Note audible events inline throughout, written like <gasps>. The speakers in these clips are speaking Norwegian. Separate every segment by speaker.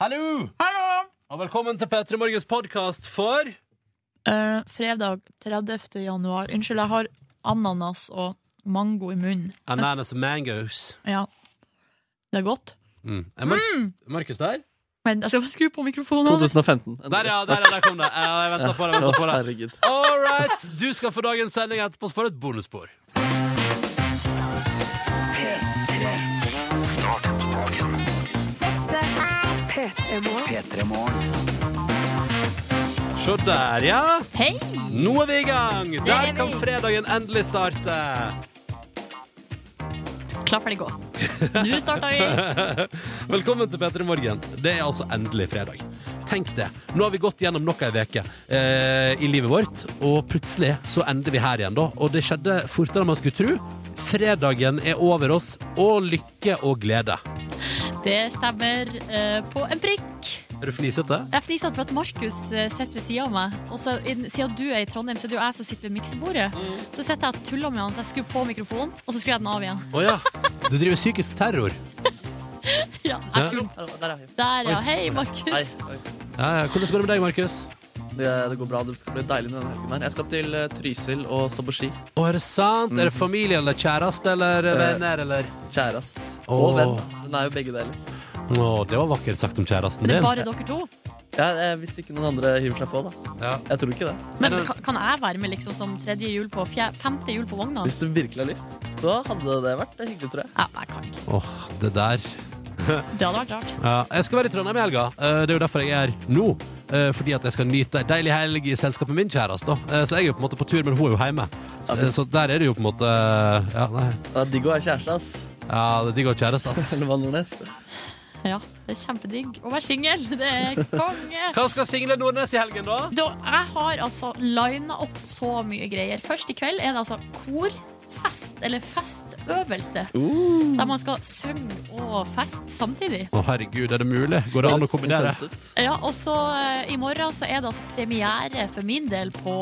Speaker 1: Hallo!
Speaker 2: Hallo!
Speaker 1: Og velkommen til P3 Morgens podkast for
Speaker 2: Eh, fredag 30. januar. Unnskyld, jeg har ananas og mango i munnen.
Speaker 1: Ananas and Mangoes.
Speaker 2: Ja, det er godt.
Speaker 1: Mm. Er Mar Markus der?
Speaker 2: Men jeg skal bare skru på mikrofonen.
Speaker 3: 2015.
Speaker 1: Der, ja! Der, ja, der kom det. Ja, Jeg venta på det. Ventet på det.
Speaker 3: Herregud.
Speaker 1: All right! Du skal få dagens sending etterpå for et bonusspor. Se der, ja.
Speaker 2: Hei!
Speaker 1: Nå er vi i gang. Der
Speaker 2: er vi.
Speaker 1: kan fredagen endelig starte.
Speaker 2: Klapp for det gå. Nå starter vi.
Speaker 1: Velkommen til P3 Morgen. Det er altså endelig fredag. Tenk det. Nå har vi gått gjennom nok ei uke eh, i livet vårt, og plutselig så ender vi her igjen, da. Og det skjedde fortere enn man skulle tro. Fredagen er over oss, og lykke og glede.
Speaker 2: Det stemmer eh, på en prikk.
Speaker 1: Er du fnisete?
Speaker 2: Jeg fniste for at Markus eh, sitter ved sida av meg. Og så, i- siden du er i Trondheim, så er det jo jeg som sitter ved miksebordet. Så sitter jeg og tuller med han, så jeg skrur på mikrofonen, og så skrur jeg den av igjen. <laughs>
Speaker 1: Å ja. Du driver psykisk terror.
Speaker 2: Ja, jeg skrur. Der, ja. Hei, Markus.
Speaker 1: Ja, ja. hvordan går det med deg, Markus?
Speaker 3: Det, det går bra. Det skal bli deilig denne helgen. her Jeg skal til eh, Trysil og stå på ski.
Speaker 1: Å, er det sant? Er det familie eller kjæreste eller
Speaker 3: Eh.
Speaker 1: venner eller
Speaker 3: Kjærest
Speaker 1: Åh.
Speaker 3: og venn. Den er jo begge deler.
Speaker 1: Å, det var vakkert sagt om kjæresten
Speaker 2: Men det
Speaker 1: din.
Speaker 2: er bare dere to.
Speaker 3: Ja, eh, hvis ikke noen andre hiver seg på, da.
Speaker 1: Ja.
Speaker 3: Jeg tror ikke det.
Speaker 2: Men kan, kan jeg være med liksom som tredje hjul på fjer, femte hjul på vogna?
Speaker 3: Hvis du virkelig har lyst, så hadde det vært hyggelig, tror jeg.
Speaker 2: Ja, jeg kan ikke.
Speaker 1: Åh, det der
Speaker 2: Det hadde vært rart.
Speaker 1: ja. Jeg skal være i Trondheim i helga. Eh, Det er jo derfor jeg er her nå. Eh, Fordi at jeg skal nyte ei deilig helg i selskap med min kjæreste. da. Eh, Så jeg er jo på en måte på tur, men hun er jo hjemme. Så, så der er det jo på en måte eh, Ja, nei.
Speaker 3: Det er digg å være kjæreste, ass. <laughs>
Speaker 1: ja det er digg å ha kjæreste, ass.
Speaker 3: Eller hva, Nordnes?
Speaker 2: Ja, det er kjempedigg å være singel. Det er konge.
Speaker 1: Hva skal single Nordnes i helgen, da?
Speaker 2: Da, jeg har altså lina opp så mye greier. Først i kveld er det altså korfest, eller festøvelse. Der man skal synge og feste samtidig.
Speaker 1: Å, herregud, er det mulig? Går det an å kombinere?
Speaker 3: Høres intens ut.
Speaker 2: Ja, og så eh, i morgen så er det altså premiere for min del på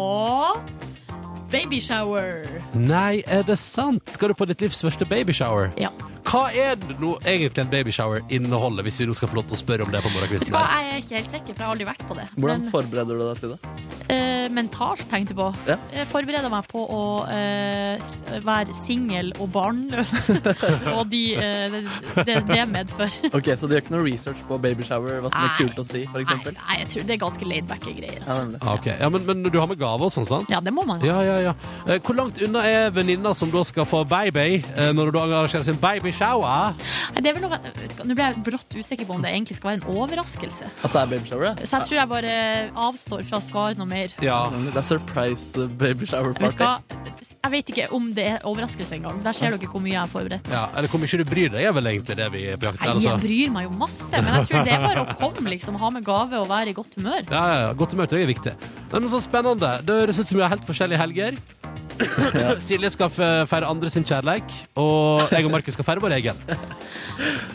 Speaker 2: Babyshower.
Speaker 1: Nei, er det sant? Skal du på ditt livs første babyshower?
Speaker 2: Ja.
Speaker 1: Hva er det nå egentlig en babyshower inneholder, hvis vi nå skal få lov til å spørre om det på
Speaker 2: Vet du
Speaker 1: morgenkvisten?
Speaker 2: hva,
Speaker 1: her?
Speaker 2: jeg er ikke helt sikker, for jeg har aldri vært på det.
Speaker 3: Hvordan
Speaker 2: Men-
Speaker 3: forbereder du deg til det?
Speaker 2: Eh, mentalt, tenkte jeg på.
Speaker 3: Ja.
Speaker 2: Jeg forbereder meg på å eh, s- være singel og barnløs. og de, eh, det, det det medfører.
Speaker 3: Ok, Så du gjør ikke noe research på babyshower? Hva som er
Speaker 2: Nei.
Speaker 3: kult å si, for
Speaker 2: Nei,
Speaker 3: eksempel?
Speaker 2: nei, jeg tror det er ganske laidbacke greier.
Speaker 3: Ja,
Speaker 2: Altså.
Speaker 3: nemlig.
Speaker 1: Ah, ok. ja, men, men du har med gave og sånn, sant?
Speaker 2: Ja, det må man ha.
Speaker 1: Ja, ja, ja. Eh, Hvor langt unna er venninna som da skal få baby, eh, når hun da arrangerer sin babyshower?
Speaker 2: Nei, Det er vel noe, vet du hva, nå ble jeg brått usikker på om det egentlig skal være en overraskelse.
Speaker 3: At det er babyshower, ja?
Speaker 2: Så jeg tror jeg bare avstår fra å svare noe mer.
Speaker 1: Ja.
Speaker 3: Nemlig. Det er surprise eh, baby shower
Speaker 2: Vi
Speaker 3: party.
Speaker 2: skal, jeg vet ikke om det er overraskelse engang. Der ser dere hvor mye jeg har forberedt.
Speaker 1: ja. Eller hvor mye du bryr deg, er vel egentlig det vi er på jakt
Speaker 2: Nei,
Speaker 1: etter.
Speaker 2: jeg
Speaker 1: Altså.
Speaker 2: bryr meg jo masse, men jeg tror det er bare å komme, liksom. Ha med gave og være i godt humør.
Speaker 1: Ja, ja, ja. Godt humør til deg er viktig. Nei, Men så spennende. Det høres ut som vi har helt forskjellige helger. <coughs> Silje skal fe- feire andre sin kjærleik, og jeg og Markus skal feire vår egen.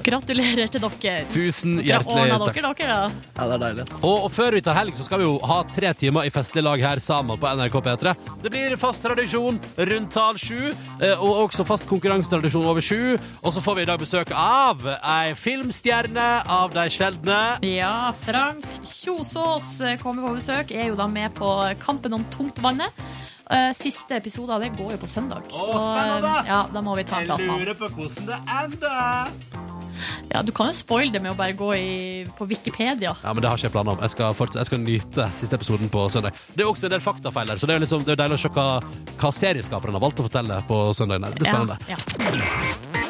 Speaker 2: Gratulerer til dere.
Speaker 1: Tusen
Speaker 2: Dere har
Speaker 1: hjertelig
Speaker 2: ordnet
Speaker 1: takk.
Speaker 2: dere, dere, da.
Speaker 3: Ja, det er deilig. ass.
Speaker 1: Og, og før vi tar helg, så skal vi jo ha tre timer i festlig lag her sammen på NRK P3. Det blir fast tradisjon rundt tall sju, eh, og også fast konkurransetradisjon over sju. Og så får vi i dag besøk av ei filmstjerne av de sjeldne.
Speaker 2: Ja, Frank Kjosås kommer på besøk. Er jo da med på Kampen om tungtvannet. Eh, Siste episode av det går jo på søndag.
Speaker 1: spennende!
Speaker 2: eh, ja, da må vi ta en prat med han.
Speaker 1: på hvordan det ender.
Speaker 2: Ja, du kan jo spoile det med å bare gå i, på Wikipedia.
Speaker 1: Ja, men Det har ikke jeg planer om. Jeg skal, forts- jeg skal nyte siste episoden på søndag. Det er også en del faktafeil her, så det er jo liksom, det er jo deilig å se hva, hva serieskaperen har valgt å fortelle på søndagen. her. Det blir spennende.
Speaker 2: Ja,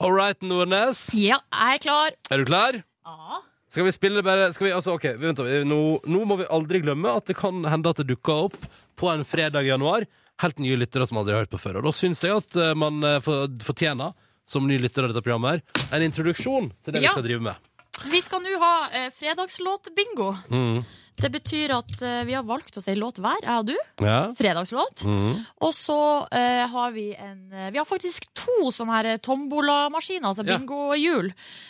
Speaker 1: All right, Nordnes.
Speaker 2: ja. ja, jeg er klar.
Speaker 1: Er du klar?
Speaker 2: Ja.
Speaker 1: Skal vi spille bare skal vi, altså, ok, vent, da, vi- nå, nå må vi aldri glemme at det kan hende at det dukker opp på en fredag i januar helt nye lyttere som aldri har hørt på før. Og da syns jeg at eh, man eh, for- fortjener, som ny lytter av dette programmet, her, en introduksjon til det
Speaker 2: Ja.
Speaker 1: vi skal drive med.
Speaker 2: Vi skal nå ha eh, fredagslåtbingo.
Speaker 1: Mm.
Speaker 2: Det betyr at eh, vi har valgt oss ei låt hver, jeg og du.
Speaker 1: Ja.
Speaker 2: fredagslåt.
Speaker 1: Mhm.
Speaker 2: Og så eh, har vi en eh, Vi har faktisk to sånne her eh, tombolamaskiner, altså
Speaker 1: Ja.
Speaker 2: bingohjul,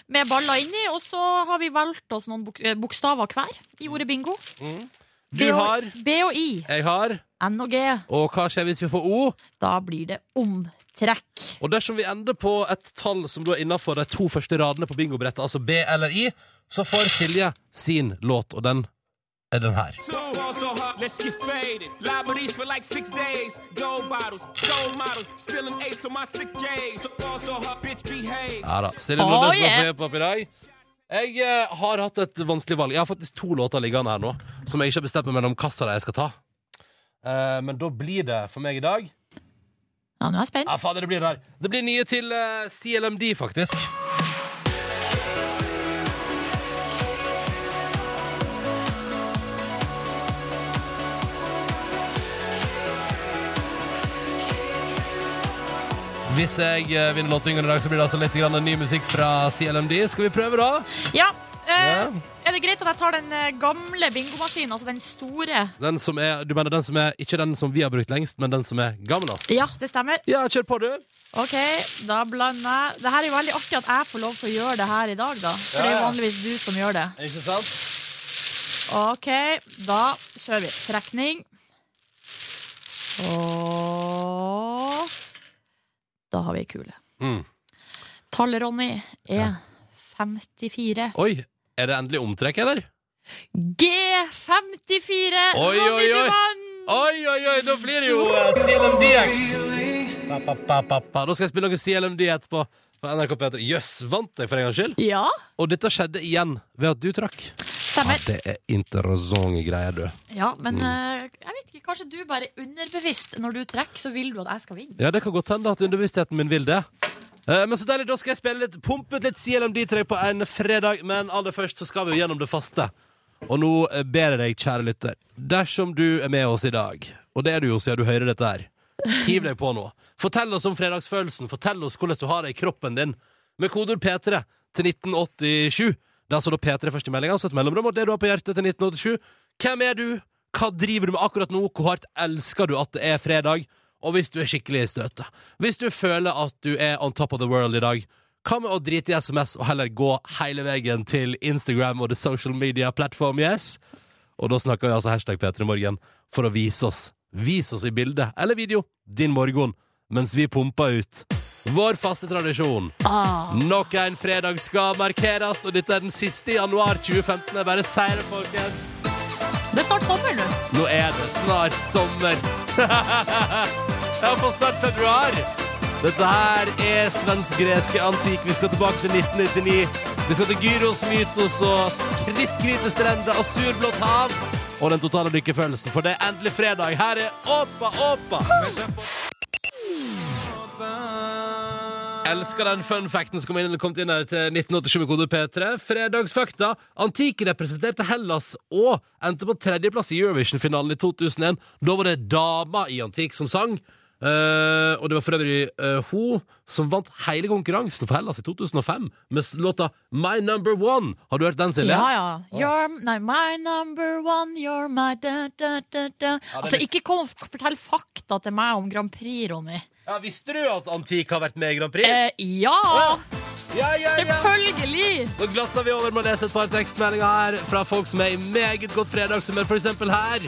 Speaker 2: med baller inni. Og så har vi valgt oss noen bok eh, bokstaver hver i ordet bingo.
Speaker 1: Du
Speaker 2: B og-
Speaker 1: har,
Speaker 2: B og I.
Speaker 1: jeg har,
Speaker 2: N og G.
Speaker 1: og hva skjer hvis vi får O?
Speaker 2: Da blir det om trekk.
Speaker 1: Og dersom vi ender på et tall som da er innenfor de to første radene på bingobrettet, altså B eller I, så får Silje sin låt, og den er den her.
Speaker 4: Two. Ball so hard, let's get faded. Live with these for like six days. Gold bottles, gold models, spilling ace on my sick days. Ball so hard, bitch behave.
Speaker 1: Ja da. Silje
Speaker 2: Oh,
Speaker 1: Nordnes skal
Speaker 2: yeah.
Speaker 1: få hjelp opp i dag. Jeg eh, har hatt et vanskelig valg. Jeg har faktisk to låter liggende her nå som jeg ikke har bestemt meg mellom hvilken jeg skal ta. Eh, men da blir det for meg i dag
Speaker 2: Ja, nå er
Speaker 1: Ja,
Speaker 2: jeg spent.
Speaker 1: fader, det blir rar. Det blir nye til eh, CLMD, faktisk. Hvis jeg eh, vinner Låtbingen i dag, så blir det altså litt grann ny musikk fra CLMD. Skal vi prøve, da?
Speaker 2: Ja. eh,
Speaker 1: Ja.
Speaker 2: Er det greit at jeg tar den eh, gamle bingomaskinen, altså den store?
Speaker 1: Den som er, du mener den som er ikke den som vi har brukt lengst, men den som er gammelast?
Speaker 2: Ja, det stemmer.
Speaker 1: Ja, kjør på, du.
Speaker 2: Ok, da blander jeg. Det her er jo veldig artig at jeg får lov til å gjøre det her i dag, da. For det er jo
Speaker 1: Ja, ja.
Speaker 2: vanligvis du som gjør det.
Speaker 1: Ikke sant?
Speaker 2: Ok, da kjører vi trekning. Og da har vi ei kule.
Speaker 1: Mm.
Speaker 2: Tallet, Ronny, er 54.
Speaker 1: Oi, er det endelig omtrekk, eller?
Speaker 2: G54!
Speaker 1: Oi,
Speaker 2: Ronny,
Speaker 1: oi,
Speaker 2: du
Speaker 1: oi.
Speaker 2: vant!
Speaker 1: Oi, oi, oi, da blir det jo eh, CLMD. Pa, pa, pa, pa, pa. Da skal jeg spille noe CLMD etterpå på NRK P3. Jøss, vant jeg for en gangs skyld?
Speaker 2: Ja,
Speaker 1: Og dette skjedde igjen ved at du trakk. Ja,
Speaker 2: stemmer.
Speaker 1: det er interessante greier, du.
Speaker 2: Ja, men eh, jeg vet ikke, kanskje du bare underbevisst når du trekker, så vil du at jeg skal vinne.
Speaker 1: Ja, det kan godt hende at underbevisstheten min vil det. Eh, Men så deilig, da skal jeg spille litt, pumpe ut litt CLMD-trøy på en fredag, men aller først så skal vi jo gjennom det faste. Og nå eh, ber jeg deg, kjære lytter, dersom du er med oss i dag, og det er du jo siden du hører dette her, hiv deg på nå. Fortell oss om fredagsfølelsen, fortell oss hvordan du har det i kroppen din, med kodord P3 til 1987. Det er altså da P3 først i meldinga, så et mellomrom, og det du har på hjertet til 1987. Hvem er du? Hva driver du med akkurat nå? Hvor hardt elsker du at det er fredag? Og hvis du er skikkelig i støtet, hvis du føler at du er on top of the world i dag, hva med å drite i SMS og heller gå hele veien til Instagram og the social media platform, yes? Og da snakker vi altså hashtag P3morgen for å vise oss. Vis oss i bilde eller video din morgen mens vi pumper ut. Vår faste tradisjon. Nok en fredag skal markeres, og dette er den siste i januar 2015. Jeg bare sier det, folkens.
Speaker 2: Det er snart sommer nå.
Speaker 1: Nå er det snart sommer. <laughs> Jeg får snart februar. Dette her er svensk-greske antikk. Vi skal tilbake til 1999. Vi skal til Gyros, Mytos og skritthvite strender og surblått hav. Og den totale lykkefølelsen, for det er endelig fredag. Her er Åpa Åpa. Elsker den fun facten som kom inn, kom inn her til 1987 med kode P3. Fredagsfakta. Antike representerte Hellas og endte på tredjeplass i Eurovision-finalen i 2001. Da var det dama i antikk som sang. Eh, og det var for øvrig eh, hun som vant hele konkurransen for Hellas i 2005 med s- låta My Number One. Har du hørt den, Silje?
Speaker 2: Ja, ja. You're nei, my number one, you're my da, da, da, da. Altså, ikke kom og fortell fakta til meg om Grand Prix, Ronny.
Speaker 1: Ja, Visste du at antikk har vært med i Grand Prix?
Speaker 2: Eh, ja!
Speaker 1: ja, ja, ja.
Speaker 2: Selvfølgelig!
Speaker 1: Nå glatter vi over med å lese et par tekstmeldinger her fra folk som er i meget godt fredagshumør, for eksempel her.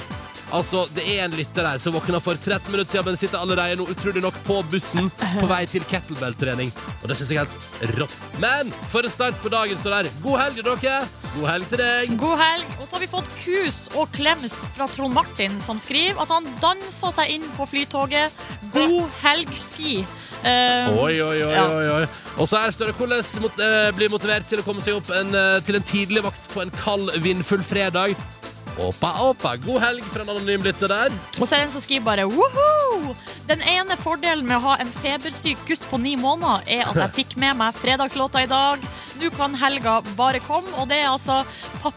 Speaker 1: Altså, det er en lytter her som våkna for 13 minutter siden, men sitter allerede nå utrolig nok på bussen på vei til kettlebell-trening. Og det syns jeg er helt rått. Men for en start på dagen står der. God helg, dere. God helg til deg.
Speaker 2: God helg. Og så har vi fått kus og klems fra Trond Martin, som skriver at han dansa seg inn på flytoget. God helg, ski. Eh,
Speaker 1: Oi, oi, oi,
Speaker 2: Ja.
Speaker 1: oi, oi. Og så her står det hvordan mot, eh, bli motivert til å komme seg opp en, eh, til en tidlig vakt på en kald, vindfull fredag. Åpa, åpa. God helg fra en anonym lytter der.
Speaker 2: Og så er det en som skriver bare Woohoo! Den ene fordelen med å ha en febersyk gutt på ni måneder, er at jeg fikk med meg fredagslåta i dag. Nå kan helga bare komme. Og det er altså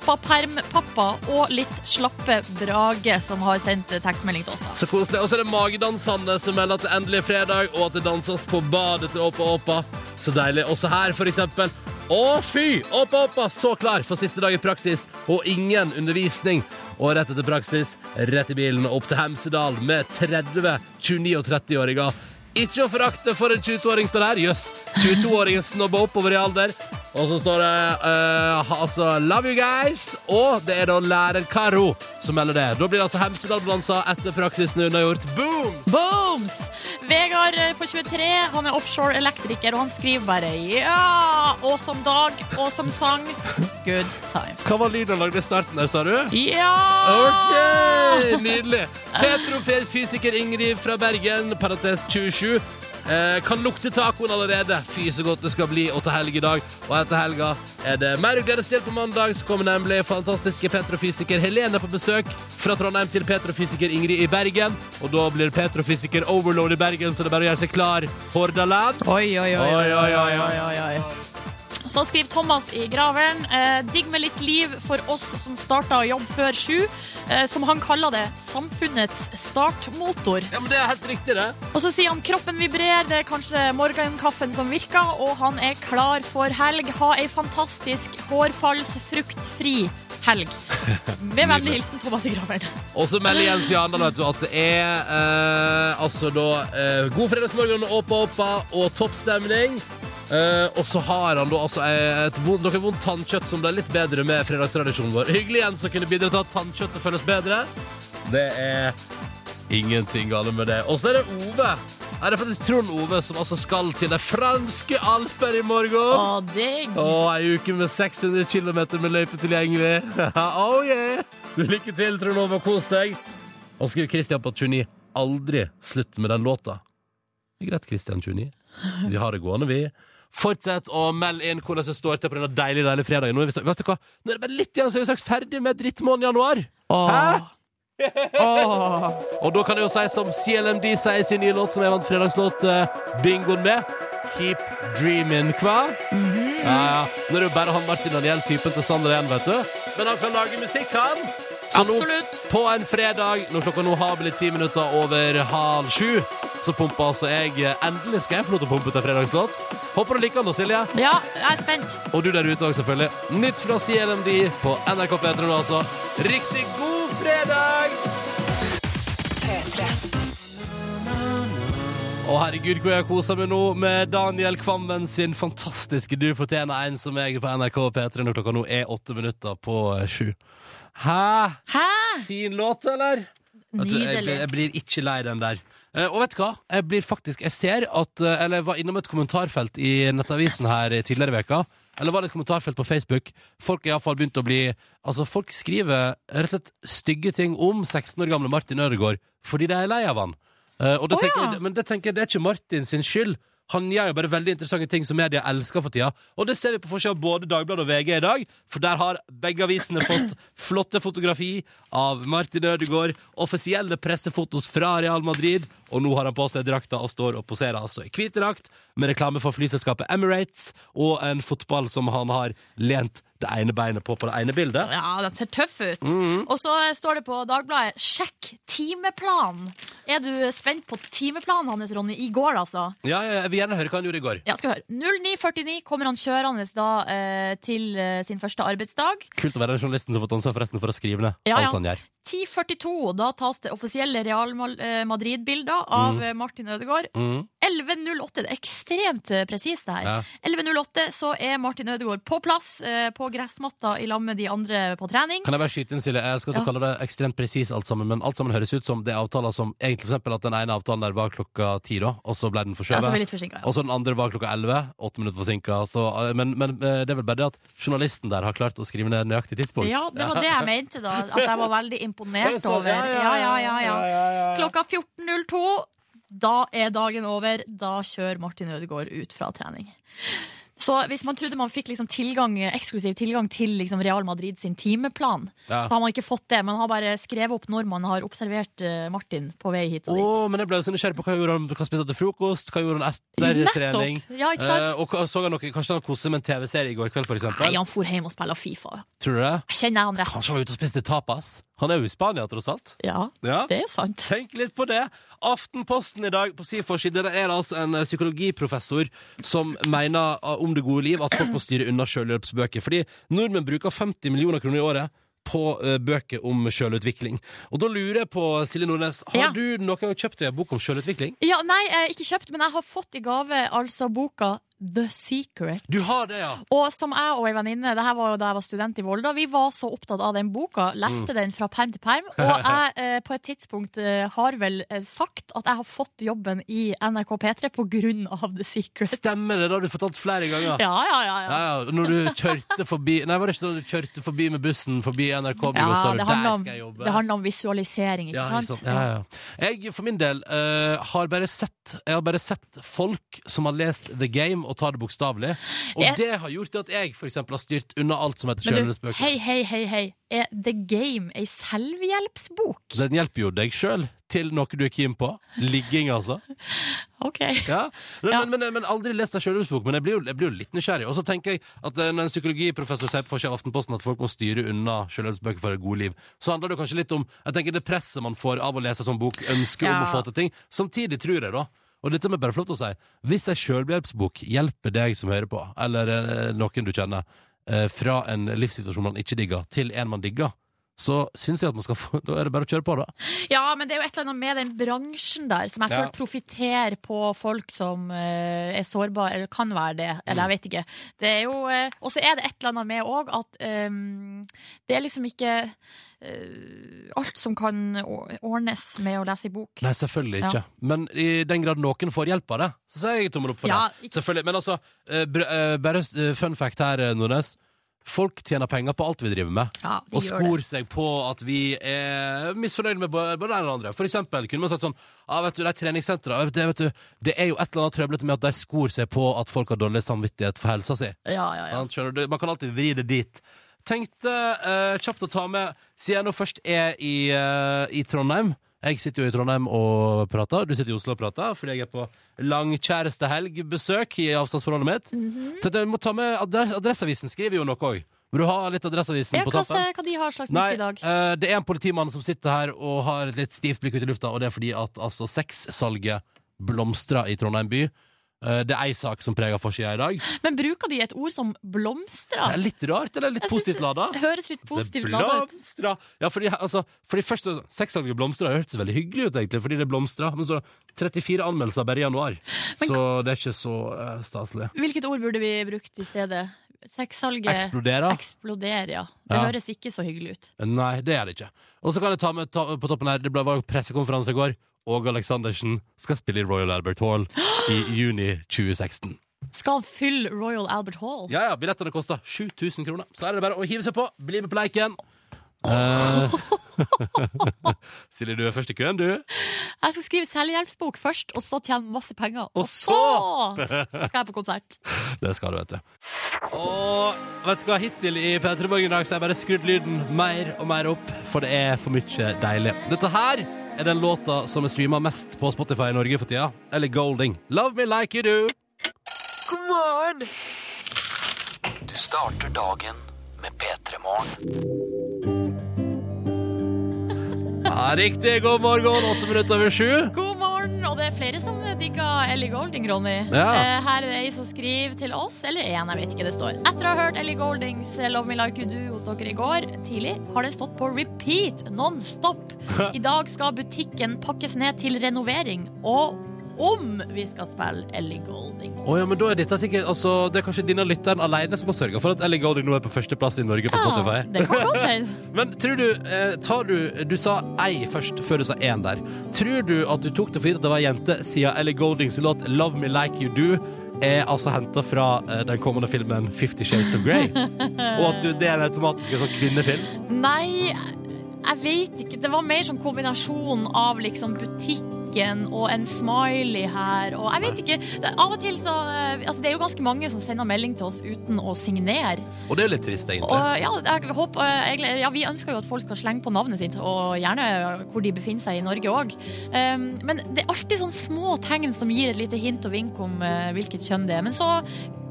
Speaker 2: pappa-perm-pappa og litt slappe Brage som har sendt tekstmelding til oss. da.
Speaker 1: Så koselig. Og så er det magedansene som melder at det endelig er fredag, og at det danses på badet til Åpa Åpa. Så deilig. Også her, for eksempel. Å, fy! Åpa Åpa, så klar for siste dag i praksis, og ingen undervisning. Og rett etter praksis, rett i bilen og opp til Hemsedal med 30, 29 og 30-åringer. Ikke å forakte for en 22-åring står der. Jøss. 22-åringen snobber oppover i alder. Og så står det eh, ha- altså 'Love you guys', og det er da lærer Karo som melder det. Da blir det altså Hemsedal-balanser etter praksisen er unnagjort. Boom!
Speaker 2: Booms! Vegard eh, på 23, han er offshore elektriker, og han skriver bare ja! Og som dag, og som sang. Good times.
Speaker 1: Hva var lyden han lagde i starten der, sa du?
Speaker 2: Ja!
Speaker 1: Ok, nydelig. Petrofysiker Ingrid fra Bergen, parentes 27. Eh, kan lukte tacoen allerede. Fy, så godt det skal bli. Og til helg i dag. Og etter helga er det mer å glede seg til på mandag. Så kommer nemlig fantastiske petrofysiker Helene på besøk fra Trondheim til petrofysiker Ingrid i Bergen. Og da blir petrofysiker overload i Bergen, så det er bare å gjøre seg klar. Hordaland.
Speaker 2: Oi, oi, oi.
Speaker 1: Oi, oi, oi, oi.
Speaker 2: Så skriver Thomas i Graveren eh, Digg med litt liv for oss som starta jobb før sju. Eh, som han kaller det, samfunnets startmotor.
Speaker 1: Ja, men det er helt riktig, det.
Speaker 2: Og så sier han kroppen vibrerer, det er kanskje morgenkaffen som virker, og han er klar for helg. Ha ei fantastisk hårfallsfruktfri helg.
Speaker 1: <laughs>
Speaker 2: Med vennlig hilsen Thomas i Graveren.
Speaker 1: Og så melder Jens Jandal vet du, at det er eh, altså da eh, god fredagsmorgen, åpa åpa og toppstemning. Eh, og så har han da altså eh, et vondt, noe vondt tannkjøtt som ble litt bedre med fredagstradisjonen vår. Hyggelig igjen som kunne bidra til at tannkjøttet føles bedre. Det er ingenting galt med det. Og så er det Ove. Her er det faktisk Trond Ove som altså skal til de franske alper i morgen.
Speaker 2: Å, digg.
Speaker 1: Å, ei uke med 600 km med løype tilgjengelig. <laughs> oh yeah! Lykke til, Trond Ove, og kos deg. Og skriv Christian på 29. Aldri slutt med den låta. Det er greit, Christian 29. <laughs> Vi har det gående, vi. Fortsett å melde inn hvordan det står til på denne deilige deilige fredagen. Nå er vi snart- Vet du hva? Nå er det bare litt igjen, så er vi straks ferdig med drittmåneden januar.
Speaker 2: Åh. Åh.
Speaker 1: <laughs> Og da kan jeg jo si som CLMD sier i sin nye låt, som jeg vant fredagslåt eh, bingoen med. Keep dreaming, hva?
Speaker 2: Mhm.
Speaker 1: ja, ja. Nå er det jo bare han Martin Daniel, typen til Sander igjen, vet du. Men han kan lage musikk, han. Så
Speaker 2: Absolutt.
Speaker 1: nå, på en fredag, når klokka nå har blitt ti minutter over halv sju, så pumper altså jeg eh, Endelig skal jeg få lov til å pumpe ut en fredagslåt. Håper du liker den da, Silje.
Speaker 2: Ja, jeg er spent.
Speaker 1: Og du der ute òg, selvfølgelig. Nytt fra CLMD på NRK P3 nå, altså. Riktig god fredag! Å, herregud, hvor jeg koser meg nå med Daniel Kvammen sin fantastiske Du fortjener en som meg på NRK P3 når klokka nå er åtte minutter på eh, sju. Hæ?
Speaker 2: Hæ?
Speaker 1: Fin låt, eller? Vet du, jeg, blir-
Speaker 2: Nydelig.
Speaker 1: jeg blir ikke lei den der. Eh, og vet du hva? Jeg blir faktisk Jeg ser at eh, Eller jeg var innom et kommentarfelt i Nettavisen her i tidligere i veka Eller var det et kommentarfelt på Facebook? Folk har iallfall begynt å bli Altså, folk skriver rett og slett stygge ting om 16 år gamle Martin Ødegaard fordi de er lei av han. Eh, og det
Speaker 2: Å,
Speaker 1: tenker,
Speaker 2: ja.
Speaker 1: jeg- Men det tenker jeg, det er ikke Martin sin skyld. Han gjør jo bare veldig interessante ting som media elsker for tida. Og det ser vi på forsida av både Dagbladet og VG i dag, for der har begge avisene fått flotte fotografi av Martin Ødegaard, offisielle pressefotos fra Real Madrid, og nå har han på seg drakta og står og poserer altså i hvit drakt med reklame for flyselskapet Emirates og en fotball som han har lent det ene beinet på på det ene bildet.
Speaker 2: Ja, den ser tøff ut.
Speaker 1: Mm.
Speaker 2: Og så eh, står det på Dagbladet 'Sjekk timeplanen'. Er du spent på timeplanen hans, Ronny? I går, altså.
Speaker 1: Ja, ja, jeg vil gjerne høre hva han gjorde i går.
Speaker 2: Ja, skal vi høre. 09.49 kommer han kjørende da eh, til eh, sin første arbeidsdag.
Speaker 1: Kult å være den journalisten som har fått ansvar forresten for å skrive ned
Speaker 2: Ja, ja.
Speaker 1: alt han gjør.
Speaker 2: 10.42, da tas det offisielle Real Mal- eh, Madrid-bilder av eh, Martin Ødegaard.
Speaker 1: Mm.
Speaker 2: 11.08, det er ekstremt eh, presist det her.
Speaker 1: Ja.
Speaker 2: 11.08 så er Martin Ødegaard på plass eh, på gressmatta i lag med de andre på trening.
Speaker 1: Kan jeg bare skyte inn, Silje? Jeg skal at du
Speaker 2: Ja.
Speaker 1: kaller det ekstremt presis alt sammen, men alt sammen høres ut som det er avtaler som egentlig for eksempel at den ene avtalen der var klokka ti, da, og så ble den
Speaker 2: Ja, så ble jeg
Speaker 1: forskjøvet.
Speaker 2: litt forsinket, ja.
Speaker 1: Og så den andre var klokka elleve, åtte minutter forsinka. Så, eh, Men, men eh, det er vel bare det at journalisten der har klart å skrive ned nøyaktig tidspunkt.
Speaker 2: Ja, det var det jeg mente da. At jeg var veldig
Speaker 1: <laughs> Oi,
Speaker 2: imponert
Speaker 1: sånn,
Speaker 2: over.
Speaker 1: ja, ja,
Speaker 2: Ja, ja, ja,
Speaker 1: ja,
Speaker 2: ja.
Speaker 1: ja, ja.
Speaker 2: Klokka 14.02. Da er dagen over. Da kjører Martin Ødegaard ut fra trening. Så hvis man trodde man fikk liksom tilgang, eksklusiv tilgang til liksom Real Madrid sin timeplan,
Speaker 1: Ja.
Speaker 2: så har man ikke fått det. Man har bare skrevet opp når man har observert eh, Martin på vei hit og
Speaker 1: Å,
Speaker 2: dit.
Speaker 1: men jeg ble jo så nysgjerrig på hva gjorde han Hva spiste han til frokost, hva gjorde han etter
Speaker 2: Nettopp!
Speaker 1: trening?
Speaker 2: Ja, ikke sant?
Speaker 1: Eh, og hva- så han noe, Kanskje han koste med en TV-serie i går kveld, for
Speaker 2: Nei,
Speaker 1: eksempel?
Speaker 2: han for hjem og spiller Fifa.
Speaker 1: Tror du det?
Speaker 2: Jeg kjenner han rett.
Speaker 1: Kanskje han var ute og spiste tapas? Han er jo i Spania, tross alt.
Speaker 2: Ja,
Speaker 1: Ja.
Speaker 2: det er sant.
Speaker 1: Tenk litt på det. Aftenposten i dag på sin forside der er det altså en eh, psykologiprofessor som mener eh, om det gode liv at folk må styre unna selvhjelpsbøker. Fordi nordmenn bruker 50 millioner kroner i året på eh, bøker om selvutvikling. Og da lurer jeg på, Silje Nordnes, har
Speaker 2: Ja.
Speaker 1: du noen gang kjøpt deg en bok om selvutvikling?
Speaker 2: Ja, nei, jeg har ikke kjøpt, men jeg har fått i gave altså boka The Secret.
Speaker 1: Du har det, ja!
Speaker 2: Og som jeg og ei venninne, det her var jo da jeg var student i Volda, vi var så opptatt av den boka, leste
Speaker 1: Mm.
Speaker 2: den fra perm til perm, og
Speaker 1: <laughs>
Speaker 2: jeg eh, på et tidspunkt eh, har vel eh, sagt at jeg har fått jobben i NRK P3 på grunn av The
Speaker 1: <laughs>
Speaker 2: Secret.
Speaker 1: Stemmer det, det har du fortalt flere ganger.
Speaker 2: Ja, ja, ja.
Speaker 1: Ja,
Speaker 2: ja.
Speaker 1: ja. Når du kjørte forbi Nei, var det ikke da du kjørte forbi med bussen forbi NRK-bygget og
Speaker 2: Ja,
Speaker 1: sa du,
Speaker 2: det,
Speaker 1: 'der
Speaker 2: handler om,
Speaker 1: skal jeg jobbe'?
Speaker 2: det handler om visualisering, ikke
Speaker 1: Ja, ikke sant?
Speaker 2: sant?
Speaker 1: Ja, ja. Jeg for min del eh, har bare sett Jeg har bare sett folk som har lest The Game og tar det bokstavelig. Og
Speaker 2: Jeg-
Speaker 1: det har gjort at jeg for eksempel har styrt unna alt som heter
Speaker 2: Men du,
Speaker 1: sjøløsbøker.
Speaker 2: hei, hei, hei, hei. Er The Game ei selvhjelpsbok?
Speaker 1: Den hjelper jo deg sjøl til noe du er keen på. Ligging, altså.
Speaker 2: OK.
Speaker 1: Ja. Men,
Speaker 2: <laughs> Ja.
Speaker 1: Men, men, men aldri lest ei sjølhjelpsbok. Men jeg blir, jo, jeg blir jo litt nysgjerrig. Og så tenker jeg at eh, når en psykologiprofessor sier på forsida av Aftenposten at folk må styre unna sjølhjelpsbøker for et godt liv, så handler det kanskje litt om jeg tenker det presset man får av å lese en sånn bok, ønsket om
Speaker 2: Ja.
Speaker 1: å få til ting. Samtidig tror jeg, da og dette må jeg bare få lov til å si Hvis ei sjølhjelpsbok hjelper deg som hører på, eller eh, noen du kjenner, eh, fra en livssituasjon man ikke digger, til en man digger, så syns jeg at man skal få <laughs> Da er det bare å kjøre på, da.
Speaker 2: Ja, men det er jo et eller annet med den bransjen der som jeg
Speaker 1: Ja.
Speaker 2: føler profitterer på folk som eh, er sårbare, eller kan være det. Eller
Speaker 1: Mm.
Speaker 2: jeg vet ikke. Det er jo eh, Og så er det et eller annet med òg at eh, det er liksom ikke eh, alt som kan or- ordnes med å lese i bok.
Speaker 1: Nei, selvfølgelig
Speaker 2: Ja.
Speaker 1: ikke. Men i den grad noen får hjelp av det, så sier jeg tommel opp for
Speaker 2: Ja,
Speaker 1: det.
Speaker 2: ikke-
Speaker 1: Selvfølgelig. Men altså, eh, br- eh, bare eh, fun fact her, eh, Nordnes. Folk tjener penger på alt vi driver med,
Speaker 2: Ja, de
Speaker 1: og
Speaker 2: gjør
Speaker 1: skor seg på at vi er misfornøyd med både både det ene og det andre. For eksempel kunne man sagt sånn ah, vet du, Det er treningssentre. Vet du, vet du, det er jo et eller annet trøblete med at de skor seg på at folk har dårlig samvittighet for helsa si.
Speaker 2: Ja, ja, ja.
Speaker 1: Sant, skjønner du? Man kan alltid vri det dit. Tenkte eh, kjapt å ta med Siden jeg nå først er i, eh, i Trondheim Jeg sitter jo i Trondheim og prater. Du sitter i Oslo og prater fordi jeg er på langkjærestehelgbesøk i avstandsforholdet mitt.
Speaker 2: Mhm.
Speaker 1: Tenkte jeg må ta med adre Adresseavisen skriver jo noe òg. Vil du ha litt Adresseavisen
Speaker 2: Ja,
Speaker 1: på
Speaker 2: hva,
Speaker 1: tappen?
Speaker 2: hva de har slags
Speaker 1: Nei,
Speaker 2: nytt i dag?
Speaker 1: eh, det er en politimann som sitter her og har et litt stivt blikk ut i lufta, og det er fordi at altså, sexsalget blomstrer i Trondheim by. Eh, det er ei sak som preger forsida i dag.
Speaker 2: Men bruker de et ord som blomstrer?
Speaker 1: Det er litt rart, eller litt
Speaker 2: Jeg synes
Speaker 1: positivt lada?
Speaker 2: Det høres litt positivt
Speaker 1: det
Speaker 2: lada ut.
Speaker 1: blomstrer! Ja, fordi, altså, fordi først Sexsalget blomstrer har hørtes veldig hyggelig ut, egentlig, fordi det blomstrer. Men så 34 anmeldelser bare i januar,
Speaker 2: Men
Speaker 1: så det er ikke så eh, staselig.
Speaker 2: Hvilket ord burde vi brukt i stedet? Sexsalget
Speaker 1: Eksploderer?
Speaker 2: eksploderer, ja. Det
Speaker 1: Ja.
Speaker 2: høres ikke så hyggelig ut.
Speaker 1: Nei, det er det ikke. Og så kan jeg ta med ta, på toppen her, det ble var jo pressekonferanse i går. Åge Aleksandersen skal spille i Royal Albert Hall i juni 2016.
Speaker 2: Skal han fylle Royal Albert Hall?
Speaker 1: Ja, ja, billettene koster 7000 kroner. Så er det bare å hive seg på. Bli med på leiken. Eh, <laughs> Silje, du er først i køen, du.
Speaker 2: Jeg skal skrive selvhjelpsbok først, og så tjene masse penger. Og,
Speaker 1: så-
Speaker 2: så skal jeg på konsert.
Speaker 1: Det skal du, vet du. Og vet du hva, hittil i P3 Morgen i dag så har jeg bare skrudd lyden mer og mer opp, for det er for mye deilig. Dette her er den låta som er streama mest på Spotify i Norge for tida. Eller Golding. Love me like you do.
Speaker 5: Du starter dagen med P3 Morgen.
Speaker 1: Ja, riktig. God morgen. Åtte minutter over sju.
Speaker 2: God morgen, og det er flere som digger Ellie Golding, Ronny.
Speaker 1: Ja.
Speaker 2: Eh, Her er det ei som skriver til oss, eller én, jeg vet ikke, det står. Etter å ha hørt Ellie Goldings eh, Love Me Like You Do hos dere i går tidlig, har den stått på repeat non
Speaker 1: <laughs>
Speaker 2: stop. I dag skal butikken pakkes ned til renovering, og om vi skal spille Ellie Golding.
Speaker 1: Å ja, men da er dette sikkert altså, Det er kanskje denne lytteren alene som har sørga for at Ellie Golding nå er på førsteplass i Norge på Spotify.
Speaker 2: det kan godt hende.
Speaker 1: Men tror du, eh, tar du Du sa ei først, før du sa én der. Tror du at du tok det for gitt at det var ei jente, siden Ellie Goldings låt 'Love Me Like You Do' er altså henta fra eh, den kommende filmen 'Fifty Shades of
Speaker 2: <laughs>
Speaker 1: Grey'? Og at du, det er en automatisk en sånn kvinnefilm?
Speaker 2: Nei, jeg vet ikke. Det var mer sånn kombinasjon av liksom butikken og en smiley her. Og jeg vet ikke. Det- Av og til så eh, altså Det er jo ganske mange som sender melding til oss uten å signere.
Speaker 1: Og det er jo litt trist,
Speaker 2: Og
Speaker 1: egentlig.
Speaker 2: ja, jeg håper, eh, egentlig- ja, Vi ønsker jo at folk skal slenge på navnet sitt, og gjerne hvor de befinner seg i Norge òg. Men det er alltid sånne små tegn som gir et lite hint og vink om eh, hvilket kjønn det er. Men så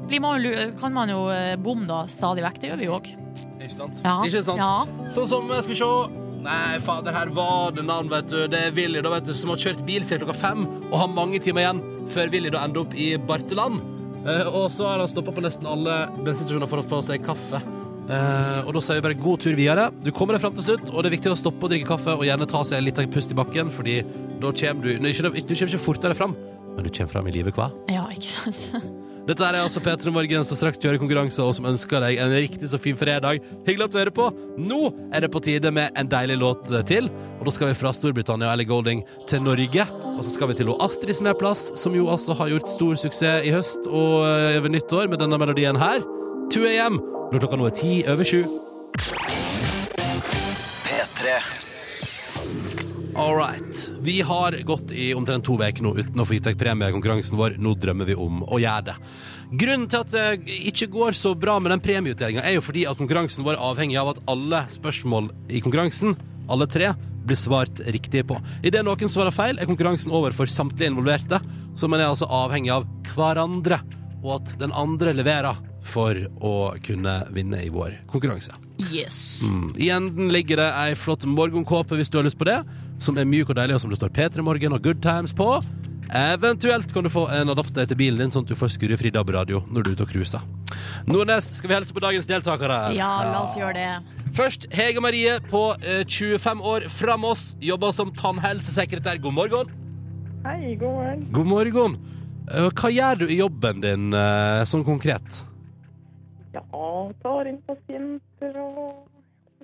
Speaker 2: blir man jo, lu- kan man jo eh, bomme da stadig vekk. Det gjør vi jo òg.
Speaker 1: Ikke sant?
Speaker 2: Ja.
Speaker 1: Ikke sant?
Speaker 2: Ja.
Speaker 1: Sånn som, eh, skal vi se Nei, fader, her var det navn, vet du Det er Willy, da, vet du, som har kjørt bil siden klokka fem Og har mange timer igjen Før Willy da ender opp i Barteland Eh, Og så har han stoppet på nesten alle bensinstasjoner For å få seg kaffe Eh, og da sier vi bare god tur videre Du kommer deg frem til slutt Og det er viktig å stoppe og drikke kaffe Og gjerne ta seg litt av pust i bakken Fordi da kommer du Nei, ikke, du kommer ikke fortere frem Men du kommer frem i livet hva?
Speaker 2: ja, ikke sant? <laughs>
Speaker 1: Dette her er altså P3 Morgen som straks kjører konkurranser, og som ønsker deg en riktig så fin fredag. Hyggelig at du hører på. Nå er det på tide med en deilig låt eh, til. Og da skal vi fra Storbritannia og Ellie Golding til Norge. Og så skal vi til hun Astrid som er plass, som jo altså har gjort stor suksess i høst og eh, over nyttår med denne melodien her. 2 AM når klokka nå er ti over sju.
Speaker 5: P3
Speaker 1: All right. Vi har gått i omtrent to uker nå uten å få gitt vekk premie i konkurransen vår. Nå drømmer vi om å gjøre det. Grunnen til at det ikke går så bra med den premieutdelinga, er jo fordi at konkurransen vår er avhengig av at alle spørsmål i konkurransen, alle tre, blir svart riktig på. Idet noen svarer feil, er konkurransen over for samtlige involverte, så man er altså avhengig av hverandre, og at den andre leverer for å kunne vinne i vår konkurranse.
Speaker 2: Yes.
Speaker 1: I enden ligger det ei flott morgenkåpe hvis du har lyst på det, som er myk og deilig, og som det står P3 Morgen og Good Times på. Eventuelt kan du få en adapter til bilen din, sånn at du får skurrefri DAB-radio når du er ute og cruiser. Nordnes, skal vi hilse på dagens deltakere?
Speaker 2: Ja, la oss gjøre det.
Speaker 1: Først Hege Marie på eh, 25 år fra Moss, jobber som tannhelsesekretær. God morgen.
Speaker 6: Hei, god morgen.
Speaker 1: God morgen. Eh, Hva gjør du i jobben din, eh, sånn konkret?
Speaker 6: Ja, tar inn pasienter og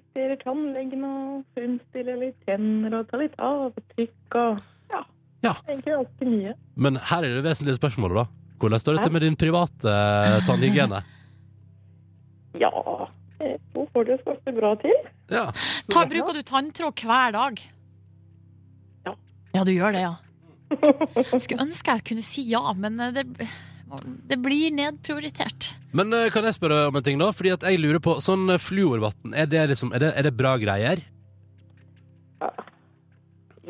Speaker 6: justerer tannlegen og fremstiller litt tenner og tar litt avtrykk og ja.
Speaker 1: Ja.
Speaker 6: Egentlig ganske mye.
Speaker 1: Men her er det vesentlige spørsmålet, da. Hvordan står det til med din private eh, tannhygiene?
Speaker 6: Ja, eh, nå får det jo ganske bra til.
Speaker 1: <laughs> Ja.
Speaker 2: Ta, bruker du tanntråd hver dag?
Speaker 6: Ja.
Speaker 2: Ja, du gjør det, ja. <laughs> Skulle ønske jeg kunne si ja, men eh, det, det blir nedprioritert.
Speaker 1: Men eh, kan jeg spørre om en ting da? Fordi at jeg lurer på, sånn eh, fluorvann, er, det liksom, er, det, er det bra greier? Hæ?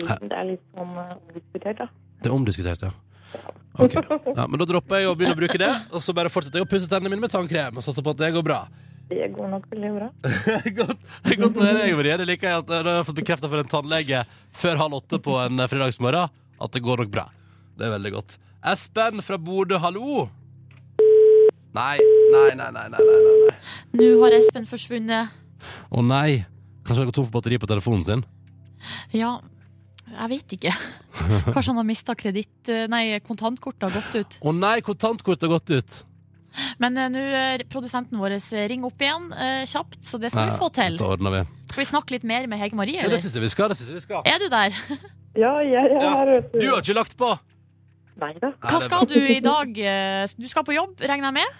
Speaker 6: Det er litt sånn eh, omdiskutert, da.
Speaker 1: Det er omdiskutert, ja. Ok, da. ja. Men da dropper jeg å begynne å bruke det, og så bare fortsetter jeg å pusse tennene mine med tannkrem og satser på at det går bra.
Speaker 6: Det går nok veldig bra.
Speaker 1: godt, <laughs> det er godt å høre, jeg, Marie. Det liker jeg at eh, det har jeg fått bekreftet for en tannlege før halv åtte på en eh, fredagsmorgen, at det går nok bra. Det er veldig godt. Espen fra Bodø, hallo! Nei, nei, nei, nei, nei, nei, nei.
Speaker 2: Nå har Espen forsvunnet.
Speaker 1: Å nei, kanskje han går tom for batteri på telefonen sin?
Speaker 2: Ja, jeg vet ikke.
Speaker 1: <laughs>
Speaker 2: Kanskje han har mista kreditt... eh, Nei, kontantkortet har gått ut.
Speaker 1: Å nei, kontantkortet har gått ut.
Speaker 2: Men eh, nå eh, produsenten vår eh, ringer opp igjen eh, kjapt, så det skal vi få til.
Speaker 1: Dette ordner vi.
Speaker 2: Skal vi snakke litt mer med Hege Marie,
Speaker 1: Ja, det
Speaker 2: eller?
Speaker 1: syns jeg vi skal. det synes jeg vi skal.
Speaker 2: Er du der?
Speaker 6: Ja, jeg, jeg
Speaker 1: Ja,
Speaker 6: har hørt
Speaker 1: Du har ikke lagt på!
Speaker 6: Nei da.
Speaker 2: Hva skal du i dag? eh, Du skal på jobb, regner jeg med.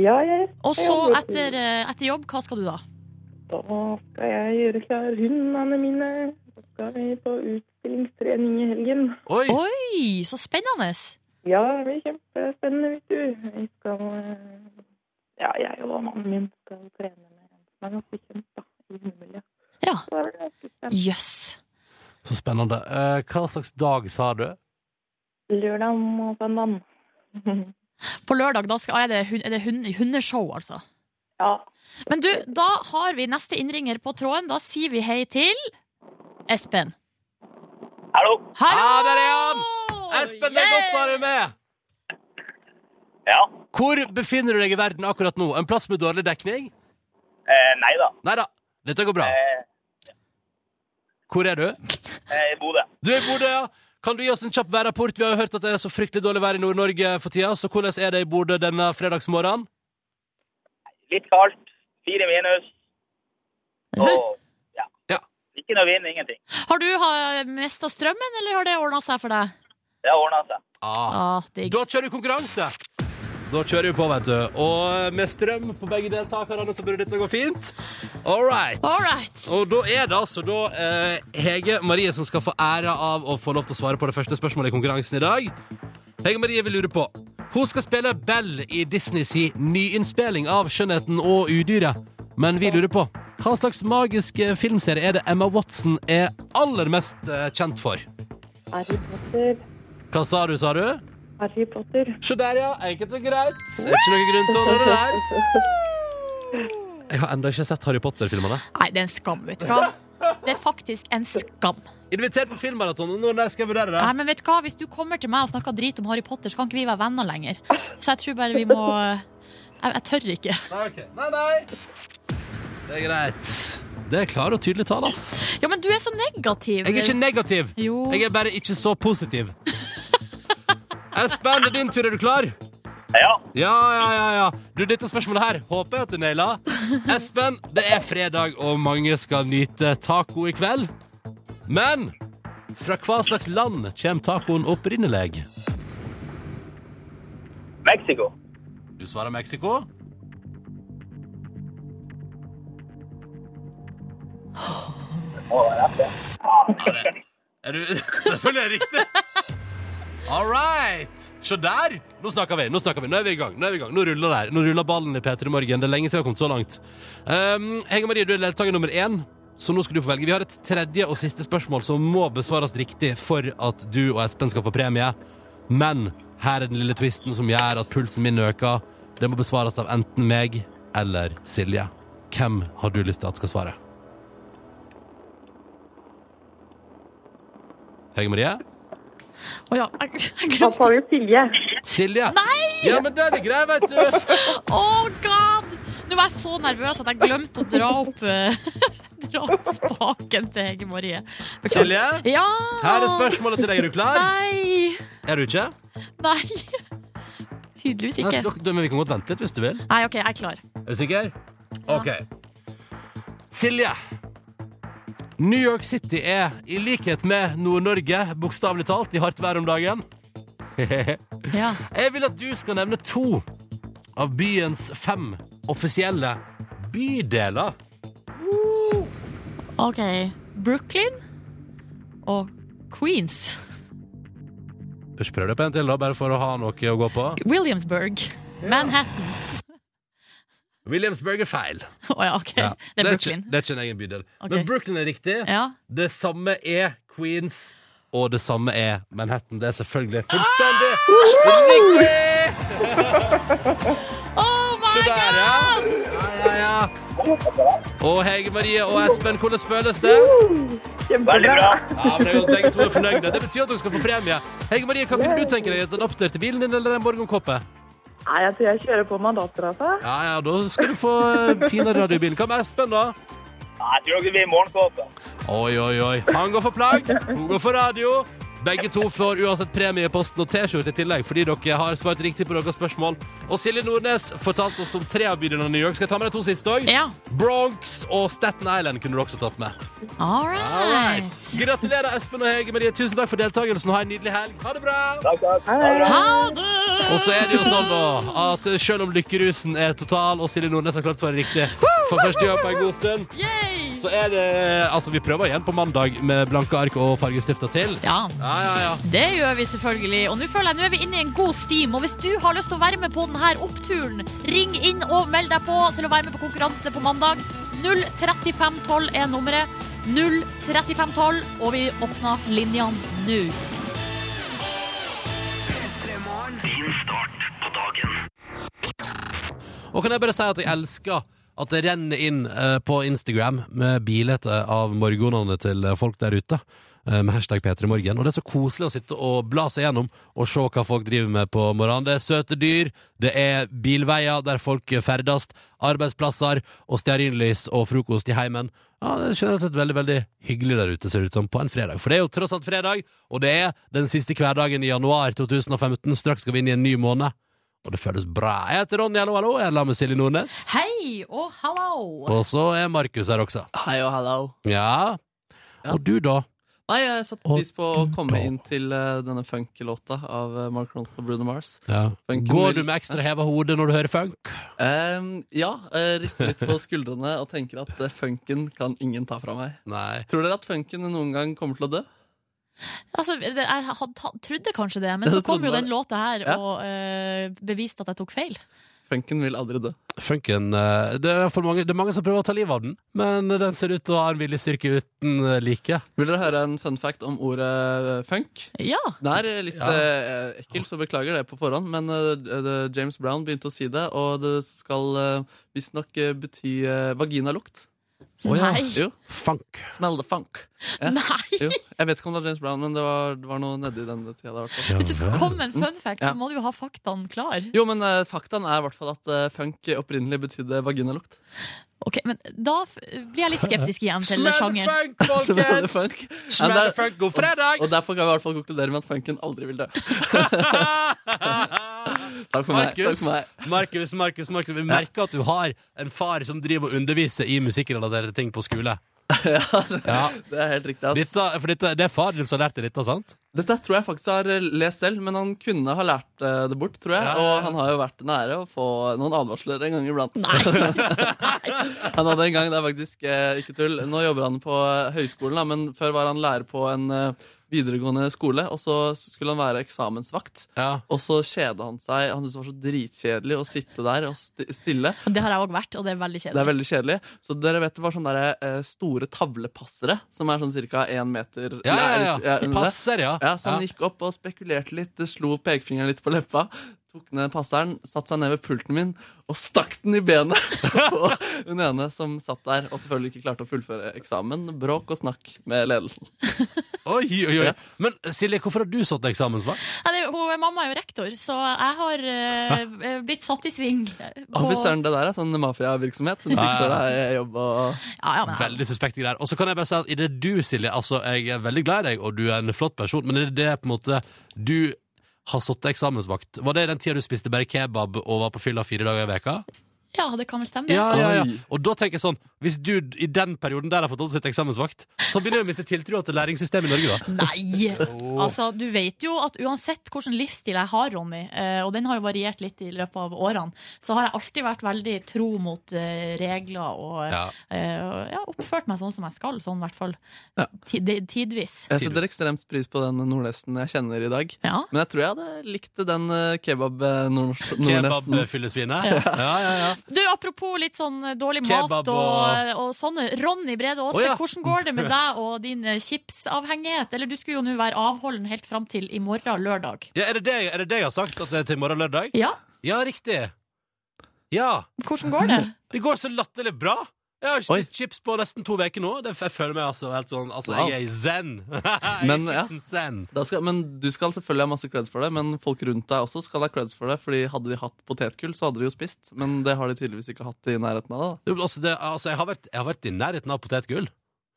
Speaker 6: Ja, jeg,
Speaker 2: Og så,
Speaker 6: Jeg jobber.
Speaker 2: etter, eh, etter jobb, hva skal du da?
Speaker 6: da skal jeg gjøre klar hundene mine. Så skal vi på utstillingstrening i helgen.
Speaker 1: Oi!
Speaker 2: Oi, så spennende!
Speaker 6: Ja, det blir kjempespennende, vet du. Vi skal eh, Ja, jeg og mannen min skal trene med en som er ganske kjent, da. I hundemiljøet.
Speaker 2: Ja.
Speaker 6: Så det blir ganske spennende.
Speaker 2: Jøss.
Speaker 1: Så spennende. Eh, hva slags dag sa du?
Speaker 6: Lørdag og søndag.
Speaker 2: På lørdag da skal, er det, hun- er det hun- hundeshow, altså.
Speaker 6: <laughs> Ja.
Speaker 2: Men du, da har vi neste innringer på tråden. Da sier vi hei til Espen.
Speaker 7: Hallo.
Speaker 2: Hallo!
Speaker 1: Ah, der er han! Espen, det er godt å ha deg med!
Speaker 7: Ja.
Speaker 1: Hvor befinner du deg i verden akkurat nå? En plass med dårlig dekning?
Speaker 7: Eh, nei da.
Speaker 1: Nei da, dette går bra.
Speaker 7: Eh,
Speaker 1: Hvor er du?
Speaker 7: eh, Bodø.
Speaker 1: Du er i Bodø, ja. Kan du gi oss en kjapp værrapport? Vi har jo hørt at det er så fryktelig dårlig vær i Nord-Norge for tida, så hvordan er det i Bodø denne fredagsmorgenen?
Speaker 7: Litt kaldt. Fire minus. Og ja.
Speaker 1: Ja.
Speaker 7: Ikke noe vind, ingenting.
Speaker 2: Har du mista strømmen, eller har det ordna seg for deg?
Speaker 7: Det har ordna seg.
Speaker 1: Ah.
Speaker 2: Ah, digg.
Speaker 1: Da kjører vi konkurranse! Da kjører vi på, vet du. Og med strøm på begge deltakerne så burde dette gå fint. All right.
Speaker 2: All right.
Speaker 1: Og da er det altså da eh, Hege Marie som skal få æra av å få lov til å svare på det første spørsmålet i konkurransen i dag. Hege Marie vil lure på Hun skal spille Bell i Disney si nyinnspilling av 'Skjønnheten og udyret'. Men vi lurer på hva slags magisk eh, filmserie er det Emma Watson er aller mest eh, kjent for?
Speaker 6: Harry Potter.
Speaker 1: Hva sa du, sa du?
Speaker 6: Harry Potter.
Speaker 1: Se der, ja. Enkelt og greit. Er ikke noe grunn til å holde det der. Jeg har ennå ikke sett Harry Potter-filmene.
Speaker 2: Nei, det er en skam, vet du hva. Det er faktisk en skam.
Speaker 1: Invitert på filmmaraton. Når der skal jeg vurdere det?
Speaker 2: Nei, men vet du hva? Hvis du kommer til meg og snakker drit om Harry Potter, så kan ikke vi være venner lenger. Så jeg tror bare vi må Jeg, jeg tør ikke.
Speaker 1: Nei, ok. nei, nei. Det er greit. Det er klare og tydelige tall, ass.
Speaker 2: Ja, men du er så negativ.
Speaker 1: Jeg er ikke negativ.
Speaker 2: Jo. <laughs>
Speaker 1: Jeg er bare ikke så positiv. Espen, det er din tur. Er du klar?
Speaker 7: Ja.
Speaker 1: Ja, ja, ja, ja. Du, dette spørsmålet her håper jeg at du
Speaker 2: <laughs>
Speaker 1: nailer. Espen, det er fredag, og mange skal nyte taco i kveld. Men fra hva slags land kommer tacoen opprinnelig?
Speaker 7: Mexico.
Speaker 1: Du svarer Mexico.
Speaker 7: Må være rett, det.
Speaker 1: Er du <laughs> Selvfølgelig er det riktig. All right. Se der. Nå snakker vi. Nå snakker vi. Nå er vi i gang. Nå er vi i gang. Nå ruller det her. Nå ruller ballen i P3 Morgen. Det er lenge siden vi har kommet så langt. Um, Hege Marie, du er deltaker nummer én, så nå skal du få velge. Vi har et tredje og siste spørsmål som må besvares riktig for at du og Espen skal få premie. Men her er den lille twisten som gjør at pulsen min øker. Det må besvares av enten meg eller Silje. Hvem har du lyst til at skal svare? Hege Marie?
Speaker 2: Å ja, jeg, jeg
Speaker 6: <laughs> Da
Speaker 2: glemte
Speaker 6: tar vi Silje.
Speaker 1: Silje. Ja, men den er grei, vet du.
Speaker 2: Oh god! Nå var jeg så nervøs at jeg glemte å dra opp eh, <laughs> Dra opp spaken til Hege Marie. Beklager.
Speaker 1: Silje,
Speaker 2: Ja!
Speaker 1: her er spørsmålet til deg. Er du klar?
Speaker 2: Nei!
Speaker 1: Er du ikke?
Speaker 2: Nei. Tydeligvis
Speaker 1: Nei,
Speaker 2: ikke.
Speaker 1: dok- men vi kan godt vente litt hvis du vil.
Speaker 2: Nei, OK, jeg er klar.
Speaker 1: Er du sikker? OK. Silje. New York City er, i likhet med Nord-Norge, bokstavelig talt i hardt vær om dagen. Jeg
Speaker 2: Ja.
Speaker 1: vil at du skal nevne to av byens fem offisielle bydeler.
Speaker 2: OK. Brooklyn og Queens.
Speaker 1: Bør ikke prøve deg på en til, da, bare for å ha noe å gå på.
Speaker 2: Williamsburg. Manhattan.
Speaker 1: Williamsburg er feil.
Speaker 2: Å ja, OK.
Speaker 1: Ja.
Speaker 2: Det er Brooklyn.
Speaker 1: Ikke, det er ikke en egen bydel.
Speaker 2: Ok.
Speaker 1: Men Brooklyn er riktig.
Speaker 2: Ja.
Speaker 1: Det samme er Queens. Ah! Og det samme er Manhattan. Det er selvfølgelig fullstendig riktig!
Speaker 2: Oh my
Speaker 1: Der,
Speaker 2: god!
Speaker 1: ja. Ja, ja, ja. Og Hege Marie og Espen, hvordan føles det?
Speaker 7: Veldig bra.
Speaker 1: Ja, men det er godt Begge to er fornøyde. Det betyr at dere skal få premie. Hege Marie, hva kunne du tenke deg? Et adapter til bilen din eller en Borgenkoppe?
Speaker 6: Nei, jeg tror jeg kjører på med dattera, altså.
Speaker 1: Ja, ja, da skal du få eh, finere radiobil. Hva med Espen, da?
Speaker 7: Nei, Jeg tror dere blir morgenkåte.
Speaker 1: Oi, oi, oi. Han går for plagg, hun går for radio. Begge to får uansett premie i posten og T-skjorte i tillegg fordi dere har svart riktig på deres spørsmål. Og Silje Nordnes fortalte oss om tre av bydelene i New York. Skal jeg ta med de to siste òg?
Speaker 2: Ja.
Speaker 1: Bronx og Staten Island kunne du også tatt med.
Speaker 2: All
Speaker 1: All right.
Speaker 2: right.
Speaker 1: Gratulerer, Espen og Hege Marie. Tusen takk for deltakelsen, og ha en nydelig helg. Ha det bra!
Speaker 7: Takk, takk. Ha det bra.
Speaker 2: Ha det!
Speaker 1: Og så er det jo sånn da at selv om lykkerusen er total, og Silje Nordnes har klart å svare riktig for første gang på en god stund,
Speaker 2: Yay!
Speaker 1: så er det Altså, vi prøver igjen på mandag med blanke ark og fargestifter til.
Speaker 2: Ja,
Speaker 1: Ja, ja, ja.
Speaker 2: det gjør vi selvfølgelig. Og nå føler jeg nå er vi inne i en god steam. Og hvis du har lyst til å være med på denne oppturen, ring inn og meld deg på til å være med på konkurranse på mandag. 03512 er nummeret. 03512, og vi åpner linjene nå.
Speaker 1: Og kan jeg bare si at jeg elsker at det renner inn eh, på Instagram med bilder av morgenene til folk der ute. eh, Med hashtag P3morgen. Og det er så koselig å sitte og bla seg gjennom og se hva folk driver med på morgenen. Det er søte dyr, det er bilveier der folk ferdes, arbeidsplasser og stearinlys og frokost i heimen. Ja, Det er generelt sett veldig veldig hyggelig der ute, ser det ut som, på en fredag. For det er jo tross alt fredag, og det er den siste hverdagen i januar 2015. Straks skal vi inn i en ny måned. Og det føles bra. Jeg heter Ronny, hallo, hallo. Jeg er sammen med Silje Nordnes.
Speaker 2: Hei og hallo!
Speaker 1: Og så er Markus her også.
Speaker 3: Hei og hallo.
Speaker 1: Ja. Og du, da?
Speaker 3: Nei, jeg satte
Speaker 1: Og
Speaker 3: pris på å komme
Speaker 1: da.
Speaker 3: inn til eh, denne funky-låta av eh, Mark Ronson og Bruno Mars. Funken
Speaker 1: Går
Speaker 3: vil-
Speaker 1: du med ekstra heva hode når du hører funk?
Speaker 3: Em, ja, eh, rister litt på skuldrene og tenker at eh, funken kan ingen ta fra meg.
Speaker 1: Nei.
Speaker 3: Tror dere at funken noen gang kommer til å dø?
Speaker 2: Altså, det- jeg had- ha- trodde kanskje det, men
Speaker 3: Ja,
Speaker 2: så
Speaker 3: du
Speaker 2: kom
Speaker 3: trodde
Speaker 2: jo
Speaker 3: bare-
Speaker 2: den låta her
Speaker 3: Ja.
Speaker 2: og eh, beviste at jeg tok feil.
Speaker 3: Funken vil aldri dø.
Speaker 1: Funken eh, det er, for mange, det er mange som prøver å ta livet av den, men den ser ut til å ha en viljestyrke uten eh, like.
Speaker 3: Vil dere høre en fun fact om ordet eh, funk?
Speaker 2: Ja!
Speaker 3: Det er eh, litt
Speaker 1: Ja.
Speaker 3: eh, ekkelt, så beklager det på forhånd, men eh, eh, James Brown begynte å si det, og det skal uh, visstnok eh, bety eh, vaginalukt.
Speaker 1: Å ja.
Speaker 2: Nei!
Speaker 3: Jo.
Speaker 1: Funk.
Speaker 3: Smell the funk. Ja.
Speaker 2: <laughs> Nei!
Speaker 3: Jo, jeg vet ikke om det var James Brown, men det var, det var noe nedi den tida. der, i hvert fall.
Speaker 2: Hvis du skal komme med en fun fact,
Speaker 3: Mm. Ja.
Speaker 2: så må du jo ha faktaene klar.
Speaker 3: Jo, men eh, faktaen er i hvert fall at eh, funk opprinnelig betydde vaginalukt.
Speaker 2: Ok, men Da f- blir jeg litt skeptisk igjen til den sjangeren.
Speaker 1: funk,
Speaker 3: <laughs> <laughs> Så det var det funk.
Speaker 1: Smell
Speaker 3: Ja, det-
Speaker 1: funk, god fredag!
Speaker 3: Og derfor kan vi i hvert fall konkludere med at funken aldri vil dø. <laughs> Takk for meg. Takk
Speaker 1: Markus,
Speaker 3: for meg.
Speaker 1: Markus, Markus, Markus. Vi merker at du har en far som driver og underviser i musikkrelaterte ting på skole.
Speaker 3: <laughs>
Speaker 1: Ja.
Speaker 3: Det er helt riktig. ass.
Speaker 1: Dette, for dette, det er far din som har lært deg dette, sant?
Speaker 3: Dette tror jeg faktisk har eh, lest selv, men han kunne ha lært eh, det bort, tror jeg.
Speaker 1: Ja, ja, ja.
Speaker 3: Og han har jo vært nære å få noen advarsler en gang iblant. <laughs> han hadde en gang, det er faktisk eh, ikke tull. Nå jobber han på eh, høyskolen, da, men før var han lærer på en eh, videregående skole, og så skulle han være eksamensvakt.
Speaker 1: Ja.
Speaker 3: Og så kjeda han seg. Han syntes det var så dritkjedelig å sitte der og sti- stille.
Speaker 2: Det har jeg òg vært, og det er veldig
Speaker 3: Det er
Speaker 2: kjedelig.
Speaker 3: veldig kjedelig. Så dere vet det var sånne der, eh, store tavlepassere som er sånn ca. én meter
Speaker 1: Ja,
Speaker 3: eller-
Speaker 1: ja, ja. De
Speaker 3: under det.
Speaker 1: passer, ja.
Speaker 3: Ja, så han gikk opp og spekulerte litt, slo pekefingeren litt på leppa, tok ned passeren, satte seg ned ved pulten min og stakk den i benet <laughs> på hun ene som satt der og selvfølgelig ikke klarte å fullføre eksamen. Bråk og snakk med ledelsen.
Speaker 1: Oi, oi, oi.
Speaker 3: Ja.
Speaker 1: Men Silje, hvorfor har du satt eksamensvakt?
Speaker 2: Nei, det, hun, mamma er jo rektor, så jeg har eh, blitt satt i sving.
Speaker 3: Å, fy søren, det der er sånn mafiavirksomhet. Hun fikser deg jobb og
Speaker 2: ja, ja, men,
Speaker 1: Veldig suspekte greier. Og så kan jeg bare si at i det du, Silje, altså jeg er veldig glad i deg, og du er en flott person, men er det det på en måte du har satt eksamensvakt? Var det den tida du spiste bare kebab og var på fylla fire dager i veka?
Speaker 2: ja, det kan vel stemme, det.
Speaker 1: Ja, ja, ja.
Speaker 3: Oi.
Speaker 1: Og da tenker jeg sånn, hvis du i den perioden der har fått holdt sitt eksamensvakt, så begynner jeg å miste tiltroa til læringssystemet i Norge, da. <laughs>
Speaker 2: Nei! Altså, du vet jo at uansett hvilken livsstil jeg har, Ronny, eh, og den har jo variert litt i løpet av årene, så har jeg alltid vært veldig tro mot eh, regler og
Speaker 1: Ja.
Speaker 2: eh, og, ja, oppført meg sånn som jeg skal, sånn i hvert fall.
Speaker 3: Ja.
Speaker 2: Ti- de- Tidvis.
Speaker 3: Jeg setter ekstremt pris på den nordnesten jeg kjenner i dag.
Speaker 2: Ja.
Speaker 3: Men jeg tror jeg hadde likt den eh, kebab-nordnesten.
Speaker 1: Kebabfyllesvinet. Ja, ja, ja.
Speaker 2: Du, Apropos litt sånn eh, dårlig
Speaker 1: Kebab
Speaker 2: mat og,
Speaker 1: og-
Speaker 2: og sånn. Ronny Brede Aase,
Speaker 1: Å, ja.
Speaker 2: hvordan går det med deg og din eh, chipsavhengighet? Eller du skulle jo nå være avholden helt fram til i morgen, lørdag.
Speaker 1: ja er, det det, er det det jeg har sagt, at det er til i morgen lørdag?
Speaker 2: Ja,
Speaker 1: Ja, riktig. Ja.
Speaker 2: hvordan går det?
Speaker 1: Det går så latterlig bra. Jeg har
Speaker 3: Oi.
Speaker 1: spist chips på nesten to uker nå. Det, jeg føler meg altså helt sånn Altså,
Speaker 3: Wow.
Speaker 1: jeg er i zen. <laughs> jeg
Speaker 3: Men,
Speaker 1: er
Speaker 3: ja.
Speaker 1: chipsen zen.
Speaker 3: Da skal, men Du skal selvfølgelig ha masse creds for det, men folk rundt deg også skal ha creds for det. Fordi Hadde de hatt potetgull, så hadde de jo spist. Men det har de tydeligvis ikke hatt i nærheten av. da
Speaker 1: Jo, men Altså, det, altså jeg, har vært, jeg har vært i nærheten av potetgull.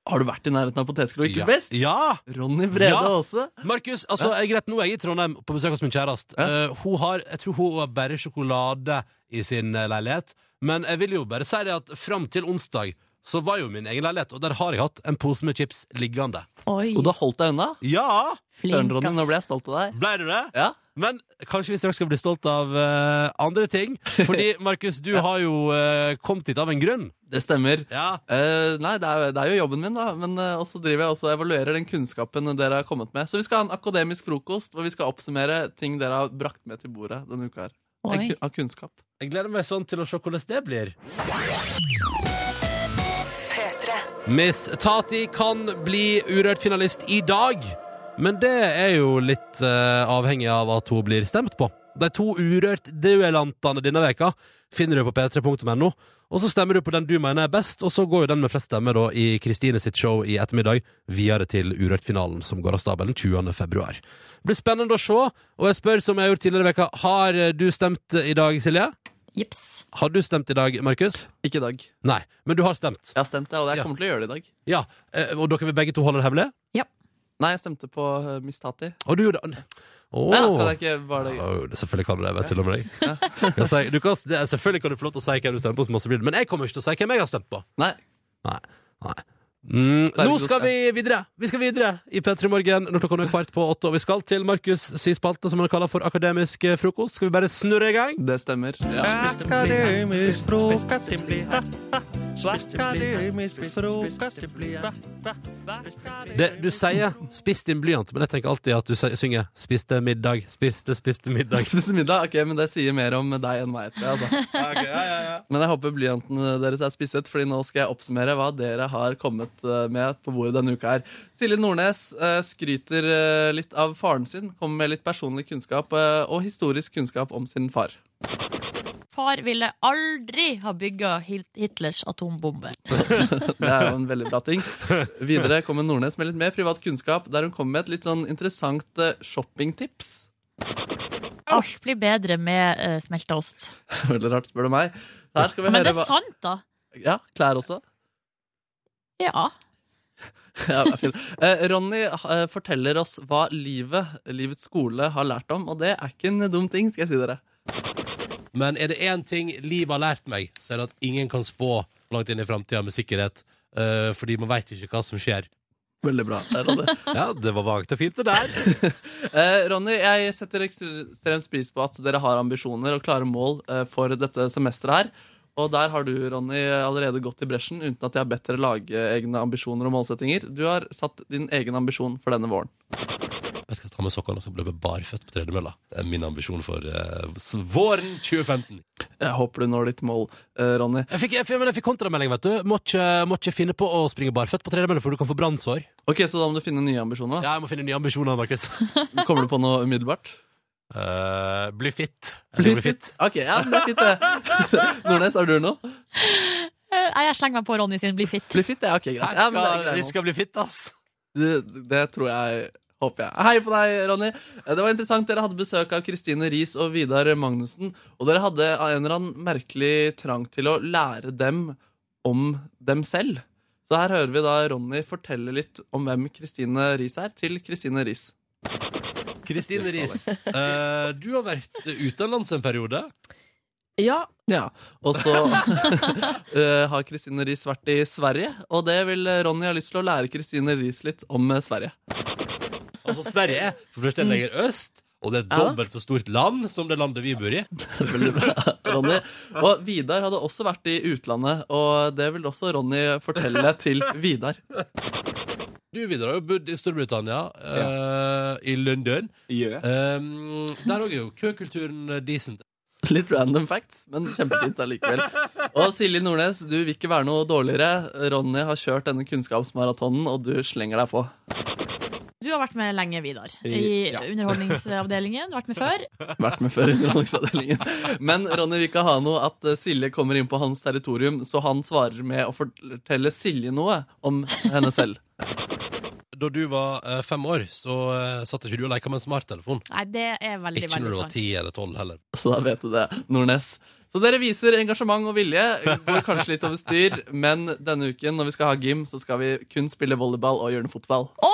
Speaker 3: Har du vært i nærheten av potetgull og ikke
Speaker 1: ja.
Speaker 3: spist?
Speaker 1: Ja!
Speaker 3: Ronny Brede
Speaker 1: Ja.
Speaker 3: også.
Speaker 1: Markus, altså, jeg er greit nå er jeg i Trondheim på besøk hos min kjæreste.
Speaker 3: Ja.
Speaker 1: Eh, hun har, jeg tror hun har bare sjokolade i sin eh, leilighet. Men jeg vil jo bare si det at fram til onsdag så var jo min egen leilighet, og der har jeg hatt en pose med chips liggende.
Speaker 2: Oi,
Speaker 3: Og du har holdt deg unna?
Speaker 1: Ja!
Speaker 2: flink,
Speaker 3: Søren, Ronny, nå
Speaker 2: ass.
Speaker 3: ble jeg stolt av deg.
Speaker 1: Blei du det?
Speaker 3: Ja,
Speaker 1: Men kanskje vi straks skal bli stolt av eh, andre ting. Fordi, Markus, du har jo eh, kommet hit av en grunn.
Speaker 3: Det stemmer.
Speaker 1: Ja.
Speaker 3: Eh, nei, det er, jo- det er jo jobben min, da. Men eh, også driver jeg også og evaluerer den kunnskapen dere har kommet med. Så vi skal ha en akademisk frokost hvor vi skal oppsummere ting dere har brakt med til bordet denne uka. her
Speaker 2: Oi.
Speaker 3: En ku- Av kunnskap.
Speaker 1: Jeg gleder meg sånn til å se hvordan det blir. Miss Tati kan bli Urørt-finalist i dag, men det er jo litt eh, avhengig av at hun blir stemt på. De to Urørt-duellantene denne veka finner du på p3.no, og så stemmer du på den du mener er best, og så går jo den med flest stemmer da i Kristine sitt show i ettermiddag videre til Urørt-finalen, som går av stabelen 20. februar. Det blir spennende å se, og jeg spør som jeg har gjort tidligere i veka, har eh, du stemt i dag, Silje?
Speaker 2: Jips.
Speaker 1: Har du stemt i dag, Markus?
Speaker 3: Ikke i dag. Jeg
Speaker 1: Nei, men du har stemt.
Speaker 3: har stemt, jeg, og jeg
Speaker 1: Ja.
Speaker 3: kommer til å gjøre det i dag.
Speaker 1: Ja, eh, Og dere vil begge to holde det hemmelig?
Speaker 3: Nei, jeg stemte på eh, Miss Tati.
Speaker 1: Og du gjorde det? Åh.
Speaker 3: Nei, da kan jeg ikke bare det.
Speaker 1: Åh, det- selvfølgelig kan du det. Jeg bare tuller med deg. <laughs> Kan si- du kan, det, er- selvfølgelig kan du få lov til å si hvem du stemmer på, som også blir det, men jeg kommer ikke til å si hvem jeg har stemt på.
Speaker 3: Nei.
Speaker 1: Nei, nei. Mm,
Speaker 3: er det
Speaker 1: nå
Speaker 3: ikke
Speaker 1: skal
Speaker 3: noe
Speaker 1: vi videre Vi skal videre i P3 Morgen når klokka nå er kvart på åtte. Og vi skal til Markus' si spalte, som han kaller for akademisk eh, frokost. Skal vi bare snurre i gang?
Speaker 3: Det stemmer. Ja.
Speaker 8: Akademisk frokost, det blir da, da. Akademisk frokost, det blir da, da.
Speaker 1: Det, du sier 'spis din blyant', men jeg tenker alltid at du sier- synger 'spiste middag', 'spiste, spiste middag'.
Speaker 3: Spiste middag, ok, men det sier mer om deg enn meg. Tror jeg, altså. Men jeg håper blyantene deres er spisset, Fordi nå skal jeg oppsummere hva dere har kommet eh, med på bordet denne uka. her Silje Nordnes eh, skryter eh, litt av faren sin, kommer med litt personlig kunnskap eh, og historisk kunnskap om sin far. <laughs>
Speaker 2: Far ville aldri ha bygga Hitlers atombombe.
Speaker 3: Det er jo en veldig bra ting. Videre kommer Nordnes med litt mer privat kunnskap, der hun kommer med et litt sånn interessant eh, shoppingtips.
Speaker 2: Alt blir bedre med uh, smelta ost.
Speaker 3: <laughs> Veldig rart, spør du meg. Her skal vi
Speaker 2: Men det
Speaker 3: høre
Speaker 2: er
Speaker 3: hva
Speaker 2: sant, da.
Speaker 3: Ja, klær også. <laughs>
Speaker 2: Ja.
Speaker 3: Ja, det er fint. Eh, Ronny eh, forteller oss hva livet, livets skole, har lært om, og det er ikke en dum ting, skal jeg si dere.
Speaker 9: Men er det én ting livet har lært meg, så er det at ingen kan spå langt inn i framtida med sikkerhet. eh, fordi man veit ikke hva som skjer.
Speaker 3: Veldig bra. Der, Ronny.
Speaker 1: Ja, det var vagt og fint, det der.
Speaker 3: Eh, Ronny, jeg setter ekstremt pris på at dere har ambisjoner og klare mål eh, for dette semesteret her. Og der har du, Ronny, allerede gått i bresjen uten at jeg har bedt dere lage egne ambisjoner og målsettinger. Du har satt din egen ambisjon for denne våren.
Speaker 9: Jeg skal ta med sokkene og så bli barføtt på tredemølla. Det er min ambisjon for eh, s- våren 2015.
Speaker 3: Jeg håper du når ditt mål, eh, Ronny.
Speaker 1: Jeg fikk, jeg, fikk- men jeg fikk kontramelding, vet du. Må ikke, må ikke finne på å springe barføtt på tredemølla, for du kan få brannsår.
Speaker 3: Ok, Så da må du finne nye ambisjoner. da.
Speaker 1: Ja, jeg må finne nye ambisjoner, Markus.
Speaker 3: Kommer du på noe umiddelbart?
Speaker 1: Eh, bli fit. Jeg skal bli fit.
Speaker 3: Ok, ja, men det er fint, det. <laughs> Nordnes, har du noe?
Speaker 2: Eh, Nei, jeg slenger meg på Ronny sin, bli fit.
Speaker 3: Bli fitt, ja. Ok, greit.
Speaker 1: Jeg
Speaker 3: Ja, men det er
Speaker 1: skal,
Speaker 3: greit
Speaker 1: vi
Speaker 3: nå.
Speaker 1: skal bli fit, ass.
Speaker 3: Du, det tror jeg Håper jeg. Hei på deg, Ronny. Eh, Det var interessant. Dere hadde besøk av Kristine Riis og Vidar Magnussen. Og dere hadde av en eller annen merkelig trang til å lære dem om dem selv. Så her hører vi da Ronny fortelle litt om hvem Kristine Riis er, til Kristine Riis.
Speaker 9: Kristine Riis, eh, du har vært utenlands en periode.
Speaker 10: Ja,
Speaker 3: Ja, Og så <laughs> eh, har Kristine Riis vært i Sverige, og det vil Ronny ha lyst til å lære Kristine Riis litt om eh, Sverige.
Speaker 9: Altså, Sverige er for først lenger øst, og det er et
Speaker 10: Ja.
Speaker 9: dobbelt så stort land som det landet vi bor i.
Speaker 3: Veldig bra, Ronny. Og Vidar hadde også vært i utlandet, og det vil også Ronny fortelle til Vidar.
Speaker 9: Du, Vidar, har jo bodd i Storbritannia, eh, i London. Um, der òg er jo køkulturen decent.
Speaker 3: Litt random facts, men kjempefint allikevel. Og Silje Nordnes, du vil ikke være noe dårligere. Ronny har kjørt denne kunnskapsmaratonen, og du slenger deg på.
Speaker 2: Du har vært med lenge, Vidar, i Underholdningsavdelingen. Du har vært med før.
Speaker 3: Vært med før i Underholdningsavdelingen. Men Ronny vil ikke ha noe at eh, Silje kommer inn på hans territorium, så han svarer med å fortelle Silje noe om henne selv. <laughs>
Speaker 9: Da du var eh, fem år, så eh, satt ikke du og leka med en smarttelefon.
Speaker 2: Nei, det er veldig,
Speaker 9: Ikke når
Speaker 2: veldig
Speaker 9: du var
Speaker 2: sant.
Speaker 9: ti eller tolv heller.
Speaker 3: Så da vet du det, Nordnes. Så dere viser engasjement og vilje. Går kanskje litt over styr, men denne uken når vi skal ha gym, så skal vi kun spille volleyball og hjørnefotball.
Speaker 2: Å,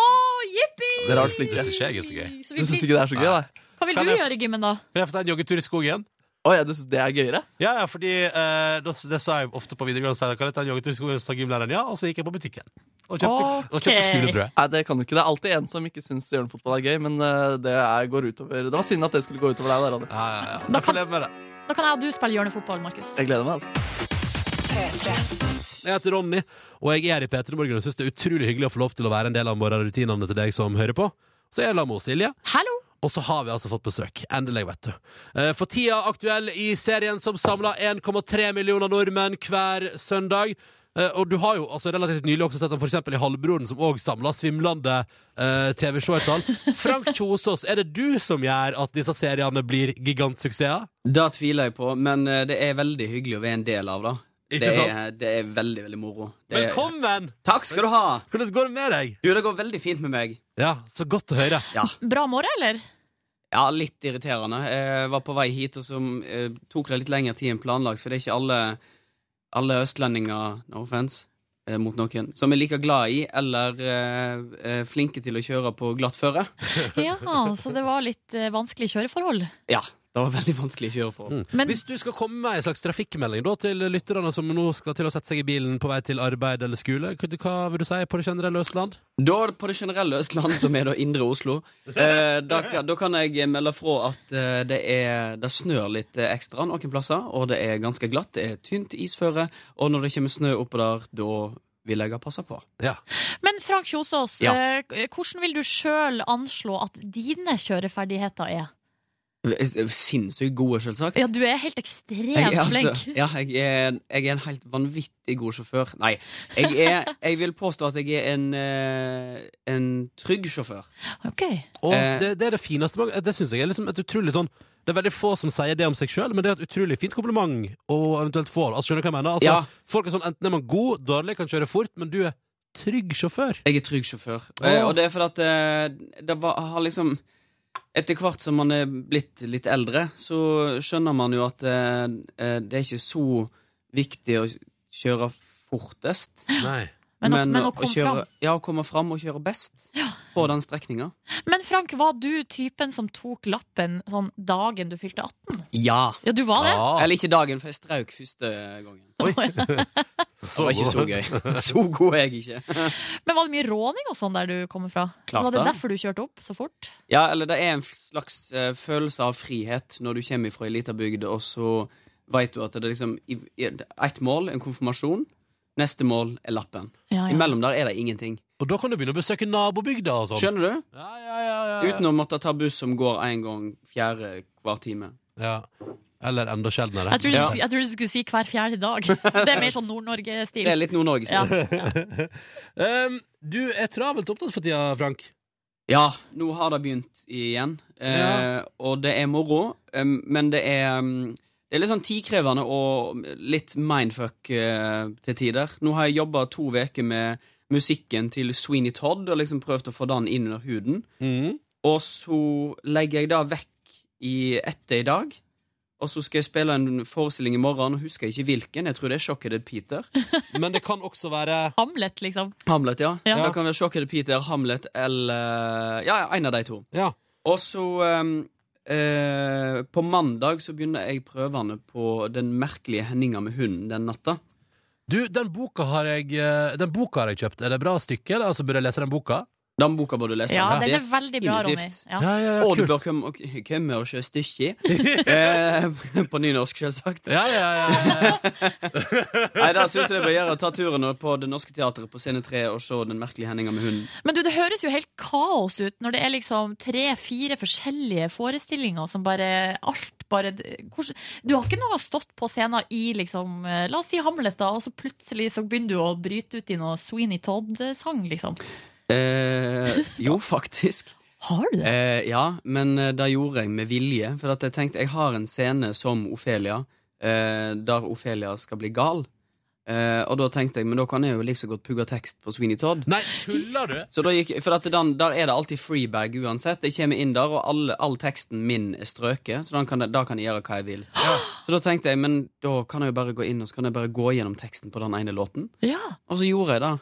Speaker 2: jippi!
Speaker 3: Dere har det slik, ja.
Speaker 9: synes ikke jeg er så gøy.
Speaker 2: Så
Speaker 3: Du syns
Speaker 2: vi-
Speaker 3: ikke det er så gøy, da?
Speaker 2: Hva vil
Speaker 1: Kan
Speaker 2: du
Speaker 1: jeg-
Speaker 2: gjøre i gymmen, da?
Speaker 1: Kan jeg få ta en joggetur i skogen?
Speaker 3: Å ja, du syns det er gøyere?
Speaker 1: Ja, ja, fordi eh, det, det sa jeg ofte på videregående. så jeg Kan jeg ta en joggetur i skogen, så tar gymlæreren ja, og så gikk jeg på butikken. Og kjøpte, og kjøpte
Speaker 2: Ok.
Speaker 1: skulebrød.
Speaker 3: Nei, det kan du ikke. Det er alltid en som ikke syns hjørnefotball er gøy, men eh, det er, går utover Det var synd at det skulle gå utover deg, da, Ronny.
Speaker 1: Ja, ja, ja.
Speaker 2: Da
Speaker 1: Jeg får leve med det.
Speaker 2: Da kan jeg og du spille hjørnefotball, Markus.
Speaker 3: Jeg gleder meg, altså.
Speaker 1: Jeg heter Ronny, og jeg er i P3 Morgen og syns det er utrolig hyggelig å få lov til å være en del av morgenrutinene til deg som hører på. Så jeg er sammen med Silje,
Speaker 2: Hallo!
Speaker 1: og så har vi altså fått besøk. Endelig, vet du. Eh, For tida aktuell i serien som samler 1,3 millioner nordmenn hver søndag. Eh, Og du har jo altså, relativt nylig også sett den for eksempel i Halvbroren, som òg samler svimlende eh, <laughs> TV-seertall. Frank Kjosås, er det du som gjør at disse seriene blir gigantsuksesser?
Speaker 11: Det tviler jeg på, men eh, det er veldig hyggelig å være en del av, da.
Speaker 1: Ikke
Speaker 11: det,
Speaker 1: sant?
Speaker 11: er, det er veldig, veldig moro. Det er...
Speaker 1: Velkommen!
Speaker 11: Takk skal du ha!
Speaker 1: Hvordan går det med deg?
Speaker 11: Du, det går veldig fint med meg.
Speaker 1: Ja, så godt å høre.
Speaker 11: Ja,
Speaker 2: Bra morgen, eller?
Speaker 11: ja litt irriterende. Jeg var på vei hit, og så eh, tok det litt lengre tid enn planlagt, for det er ikke alle, alle østlendinger, no offense, eh, mot noen, som er like glad i eller eh, eh, flinke til å kjøre på glatt føre.
Speaker 2: Ja, så det var litt eh, vanskelig kjøreforhold.
Speaker 11: Ja, det var veldig vanskelig å kjøre for.
Speaker 2: Men
Speaker 1: Hvis du skal komme med en slags trafikkmelding da, til lytterne som nå skal til å sette seg i bilen på vei til arbeid eller skole, hva vil du si på det generelle Østland?
Speaker 11: Da er det på det generelle Østlandet, som er da indre Oslo, eh, da, kan- da kan jeg melde fra at eh, det, er, det snør litt eh, ekstra noen plasser, og det er ganske glatt, det er tynt isføre, og når det kommer snø oppå der, da vil jeg ha passa på.
Speaker 2: Men Frank Kjosås,
Speaker 11: Ja.
Speaker 2: eh, hvordan vil du sjøl anslå at dine kjøreferdigheter er?
Speaker 11: eh, Sinnssykt gode, selvsagt.
Speaker 2: Ja, du er helt ekstremt
Speaker 11: Jeg er,
Speaker 2: flink.
Speaker 11: altså, ja, jeg, er, jeg er en helt vanvittig god sjåfør. Nei, jeg, er, jeg vil påstå at jeg er en, eh, en trygg sjåfør.
Speaker 2: Ok.
Speaker 1: Og
Speaker 11: Eh.
Speaker 1: det, det er det fineste man- Det synes jeg er liksom et utrolig sånn Det er veldig få som sier det om seg sjøl, men det er et utrolig fint kompliment å eventuelt få. Altså, skjønner du hva jeg mener? Altså,
Speaker 11: Ja.
Speaker 1: Folk er sånn enten er man god, dårlig, kan kjøre fort, men du er trygg sjåfør.
Speaker 11: Jeg er trygg sjåfør. Eh, Og det er fordi at eh, det var, har liksom Etter hvert som man er blitt litt eldre, så skjønner man jo at eh, eh, det er ikke så viktig å kjøre fortest.
Speaker 1: Nei.
Speaker 2: Men å- men å komme
Speaker 11: kjøre,
Speaker 2: fram.
Speaker 11: Ja, å komme fram og kjøre best på den strekninga.
Speaker 2: Men Frank, var du typen som tok lappen sånn dagen du fylte 18?
Speaker 11: Ja.
Speaker 2: Ja, du var det? Ja.
Speaker 11: Eller ikke dagen, for jeg strauk første gangen. det var ikke så gøy. Så god er jeg ikke.
Speaker 2: Men var det mye råning og sånn der du kommer fra?
Speaker 11: Klart
Speaker 2: var det
Speaker 11: det.
Speaker 2: derfor du kjørte opp så fort?
Speaker 11: Ja, eller det er en slags eh, følelse av frihet når du kommer fra ei lita bygd, og så veit du at det er liksom i- i- Ett mål, en konfirmasjon. Neste mål er lappen.
Speaker 2: Ah, Ja, ja.
Speaker 11: Imellom der er det ingenting.
Speaker 1: Og da kan du begynne å besøke nabobygda og sånn.
Speaker 11: Skjønner du?
Speaker 1: Ja, ja, ja, ja, ja.
Speaker 11: Uten å måtte ta buss som går én gang fjerde hver time.
Speaker 1: Ja. Eller enda sjeldnere.
Speaker 2: Jeg trodde, du, jeg trodde du skulle si hver fjerde
Speaker 11: <laughs>
Speaker 2: dag. Det er mer sånn Nord-Norge-stil.
Speaker 11: Det er litt Nord-Norge-stil.
Speaker 2: Ja.
Speaker 1: <laughs> Um, du er travelt opptatt for tida, Frank.
Speaker 11: Ja, nå har det begynt igjen. Eh,
Speaker 1: Ja.
Speaker 11: Og det er moro, eh, men det er, mm, det er litt sånn tidkrevende og litt mindfuck eh, til tider. Nå har jeg jobba to uker med musikken til Sweeney Todd og liksom prøvd å få den inn under huden. Og så legger jeg det vekk i etter i dag. Og så skal jeg spille en forestilling i morgen, og husker jeg ikke hvilken. Jeg tror det er Shocked Peter.
Speaker 1: Men det kan også være
Speaker 2: Hamlet, liksom.
Speaker 11: Hamlet, ja.
Speaker 2: Ja.
Speaker 11: Det kan være Shocked Peter, Hamlet eller Ja, ja, en av de to.
Speaker 1: Ja.
Speaker 11: Og så ehm, eh, På mandag så begynner jeg prøvene på Den merkelige Henninga med hunden den natta.
Speaker 1: Du, den boka har jeg, eh, den boka har jeg kjøpt. Er det bra stykke? Eller? Altså, burde jeg lese den boka?
Speaker 11: Den boka bør du lese.
Speaker 2: Ja,
Speaker 11: Det
Speaker 2: den er veldig bra, Ronny.
Speaker 11: definitivt.
Speaker 2: Ja.
Speaker 1: ja,
Speaker 11: Og du bør komme og, komme og kjøre stykki. eh, på nynorsk, selvsagt.
Speaker 1: Ja, ja, ja, ja, ja.
Speaker 11: Nei, da syns jeg det bør gjøre ta turen på Det Norske Teatret på scene 3 og se Den merkelige Henninga med hunden.
Speaker 2: Men du, det høres jo helt kaos ut når det er liksom tre-fire forskjellige forestillinger som bare Alt bare hvordan, Du har ikke noe stått på scenen i liksom eh, La oss si Hamlet, da, og så plutselig så begynner du å bryte ut i noe Sweeney Todd-sang, liksom.
Speaker 11: Eh, jo, faktisk.
Speaker 2: Har du det?
Speaker 11: Eh, ja, men eh, det gjorde jeg med vilje. For at jeg tenkte jeg har en scene som Ofelia, eh, der Ofelia skal bli gal. Eh, og da tenkte jeg men da kan jeg jo like så godt pugge tekst på Sweeney Todd.
Speaker 1: Nei, tuller du?
Speaker 11: Så da gikk, for at den, Der er det alltid freebag uansett. Jeg kommer inn der, og all, all teksten min er strøket. Så da kan, jeg- da kan jeg gjøre hva jeg vil. Så da tenkte jeg men da kan jeg jo bare gå inn og så kan jeg bare gå gjennom teksten på den ene låten.
Speaker 2: Ja.
Speaker 11: Og så gjorde jeg det.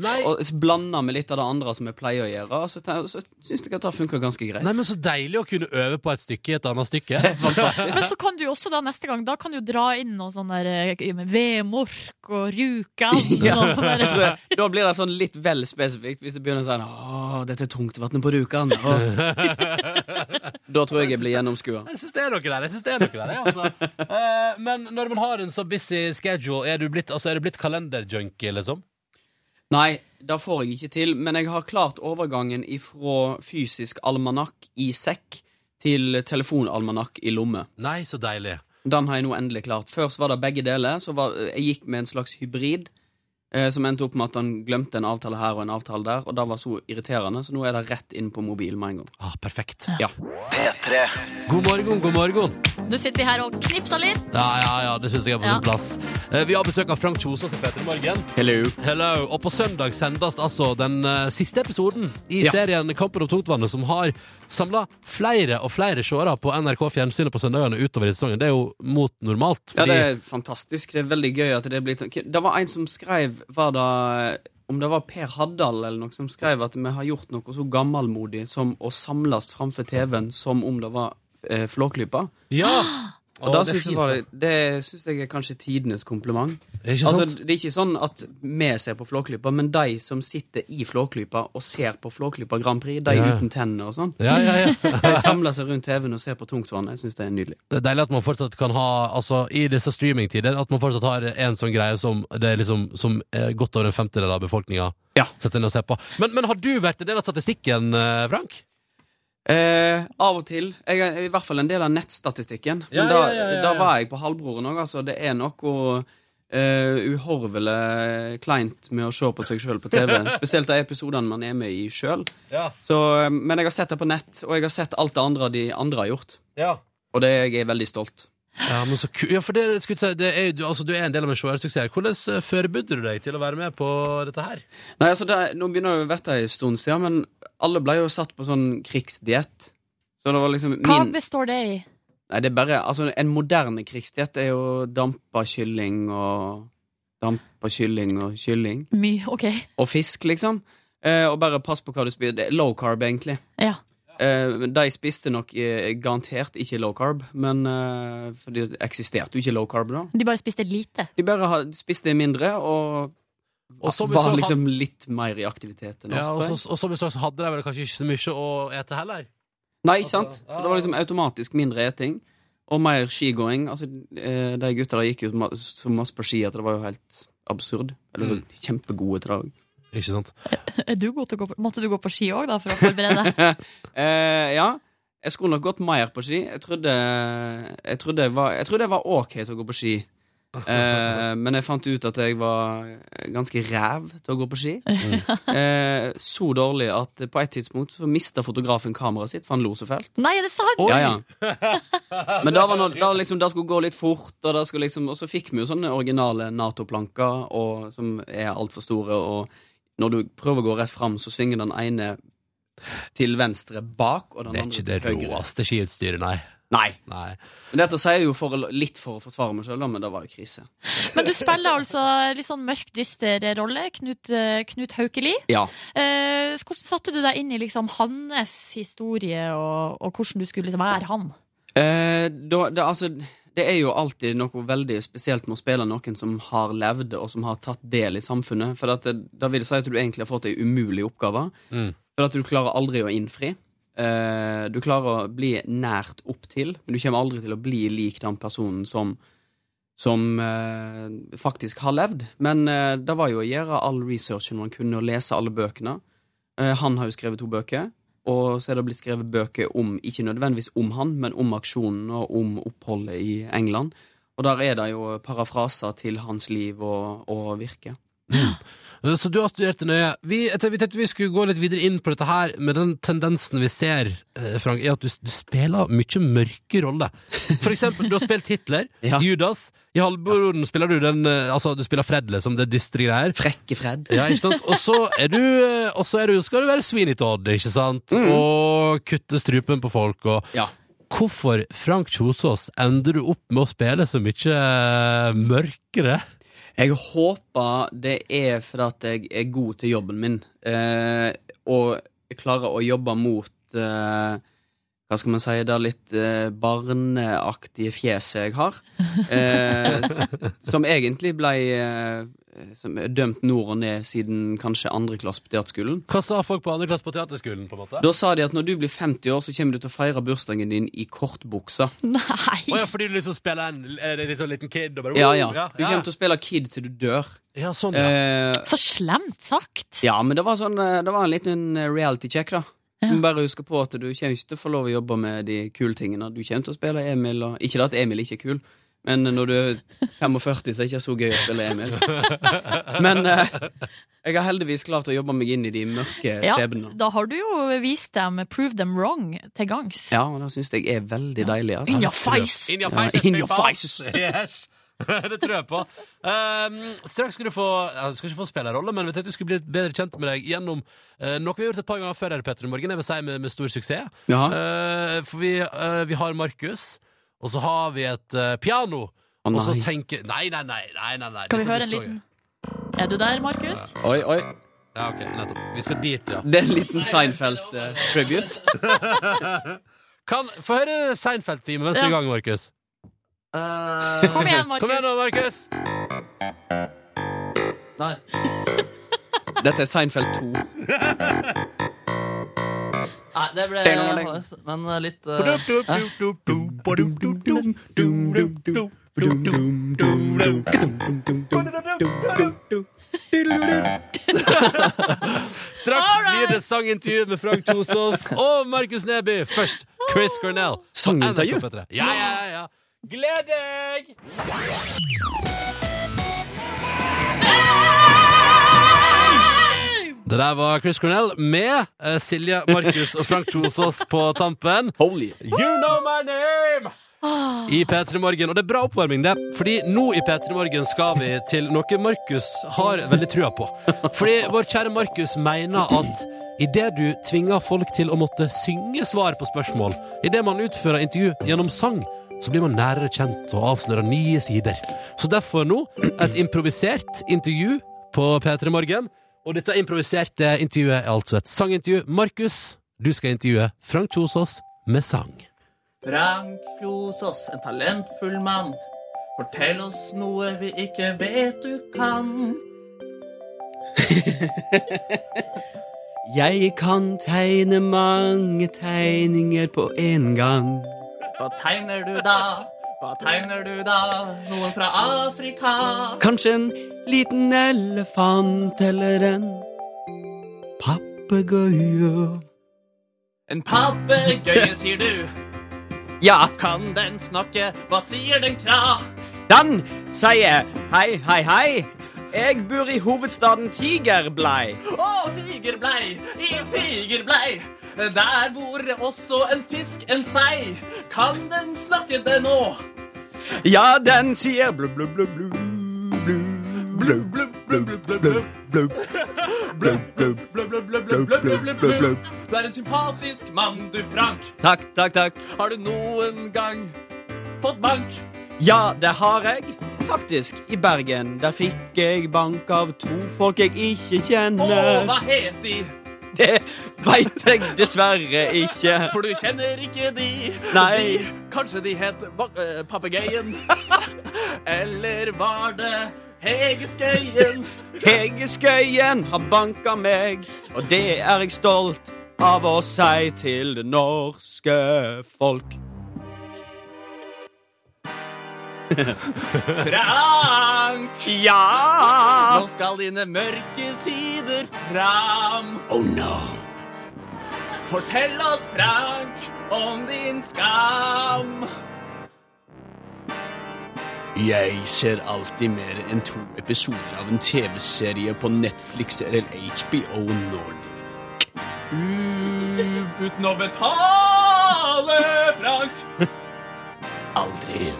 Speaker 1: Nei.
Speaker 11: Og blanda med litt av det andre som jeg pleier å gjøre. Og så, te- så syns jeg at det funka ganske greit.
Speaker 1: Nei, men Så deilig å kunne øve på et stykke i et annet stykke.
Speaker 2: Men så kan du jo også da neste gang Da kan du jo dra inn noe sånn der eh, med Vemork og
Speaker 11: <laughs>
Speaker 2: Rjukan
Speaker 11: Ja.
Speaker 2: og sånn der.
Speaker 11: Jeg tror jeg, da blir det sånn litt vel spesifikt hvis det begynner sånn Å, dette er tungtvannet på Rjukan. Å. Da tror jeg jeg blir gjennomskua.
Speaker 1: Jeg syns det er noe der. jeg synes det er noe der jeg, altså. Eh, men når man har en så busy schedule, er du blitt, altså, er du blitt kalenderjunkie, liksom?
Speaker 11: Nei, det får jeg ikke til, men jeg har klart overgangen ifra fysisk almanakk i sekk til telefonalmanakk i lomme.
Speaker 1: Nei, så deilig.
Speaker 11: Den har jeg nå endelig klart. Først var det begge deler. Så var, jeg gikk med en slags hybrid, eh, som endte opp med at han glemte en avtale her og en avtale der, og det var så irriterende, så nå er det rett inn på mobilen med en gang.
Speaker 1: Ah, perfekt.
Speaker 11: Ja.
Speaker 12: P3.
Speaker 1: God morgen, god morgen.
Speaker 2: Nå sitter vi her og knipser litt
Speaker 1: Ja, ja, ja, det syns jeg er på
Speaker 2: Ja.
Speaker 1: sin plass. Eh, vi har besøk av Frank Kjosås og Peter Morgen.
Speaker 11: Hello.
Speaker 1: Hello. Og på søndag sendes altså den eh, siste episoden i
Speaker 11: Ja.
Speaker 1: serien Kampen om tungtvannet, som har samla flere og flere seere på NRK Fjernsynet på søndagene utover i sesongen. Det er jo mot normalt.
Speaker 11: Ja,
Speaker 1: Fordi,
Speaker 11: det er fantastisk. Det er veldig gøy at det er blitt sånn. Det var en som skrev var det, Om det var Per Haddal eller noe som skrev at vi har gjort noe så gammelmodig som å samles framfor TV-en som om det var eh, Flåklypa.
Speaker 1: ja.
Speaker 11: Og
Speaker 1: Å,
Speaker 11: da
Speaker 1: det er
Speaker 11: synes jeg
Speaker 1: fint,
Speaker 11: var, det syns jeg er kanskje tidenes kompliment.
Speaker 1: Ikke sant?
Speaker 11: Altså, det er ikke sånn at vi ser på Flåklypa, men de som sitter i Flåklypa og ser på Flåklypa Grand Prix, de
Speaker 1: Ja, ja.
Speaker 11: uten tenner og sånn,
Speaker 1: ja, ja, ja.
Speaker 11: de samler seg rundt TV-en og ser på tungtvann. Jeg syns det er nydelig.
Speaker 1: Det er deilig at man fortsatt kan ha Altså i disse streamingtider At man fortsatt har en sånn greie som Det er liksom Som er godt over en femtedel av befolkningen
Speaker 11: Ja.
Speaker 1: Setter inn og ser på men, men har du vært en del av statistikken, eh, Frank?
Speaker 11: Eh, av og til. Jeg er i hvert fall en del av nettstatistikken. Men
Speaker 1: Ja,
Speaker 11: da,
Speaker 1: ja, ja, ja, ja.
Speaker 11: da var jeg på halvbroren òg, altså. Det er noe eh, uhorvelig kleint med å se på seg sjøl på
Speaker 1: <laughs>
Speaker 11: TV. Spesielt de episodene man er med i sjøl.
Speaker 1: Ja.
Speaker 11: Men jeg har sett det på nett, og jeg har sett alt det andre de andre har gjort.
Speaker 1: Ja
Speaker 11: Og det jeg er veldig stolt.
Speaker 1: Ja, men så ku- Ja, for det skulle jeg si det er, jo- du, altså, du er en del av en svær suksess Hvordan eh, forbereder du deg til å være med på dette her?
Speaker 11: Nei, altså, det, Nå begynner det å vært ei stund siden, men alle ble jo satt på sånn krigsdiett. Så det var liksom
Speaker 2: Hva
Speaker 11: min
Speaker 2: består det i?
Speaker 11: Nei, det er bare Altså, en moderne krigsdiett er jo dampa kylling og Dampa kylling og kylling.
Speaker 2: Mye, ok.
Speaker 11: Og fisk, liksom. Eh, og bare pass på hva du spiser. Det er low carb, egentlig.
Speaker 2: Ja.
Speaker 11: Eh, de spiste nok eh, garantert ikke low carb, men eh, for det eksisterte jo ikke low carb da.
Speaker 2: De bare spiste lite.
Speaker 11: De bare ha- spiste mindre og,
Speaker 1: Og som vi så
Speaker 11: var
Speaker 1: had-
Speaker 11: liksom litt mer i aktivitet enn oss,
Speaker 1: Ja, og,
Speaker 11: tror jeg.
Speaker 1: så, og som vi så, så hadde de vel kanskje ikke så mye å ete heller.
Speaker 11: Nei, ikke sant? Så det var liksom automatisk mindre eting og mer skigåing. Altså, eh, de gutta der gikk jo ma- så masse på ski at det var jo helt absurd. Eller <laughs> kjempegode til det òg.
Speaker 1: Ikke sant?
Speaker 2: Er du god til å gå på, måtte du gå på ski òg, da, for å forberede deg?
Speaker 11: <laughs> eh, ja. Jeg skulle nok gått mer på ski. Jeg trodde jeg, trodde jeg, var, jeg trodde jeg var ok til å gå på ski. Eh, men jeg fant ut at jeg var ganske ræv til å gå på ski. Eh, så dårlig at på et tidspunkt så mista fotografen kameraet sitt, for han lo så fælt.
Speaker 2: Nei, er det sant?
Speaker 11: Ja, ja. Men da, var nå- da, liksom, da skulle det gå litt fort, og, da skulle liksom, og så fikk vi jo sånne originale Nato-planker og, som er altfor store, og når du prøver å gå rett fram, så svinger den ene til venstre bak, og den
Speaker 1: Det er
Speaker 11: andre
Speaker 1: ikke det
Speaker 11: til høyre.
Speaker 1: råeste skiutstyret, nei.
Speaker 11: Nei.
Speaker 1: Nei.
Speaker 11: Men dette sier jeg jo for, å- litt for å forsvare meg sjøl, men det var jo krise.
Speaker 2: Men du spiller altså litt sånn mørk, dyster rolle, Knut, eh, Knut Haukeli.
Speaker 11: Ja.
Speaker 2: Eh, hvordan satte du deg inn i liksom hans historie, og, og hvordan du skulle liksom være han?
Speaker 11: Eh, da, det, altså, det er jo alltid noe veldig spesielt med å spille noen som har levd, og som har tatt del i samfunnet. For at det, da vil det si at du egentlig har fått ei umulig oppgave.
Speaker 1: Mm.
Speaker 11: For at du klarer aldri å innfri. Eh, du klarer å bli nært opp til, men du kommer aldri til å bli lik den personen som som eh, faktisk har levd. Men eh, det var jo å gjøre all researchen man kunne, og lese alle bøkene. Eh, han har jo skrevet to bøker, og så er det blitt skrevet bøker om, ikke nødvendigvis om han, men om aksjonen og om oppholdet i England. Og der er det jo parafraser til hans liv og, og virke.
Speaker 1: Så du har studert det nøye. Vi, jeg tenkte- vi tenkte vi skulle gå litt videre inn på dette her, med den tendensen vi ser, eh, Frank, er at du, du spiller mye mørke roller. For eksempel, du har spilt <laughs> Hitler,
Speaker 11: Ja.
Speaker 1: Judas. I Halvbroren spiller du den eh, Altså, du spiller Fred, liksom, det dystre greier.
Speaker 11: Frekke Fred.
Speaker 1: Ja, ikke sant? Og så er du, eh, og så er du, skal du være svinetodd, ikke sant?
Speaker 11: Mm.
Speaker 1: Og kutte strupen på folk og
Speaker 11: Ja.
Speaker 1: Hvorfor, Frank Kjosås, ender du opp med å spille så mye eh, mørkere?
Speaker 11: Jeg håper det er fordi at jeg er god til jobben min, eh, og jeg klarer å jobbe mot eh, hva skal man si, det litt eh, barneaktige fjeset jeg har. Eh, s- som egentlig ble eh, som er dømt nord og ned siden kanskje andre klasse på teaterskolen.
Speaker 1: Hva sa folk på andre klasse på teaterskolen? på en måte?
Speaker 11: Da sa de at når du blir 50 år, så kommer du til å feire bursdagen din i kortbuksa.
Speaker 2: Nei!
Speaker 1: Å ja, fordi du liksom spiller en eh, litt sånn liten kid og bare
Speaker 11: Ja, ja.
Speaker 1: ja,
Speaker 11: Du kommer til å spille Kid til du dør.
Speaker 1: ja, sånn, ja.
Speaker 11: Eh,
Speaker 2: Så slemt sagt!
Speaker 11: ja, men det var, sånn, eh, det var en liten eh, reality check, da. Du må bare huske på at du kommer ikke til å få lov å jobbe med de kule tingene. Du kommer til å spille Emil, og ikke det at Emil ikke er kul, men når du er 45, så er det ikke så gøy å spille Emil. Men eh, jeg har heldigvis klart å jobbe meg inn i de mørke
Speaker 2: Ja,
Speaker 11: skjebnene.
Speaker 2: da har du jo vist dem prove them wrong til gangs.
Speaker 11: Ja, og det syns jeg er veldig deilig. Altså.
Speaker 2: In your face!
Speaker 1: In your
Speaker 11: Ja,
Speaker 1: face,
Speaker 11: in
Speaker 1: jeg
Speaker 11: your
Speaker 1: spiller.
Speaker 11: face.
Speaker 1: <laughs> Yes. det tror jeg på. Um, straks skal du få ja, Du skal ikke få spillerrolle, men vi tenkte vi skulle bli litt bedre kjent med deg gjennom eh, noe vi har gjort et par ganger før her, Petter i morgen, jeg vil si med, med stor suksess.
Speaker 11: Jaha.
Speaker 1: Eh, for vi, eh, vi har Markus, og så har vi et eh, piano.
Speaker 11: Å,
Speaker 1: og så
Speaker 11: nei.
Speaker 1: tenker Nei, nei, nei. nei, nei, nei.
Speaker 2: Kan vi
Speaker 1: dette blir
Speaker 2: høre en
Speaker 1: så
Speaker 2: liten Er du der, Markus?
Speaker 11: Oi, oi.
Speaker 1: gøy. Ja, ok, nettopp. Vi skal dit, ja.
Speaker 11: Det er en liten Seinfeld-tribute.
Speaker 1: Kan, Få høre Seinfeld-time mens du er i
Speaker 2: Ja.
Speaker 1: gang, Markus.
Speaker 2: Kom igjen, Markus.
Speaker 1: Kom igjen nå, Markus!
Speaker 3: Nei.
Speaker 11: Dette er Seinfeld 2.
Speaker 3: Nei, det ble
Speaker 11: Ding, ding.
Speaker 3: Men eh, litt eh,
Speaker 1: Straks
Speaker 2: All right.
Speaker 1: blir det sangintervju med Frank Kjosås og Markus Neby. Først Chris Cornell. på
Speaker 11: Sangintervju?
Speaker 1: NRK P3. Ja, ja, ja, ja. Gled deg! Det der var Chris Cornell med eh, Silje, Markus og Frank Kjosås på tampen.
Speaker 11: Holy.
Speaker 1: You know my name! I P3 Morgen. Og det er bra oppvarming, det. Fordi nå i P3 Morgen skal vi til noe Markus har veldig trua på. Fordi vår kjære Markus mener at idet du tvinger folk til å måtte synge svar på spørsmål, idet man utfører intervju gjennom sang, så blir man nærere kjent og avslører nye sider. Så derfor nå et improvisert intervju på P3 Morgen. Og dette improviserte intervjuet er altså et sangintervju. Markus, du skal intervjue Frank Kjosås med sang.
Speaker 3: Frank Kjosås, en talentfull mann. Fortell oss noe vi ikke vet du kan.
Speaker 11: Jeg kan tegne mange tegninger på en gang.
Speaker 3: Hva tegner du da? Hva tegner du da? Noen fra Afrika?
Speaker 11: Kanskje en liten elefant eller en papegøye.
Speaker 3: En papegøye, sier du.
Speaker 11: Ja,
Speaker 3: Kan den snakke? Hva sier den kra?
Speaker 11: den sier hei, hei, hei. Jeg bor i hovedstaden Tigerblei.
Speaker 3: Å, tigerblei, i tigerblei. Der bor også en fisk, en sei. Kan den snakke det nå?
Speaker 11: Ja, den sier blu, blu, blu, blu, blu, blu, blu, blu, blu, blu, blu, blu, blu,
Speaker 3: Blub, blub, blub, blub, blub, blub, blub, blub. Du er en sympatisk mann, du Frank.
Speaker 11: Takk, takk, takk.
Speaker 3: Har du noen gang fått bank?
Speaker 11: Ja, det har jeg. Faktisk, i Bergen. Der fikk jeg bank av to folk jeg ikke
Speaker 3: Å,
Speaker 11: kjenner.
Speaker 3: hva het de?
Speaker 11: Det <laughs> veit jeg dessverre ikke.
Speaker 3: For du kjenner ikke de.
Speaker 11: Nei.
Speaker 3: De, kanskje de het va- eh, papegøyen? <laughs> Eller var det Hegeskøyen?
Speaker 11: Hege Skøyen har banka meg, og det er jeg stolt av å si til det norske folk.
Speaker 3: Frank!
Speaker 11: Ja!
Speaker 3: Nå skal dine mørke sider fram.
Speaker 11: Oh no.
Speaker 3: Fortell oss, Frank, om din skam.
Speaker 11: Jeg ser alltid mer enn to episoder av en TV-serie på Netflix eller HBO Nordic.
Speaker 3: U uten å betale, Frank.
Speaker 11: <laughs> Aldri.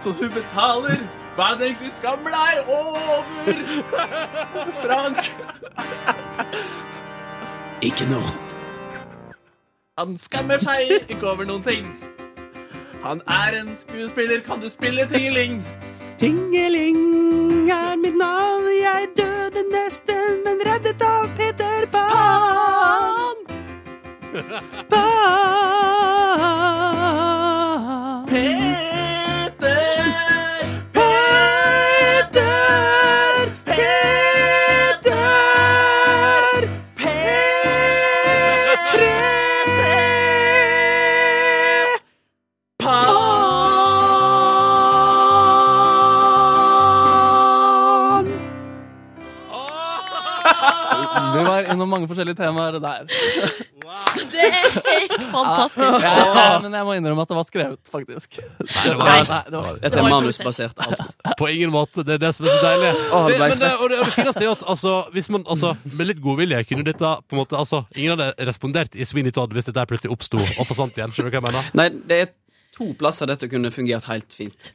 Speaker 3: Så du betaler. Hva er det egentlig skammer deg over? Frank.
Speaker 11: Ikke nå.
Speaker 3: Han skammer seg ikke over noen ting. Han er en skuespiller. Kan du spille tingeling?
Speaker 11: Tingeling er mitt navn. Jeg døde nesten, men reddet av Peter Pan. Pan.
Speaker 3: Peter!
Speaker 11: Peter! Peter! Petre! Pan!
Speaker 3: Du var innom mange forskjellige temaer der.
Speaker 2: Det er <laughs> helt fantastisk.
Speaker 3: men jeg må innrømme at det var skrevet, faktisk.
Speaker 1: det var-
Speaker 11: Dette er manusbasert alt.
Speaker 1: På ingen måte. Det er det som er så deilig.
Speaker 11: Å, det
Speaker 1: det,
Speaker 11: ble
Speaker 1: men det,
Speaker 11: svett.
Speaker 1: og det, og det fineste er jo at altså, hvis man, altså, med litt godvilje kunne dette på en måte, altså, Ingen hadde respondert i Sweeney Todd hvis dette her plutselig oppsto og forsvant igjen. Skjønner du hva jeg mener?
Speaker 11: Nei, det er to plasser dette kunne fungert helt fint.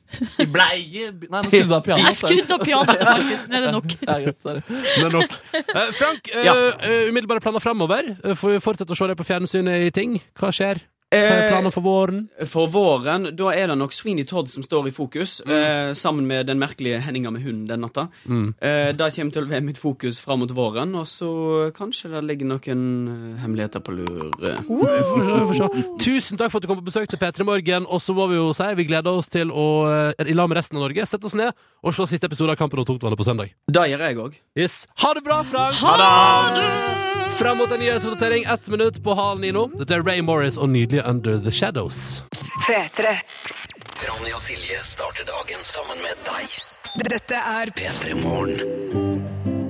Speaker 3: I bleie Nei, nå skrudde jeg av
Speaker 2: Jeg
Speaker 3: pianoet.
Speaker 2: skrudde opp pianoet til Markus. Nå er det nok.
Speaker 3: Ja, greit, sorry.
Speaker 1: Men nok. Eh, Frank, eh,
Speaker 11: Ja.
Speaker 1: eh, umiddelbare planer Eh, framover? Fortsett å se deg på fjernsynet i ting. Hva skjer? Hva er
Speaker 11: Eh,
Speaker 1: planen for våren?
Speaker 11: For våren, da er det nok Sweeney Todd som står i fokus,
Speaker 1: Mm.
Speaker 11: eh, sammen med den merkelige Henninga med hunden den natta.
Speaker 1: Mm.
Speaker 11: Eh, det kommer til å være mitt fokus fram mot våren, og så kanskje det ligger noen eh, hemmeligheter på lur.
Speaker 1: Vi får se, vi får se. Tusen takk for at du kom på besøk til P3 Morgen. Og så må vi jo si vi gleder oss til å, eh, i lag med resten av Norge, sette oss ned og se siste episode av Kampen om tungtvannet på søndag.
Speaker 11: Det gjør jeg òg.
Speaker 1: Yes. Ha det bra, Frank! Fram mot en nyhetsoppdatering, ett minutt på halen i nå. Dette er Ray Morris og nydelige Under The Shadows.
Speaker 10: P3.
Speaker 5: Ronny og Silje starter dagen sammen med deg.
Speaker 10: Dette er
Speaker 5: P3 Morgen.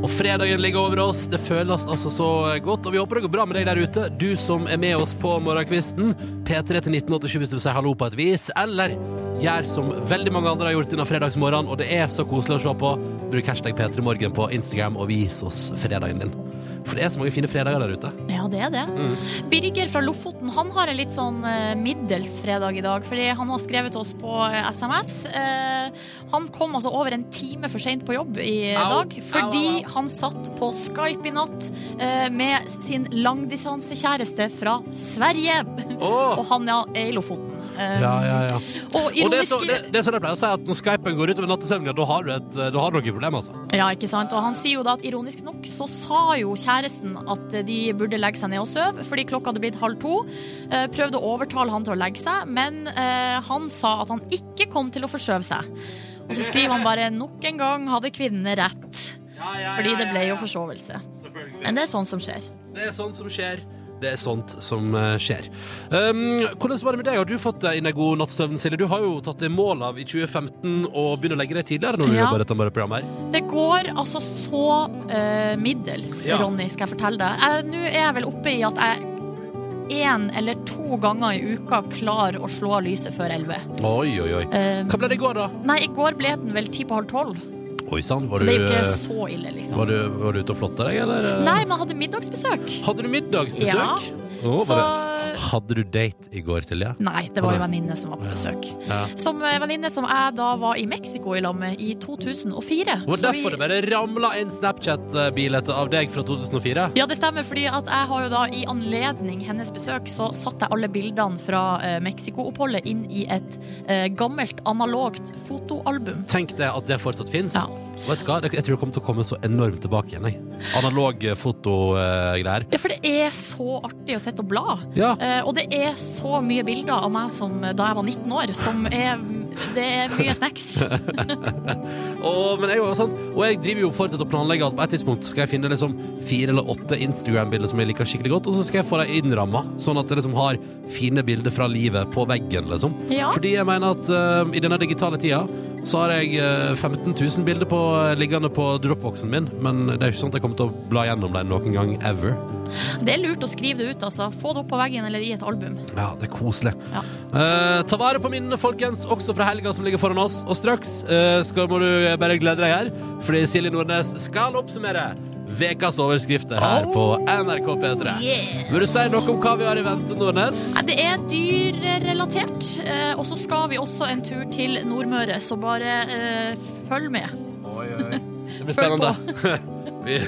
Speaker 1: Og fredagen ligger over oss. Det føles altså så godt. Og vi håper det går bra med deg der ute, du som er med oss på morgenkvisten. P3 til 1987 hvis du vil si hallo på et vis, eller gjør som veldig mange andre har gjort denne fredagsmorgenen, og det er så koselig å se på. Bruk hashtag P3morgen på Instagram og vis oss fredagen din. For det er så mange fine fredager der ute.
Speaker 2: Ja, det er det.
Speaker 1: Mm.
Speaker 2: Birger fra Lofoten han har en litt sånn eh, middels fredag i dag, fordi han har skrevet oss på eh, SMS. Eh, han kom altså over en time for seint på jobb i eh,
Speaker 3: Au.
Speaker 2: dag fordi
Speaker 3: Au, au, au.
Speaker 2: han satt på Skype i natt eh, med <laughs> sin langdistansekjæreste fra Sverige. Og han ja, er i Lofoten. Eh, eh,
Speaker 1: Ja, ja, ja.
Speaker 2: Og ironisk
Speaker 1: Og det er, så, det, det er sånn jeg pleier å si at når Skypen går utover nattesøvnen, ja, da har du et da har du noen problemer, altså.
Speaker 2: Ja, ikke sant? Og han sier jo da at ironisk nok så sa jo kjæresten at de burde legge seg ned og sove, fordi klokka hadde blitt halv to. Eh, Prøvde å overtale han til å legge seg, men eh, han sa at han ikke kom til å forskjøve seg. Og så skriver han bare 'nok en gang hadde kvinnene rett', fordi det ble jo forsovelse. Men det er sånn som skjer.
Speaker 1: Det er sånt som skjer. Det er sånt som eh, skjer. Um, hvordan var det med deg? Har du fått deg inn en god nattsøvn, Silje? Du har jo tatt deg mål av i 2015 og begynner å legge deg tidligere når du
Speaker 2: Ja.
Speaker 1: jobber i dette bare programmet her.
Speaker 2: Det går altså så eh, middels,
Speaker 1: Ja.
Speaker 2: Ronny, skal jeg fortelle deg. Jeg- Nå er jeg vel oppe i at jeg én eller to ganger i uka klarer å slå av lyset før elleve.
Speaker 1: Oi, oi, oi.
Speaker 2: Hva
Speaker 1: ble det i går, da?
Speaker 2: Eh, Nei, I går ble den vel ti på halv tolv.
Speaker 1: Oi sann, var,
Speaker 2: Så det er
Speaker 1: du,
Speaker 2: jo ikke
Speaker 1: eh,
Speaker 2: så ille, liksom.
Speaker 1: var, du- var du ute og flotta deg, eller? eh?
Speaker 2: Nei, men jeg hadde middagsbesøk.
Speaker 1: Hadde du middagsbesøk?
Speaker 2: Ja.
Speaker 1: Å, var
Speaker 2: Så-
Speaker 1: det- Hadde du date i går, Silje?
Speaker 2: Nei, det var
Speaker 1: Å,
Speaker 2: jo venninne som var på besøk.
Speaker 1: Ja.
Speaker 2: Som eh, venninne som jeg da var i Mexico i lag med i
Speaker 1: Det
Speaker 2: 2004.
Speaker 1: var
Speaker 2: Så vi-
Speaker 1: derfor det bare ramla inn Snapchat-bilete av deg fra 2004.
Speaker 2: Ja, det stemmer, fordi at jeg har jo da i anledning hennes besøk så satte jeg alle bildene fra eh, Mexico-oppholdet inn i et eh, gammelt, analogt fotoalbum.
Speaker 1: Tenk deg at det fortsatt fins. Vet du hva? Jeg tror det kommer til å komme så enormt tilbake igjen. Jeg. Analog eh, fotogreier.
Speaker 2: Ja, for det er så artig å sitte og bla.
Speaker 1: Ja.
Speaker 2: Eh, og det er så mye bilder av meg som eh, da jeg var 19 år, som er Det er mye snacks.
Speaker 1: <laughs> og, men jeg, er jo sånn, og jeg driver jo fortsatt og planlegger at på et tidspunkt skal jeg finne liksom fire eller åtte Instagram-bilder som jeg liker skikkelig godt, og så skal jeg få dem innramma, sånn at jeg liksom har fine bilder fra livet på veggen, liksom.
Speaker 9: Ja.
Speaker 1: Fordi jeg mener at eh, i denne digitale tida så har jeg eh, 15 000 bilder på, eh, liggende på dropboxen min, men det er jo ikke sånn at jeg kommer til å bla gjennom dem noen gang ever.
Speaker 2: Det er lurt å skrive det ut, altså. Få det opp på veggen eller i et album.
Speaker 1: Ja, det er koselig. Eh, ta vare på minnene, folkens, også fra helga som ligger foran oss. Og straks eh, skal, må du bare glede deg her, fordi Silje Nordnes skal oppsummere vekas overskrifter her på NRK P3.
Speaker 2: yes.
Speaker 1: Vil du si noe om hva vi har i vente, Nordnes?
Speaker 2: Nei, Det er dyrrelatert. eh, Og så skal vi også en tur til Nordmøre, så bare eh, følg med.
Speaker 1: Det blir spennende. <laughs> Vi-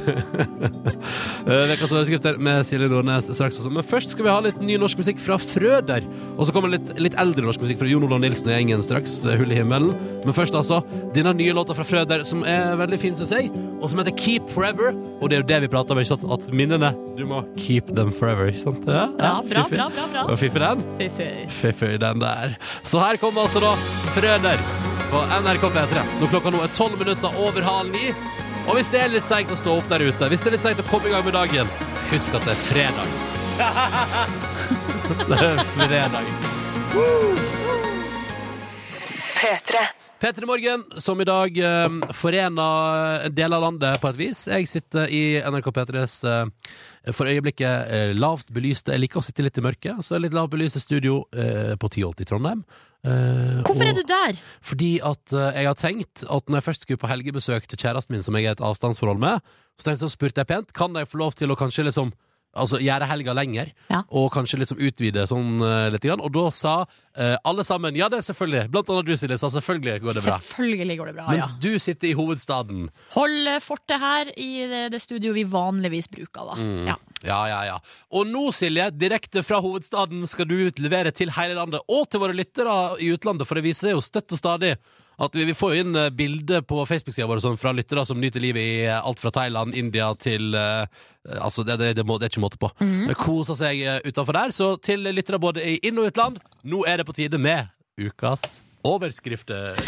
Speaker 1: Eh, Vekas overskrifter med Silje Nordnes straks også. Men først skal vi ha litt ny norsk musikk fra Frøder. Og så kommer litt, litt eldre norsk musikk fra Jon Olav Nilsen og gjengen straks. eh, Hull i himmelen. Men først altså denne nye låta fra Frøder, som er veldig fin, syns jeg, og som heter Keep Forever. Og det er jo det vi prater om, ikke sant? At minnene Du må keep them forever, ikke sant? Ja,
Speaker 2: Ja, bra,
Speaker 1: fiffig.
Speaker 2: bra, bra, bra.
Speaker 1: Og Fiffig den?
Speaker 2: Fy, fy.
Speaker 1: Fiffig den der. Så her kommer altså da Frøder på NRK P3. Når klokka nå er tolv minutter over halv ni. Og hvis det er litt seigt å stå opp der ute, hvis det er litt seigt å komme i gang med dagen, husk at det er fredag. Det er fredag.
Speaker 10: P3.
Speaker 1: P3 Morgen, som i dag um, forener en del av landet på et vis. Jeg sitter i NRK P3s eh, for øyeblikket eh, lavt belyste Jeg liker å sitte litt i mørket, så litt lavt belyste studio eh, på Tyholt i Trondheim. Eh,
Speaker 2: Hvorfor er
Speaker 1: og-
Speaker 2: du der?
Speaker 1: fordi at eh, jeg har tenkt at når jeg først skulle på helgebesøk til kjæresten min, som jeg er i et avstandsforhold med, så tenkte jeg så spurte jeg pent, kan jeg få lov til å kanskje liksom Altså gjøre helga lenger, og kanskje liksom utvide sånn eh, litt. Grann. Og da sa eh, alle sammen ja, det er selvfølgelig. Blant annet du, Silje, sa selvfølgelig går det bra.
Speaker 2: Selvfølgelig går det bra, ja.
Speaker 1: Mens du sitter i hovedstaden.
Speaker 2: Hold eh, fortet her i det, det studio vi vanligvis bruker, da.
Speaker 1: Mm.
Speaker 2: Ja.
Speaker 1: ja, ja, ja. Og nå, Silje, direkte fra hovedstaden skal du utlevere til hele landet, og til våre lyttere i utlandet, for det viser seg jo støtt og stadig at vi, vi får jo inn eh, bilder på Facebook-sida vår og sånn, fra lyttere som nyter livet i eh, alt fra Thailand, India til eh, Altså, det, det, det, må, det er ikke måte på.
Speaker 9: Mhm.
Speaker 1: Det Koser seg eh, utenfor der. Så til lyttere både i inn- og utland, nå er det på tide med ukas overskrifter.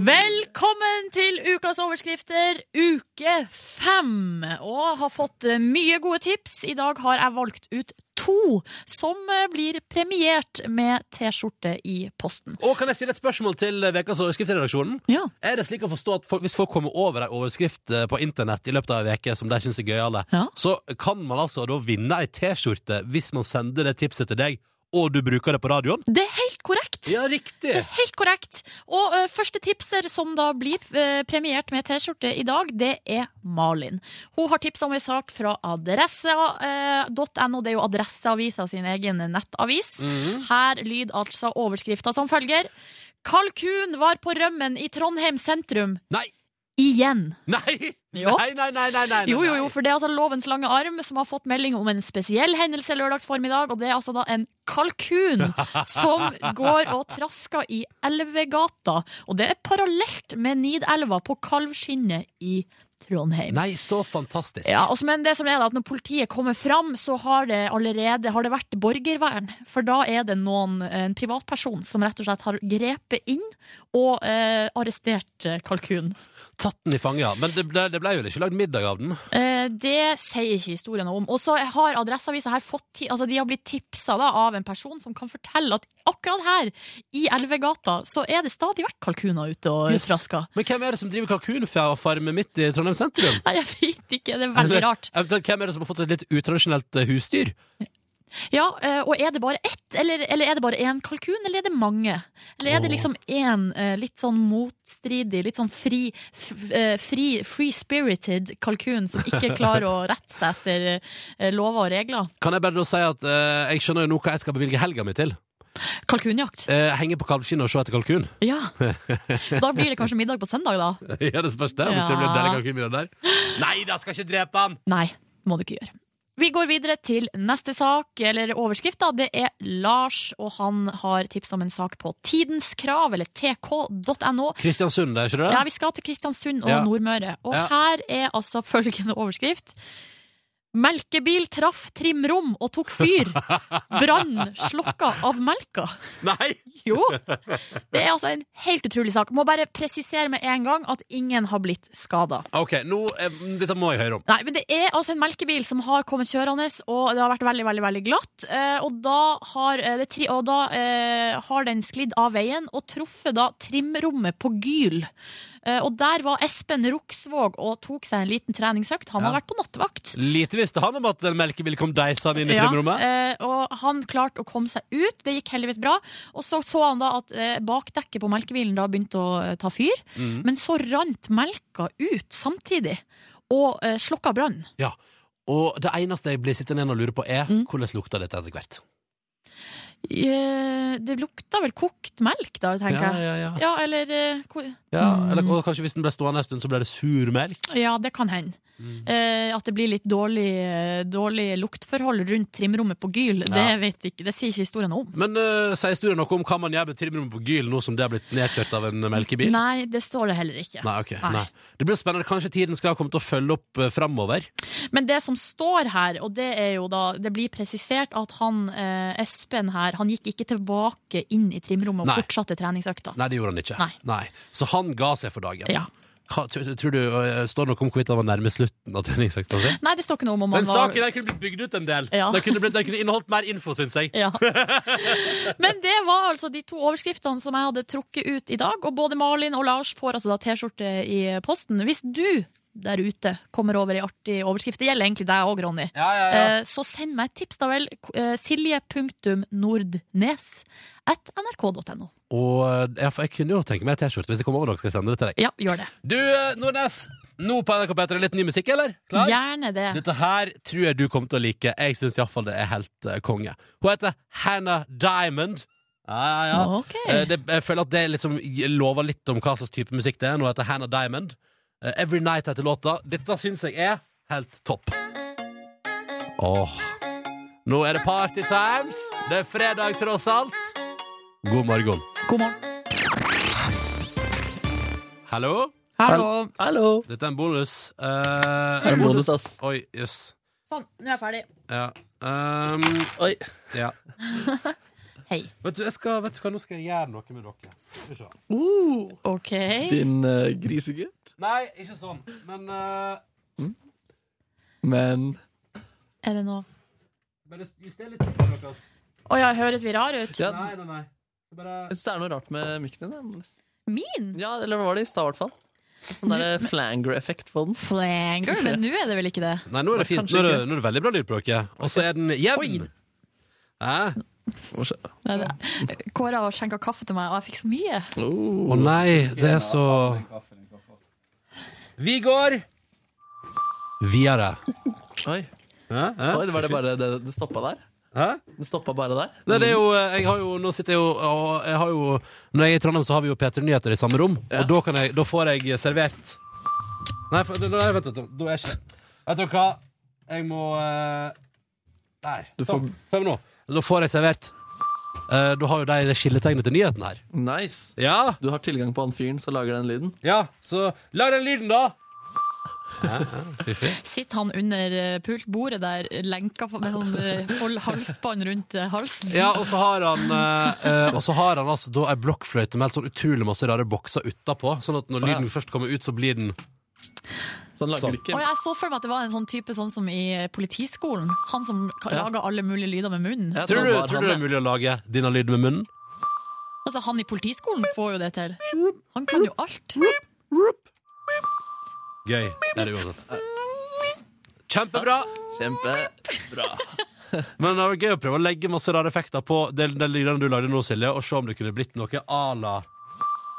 Speaker 2: Velkommen til ukas overskrifter, uke fem. Og har fått eh, mye gode tips. I dag har jeg valgt ut to som eh, blir premiert med T-skjorte i posten.
Speaker 1: Og kan jeg stille et spørsmål til eh, ukas overskriftredaksjonen? Er det slik å forstå at folk, hvis folk kommer over ei overskrift eh, på internett i løpet av ei uke som de syns er gøyale, så kan man altså da vinne ei T-skjorte hvis man sender det tipset til deg, og du bruker det på radioen?
Speaker 2: Det er helt korrekt.
Speaker 1: Ja, riktig!
Speaker 2: Helt korrekt. Og ø, første tipser som da blir ø, premiert med T-skjorte i dag, det er Malin. Hun har tipsa om ei sak fra eh, adresse.no. Det er jo Adresseavisa sin egen nettavis.
Speaker 13: Mhm.
Speaker 2: Her lyd altså overskrifta som følger. Kalkun var på rømmen i Trondheim sentrum.
Speaker 1: Nei!
Speaker 2: Igjen.
Speaker 1: Nei!
Speaker 2: Jo.
Speaker 1: Nei, nei, nei, nei, nei, nei.
Speaker 2: Jo, jo, jo, for det er altså Lovens lange arm som har fått melding om en spesiell hendelse lørdagsformiddag, og det er altså da en
Speaker 1: <laughs>
Speaker 2: kalkun som går og trasker i Elvegata. Og det er parallelt med Nidelva på Kalvskinnet i Trondheim.
Speaker 1: Nei, så fantastisk.
Speaker 2: Ja, og så- men det som er da, at når politiet kommer fram, så har det allerede har det vært borgervern. For da er det noen, en privatperson som rett og slett har grepet inn og eh, arrestert eh, kalkunen.
Speaker 1: Tatt den i fanget, ja. Men det ble, det ble jo ikke lagd middag av den.
Speaker 2: Eh, Det sier ikke historien noe om. Og så har Adresseavisa her fått ti altså de har blitt tipsa da, av en person som kan fortelle at akkurat her, i Elvegata, så er det stadig vekk kalkuner ute og
Speaker 1: Yes.
Speaker 2: trasker.
Speaker 1: Men hvem er det som driver kalkunfarm midt i Trondheim sentrum?
Speaker 2: Nei, jeg vet ikke. Det er veldig
Speaker 1: Eller,
Speaker 2: rart.
Speaker 1: Eventuelt, hvem er det som har fått seg et litt utradisjonelt eh, husdyr?
Speaker 2: Ja, eh, Og er det bare ett, eller, eller er det bare én kalkun, eller er det mange? Eller er det
Speaker 1: Åh.
Speaker 2: liksom én eh, litt sånn motstridig, litt sånn fri, f- eh, fri free-spirited kalkun som ikke klarer å rette seg etter eh, lover og regler?
Speaker 1: Kan jeg bare da si at eh, jeg skjønner jo nå hva jeg skal bevilge helga mi til?
Speaker 2: Kalkunjakt.
Speaker 1: Eh, henge på kalvskinnet og se etter kalkun.
Speaker 2: Ja. Da blir det kanskje middag på søndag, da.
Speaker 1: <laughs> ja, det spørs det. Om ikke det blir en deilig kalkunmiddag der. Nei da, skal ikke drepe han!
Speaker 2: Nei, må du ikke gjøre. Vi går videre til neste sak, eller overskrift. da. Det er Lars, og han har tips om en sak på Tidens Krav, eller tk.no.
Speaker 1: Kristiansund, det er ikke det?
Speaker 2: Ja, Vi skal til Kristiansund og
Speaker 1: Ja.
Speaker 2: Nordmøre. Og
Speaker 1: Ja.
Speaker 2: her er altså følgende overskrift. Melkebil traff trimrom og tok
Speaker 1: <laughs>
Speaker 2: fyr. Brann slokka av melka.
Speaker 1: Nei!
Speaker 2: Jo! Det er altså en helt utrolig sak. Må bare presisere med en gang at ingen har blitt skada.
Speaker 1: OK, nå, eh, dette må jeg høre om.
Speaker 2: Nei, men det er altså en melkebil som har kommet kjørende, og det har vært veldig, veldig, veldig glatt. Eh, og da har, eh, det tri og da, eh, har den sklidd av veien og truffet da trimrommet på Gyl. Eh, og der var Espen Ruksvåg og tok seg en liten treningsøkt. Han har
Speaker 1: Ja.
Speaker 2: vært på nattevakt.
Speaker 1: Lite visste han om at en melkebil kom deisende inn i trimrommet.
Speaker 2: Ja, eh, og han klarte å komme seg ut, det gikk heldigvis bra. Og så så han da at eh, bakdekket på melkebilen da begynte å eh, ta fyr,
Speaker 1: Mhm.
Speaker 2: men så rant melka ut samtidig, og eh, slokka brann.
Speaker 1: Ja, og det eneste jeg blir sittende igjen og lurer på er
Speaker 2: Mm.
Speaker 1: hvordan lukta dette etter hvert?
Speaker 2: Eh, Det lukta vel kokt melk, da, tenker
Speaker 1: Ja,
Speaker 2: jeg.
Speaker 1: ja, ja.
Speaker 2: eller eh, hvor-
Speaker 1: Ja, eller, og kanskje hvis den ble stående en stund, så ble det surmelk?
Speaker 2: ja, det kan hende.
Speaker 1: Mm.
Speaker 2: Eh, at det blir litt dårlig, eh, dårlig luktforhold rundt trimrommet på Gyl,
Speaker 1: Ja.
Speaker 2: det vet ikke, det sier ikke historien noe om.
Speaker 1: Men eh, sier historien noe om hva man gjør med trimrommet på Gyl nå som det har blitt nedkjørt av en melkebil?
Speaker 2: Nei, det står det heller ikke.
Speaker 1: Nei, ok. Nei. Det blir spennende. Kanskje tiden skal komme til å følge opp uh, framover.
Speaker 2: Men det som står her, og det er jo da Det blir presisert at han eh, Espen her, han gikk ikke tilbake inn i trimrommet og
Speaker 1: Nei.
Speaker 2: fortsatte treningsøkta.
Speaker 1: Nei, det gjorde han ikke.
Speaker 2: Nei.
Speaker 1: Så han ga seg for dagen.
Speaker 2: Ja.
Speaker 1: Hva, tror, tror du, eh, Står det noe om hvorvidt han var nærme slutten av treningsøkta si?
Speaker 2: Nei, det står ikke noe om om
Speaker 1: Den
Speaker 2: han var
Speaker 1: saken der kunne blitt bygd ut en del.
Speaker 2: Ja.
Speaker 1: Den, kunne blitt, den kunne inneholdt mer info, syns jeg.
Speaker 2: Ja. Men det var altså de to overskriftene som jeg hadde trukket ut i dag. Og både Malin og Lars får altså da T-skjorte i posten. Hvis du der ute kommer over ei artig overskrift, det gjelder egentlig deg òg, Ronny,
Speaker 1: ja.
Speaker 2: Eh, så send meg et tips, da vel. Eh, Silje.nordnes at nrk.no.
Speaker 1: Og eh, ja, for jeg kunne jo tenke meg en T-skjorte. Hvis jeg kommer over noe, skal jeg sende det til deg.
Speaker 2: Ja, gjør det.
Speaker 1: Du, eh, Nordnes, nå på NRK P3 litt ny musikk, eller? Klar?
Speaker 2: Gjerne det.
Speaker 1: Dette her tror jeg du kommer til å like. Jeg syns iallfall det er helt eh, konge. Hun heter Hannah Diamond. Ja, ja, ja.
Speaker 2: Ok.
Speaker 1: Eh, det, jeg føler at det liksom lover litt om hva slags type musikk det er. Nå heter Hannah Diamond. Eh, Every Night heter låta. Dette syns jeg er helt topp. Åh. Nå er det party times. Det er fredag, tross alt. God morgen.
Speaker 2: God morgen.
Speaker 1: Hallo?
Speaker 2: Hallo.
Speaker 1: Dette er en bonus. Eh,
Speaker 3: er en bonus, ass.
Speaker 1: Oi, jøss.
Speaker 2: Sånn, nå er jeg ferdig.
Speaker 1: Ja. Um,
Speaker 3: Oi.
Speaker 1: Ja.
Speaker 2: <laughs> Hei.
Speaker 1: Vet du, jeg skal, vet du hva, nå skal jeg gjøre noe med dere. Skal vi se.
Speaker 2: OK.
Speaker 3: Din uh, grisegutt.
Speaker 1: Nei, ikke sånn, men eh,
Speaker 3: Men
Speaker 2: Er det noe
Speaker 1: bare juster litt på dere, ass.
Speaker 2: Å ja, høres vi rar ut?
Speaker 3: ja,
Speaker 1: Nei, nei, nei. Så Bare...
Speaker 3: jeg synes det er noe rart med mikken din. da.
Speaker 2: Min?
Speaker 3: Ja, eller var det i stad, i hvert fall. Sånn der flanger-effekt på den.
Speaker 2: Flanger? Men nå er det vel ikke det?
Speaker 1: Nei, nå er det fint. Nå
Speaker 3: Kanskje
Speaker 1: er det,
Speaker 3: ikke.
Speaker 1: nå er det veldig bra lyd på dere. Og så er den jevn.
Speaker 2: Oi.
Speaker 1: Hæ?
Speaker 2: Nei, det- Kåre har skjenka kaffe til meg, og jeg fikk så mye.
Speaker 1: Å nei, det er så Vi går videre.
Speaker 3: Oi.
Speaker 1: Hæ? Hæ?
Speaker 3: Oi, var det bare det det stoppa der?
Speaker 1: Hæ?
Speaker 3: Det stoppa bare der?
Speaker 1: Nei, det er jo, eh, jeg har jo, nå sitter jeg jo, og jeg har jo Når jeg er i Trondheim, så har vi jo P3 Nyheter i samme rom. Og da, kan jeg, da får jeg servert Nei, for, nei, nei, vent, da, da er ikke det. Vet dere hva? Jeg må eh, Nei. Sånn. Prøv nå. Da får jeg servert. Eh, da har jo de det skilletegnet til nyheten her.
Speaker 3: Nice.
Speaker 1: Ja.
Speaker 3: Du har tilgang på han fyren som lager den lyden?
Speaker 1: Ja, så lag den lyden, da! Fiffig.
Speaker 2: Sitter han under eh, pultbordet der, lenka med sånn eh, hold- halsbånd rundt eh, halsen?
Speaker 1: Ja, og så har han eh, eh, Og så har han altså da ei blokkfløyte med helt sånn utrolig masse rare bokser utapå, sånn at når
Speaker 2: Å, ja.
Speaker 1: lyden først kommer ut, så blir den
Speaker 3: Sånn
Speaker 1: lager
Speaker 2: Å, jeg så for meg at det var en sånn type sånn som i eh, politiskolen. Han som ka-
Speaker 1: Ja.
Speaker 2: lager alle mulige lyder med munnen.
Speaker 1: Tror du, tror du det er mulig å lage denne lyden med munnen?
Speaker 2: Altså, han i politiskolen får jo det til. Han kan jo alt.
Speaker 1: Gøy. Det er det uansett. Kjempebra!
Speaker 3: Kjempebra.
Speaker 1: Men det var gøy å prøve å legge masse rare effekter på den, den lyden du lagde nå, Silje, og se om det kunne blitt noe à la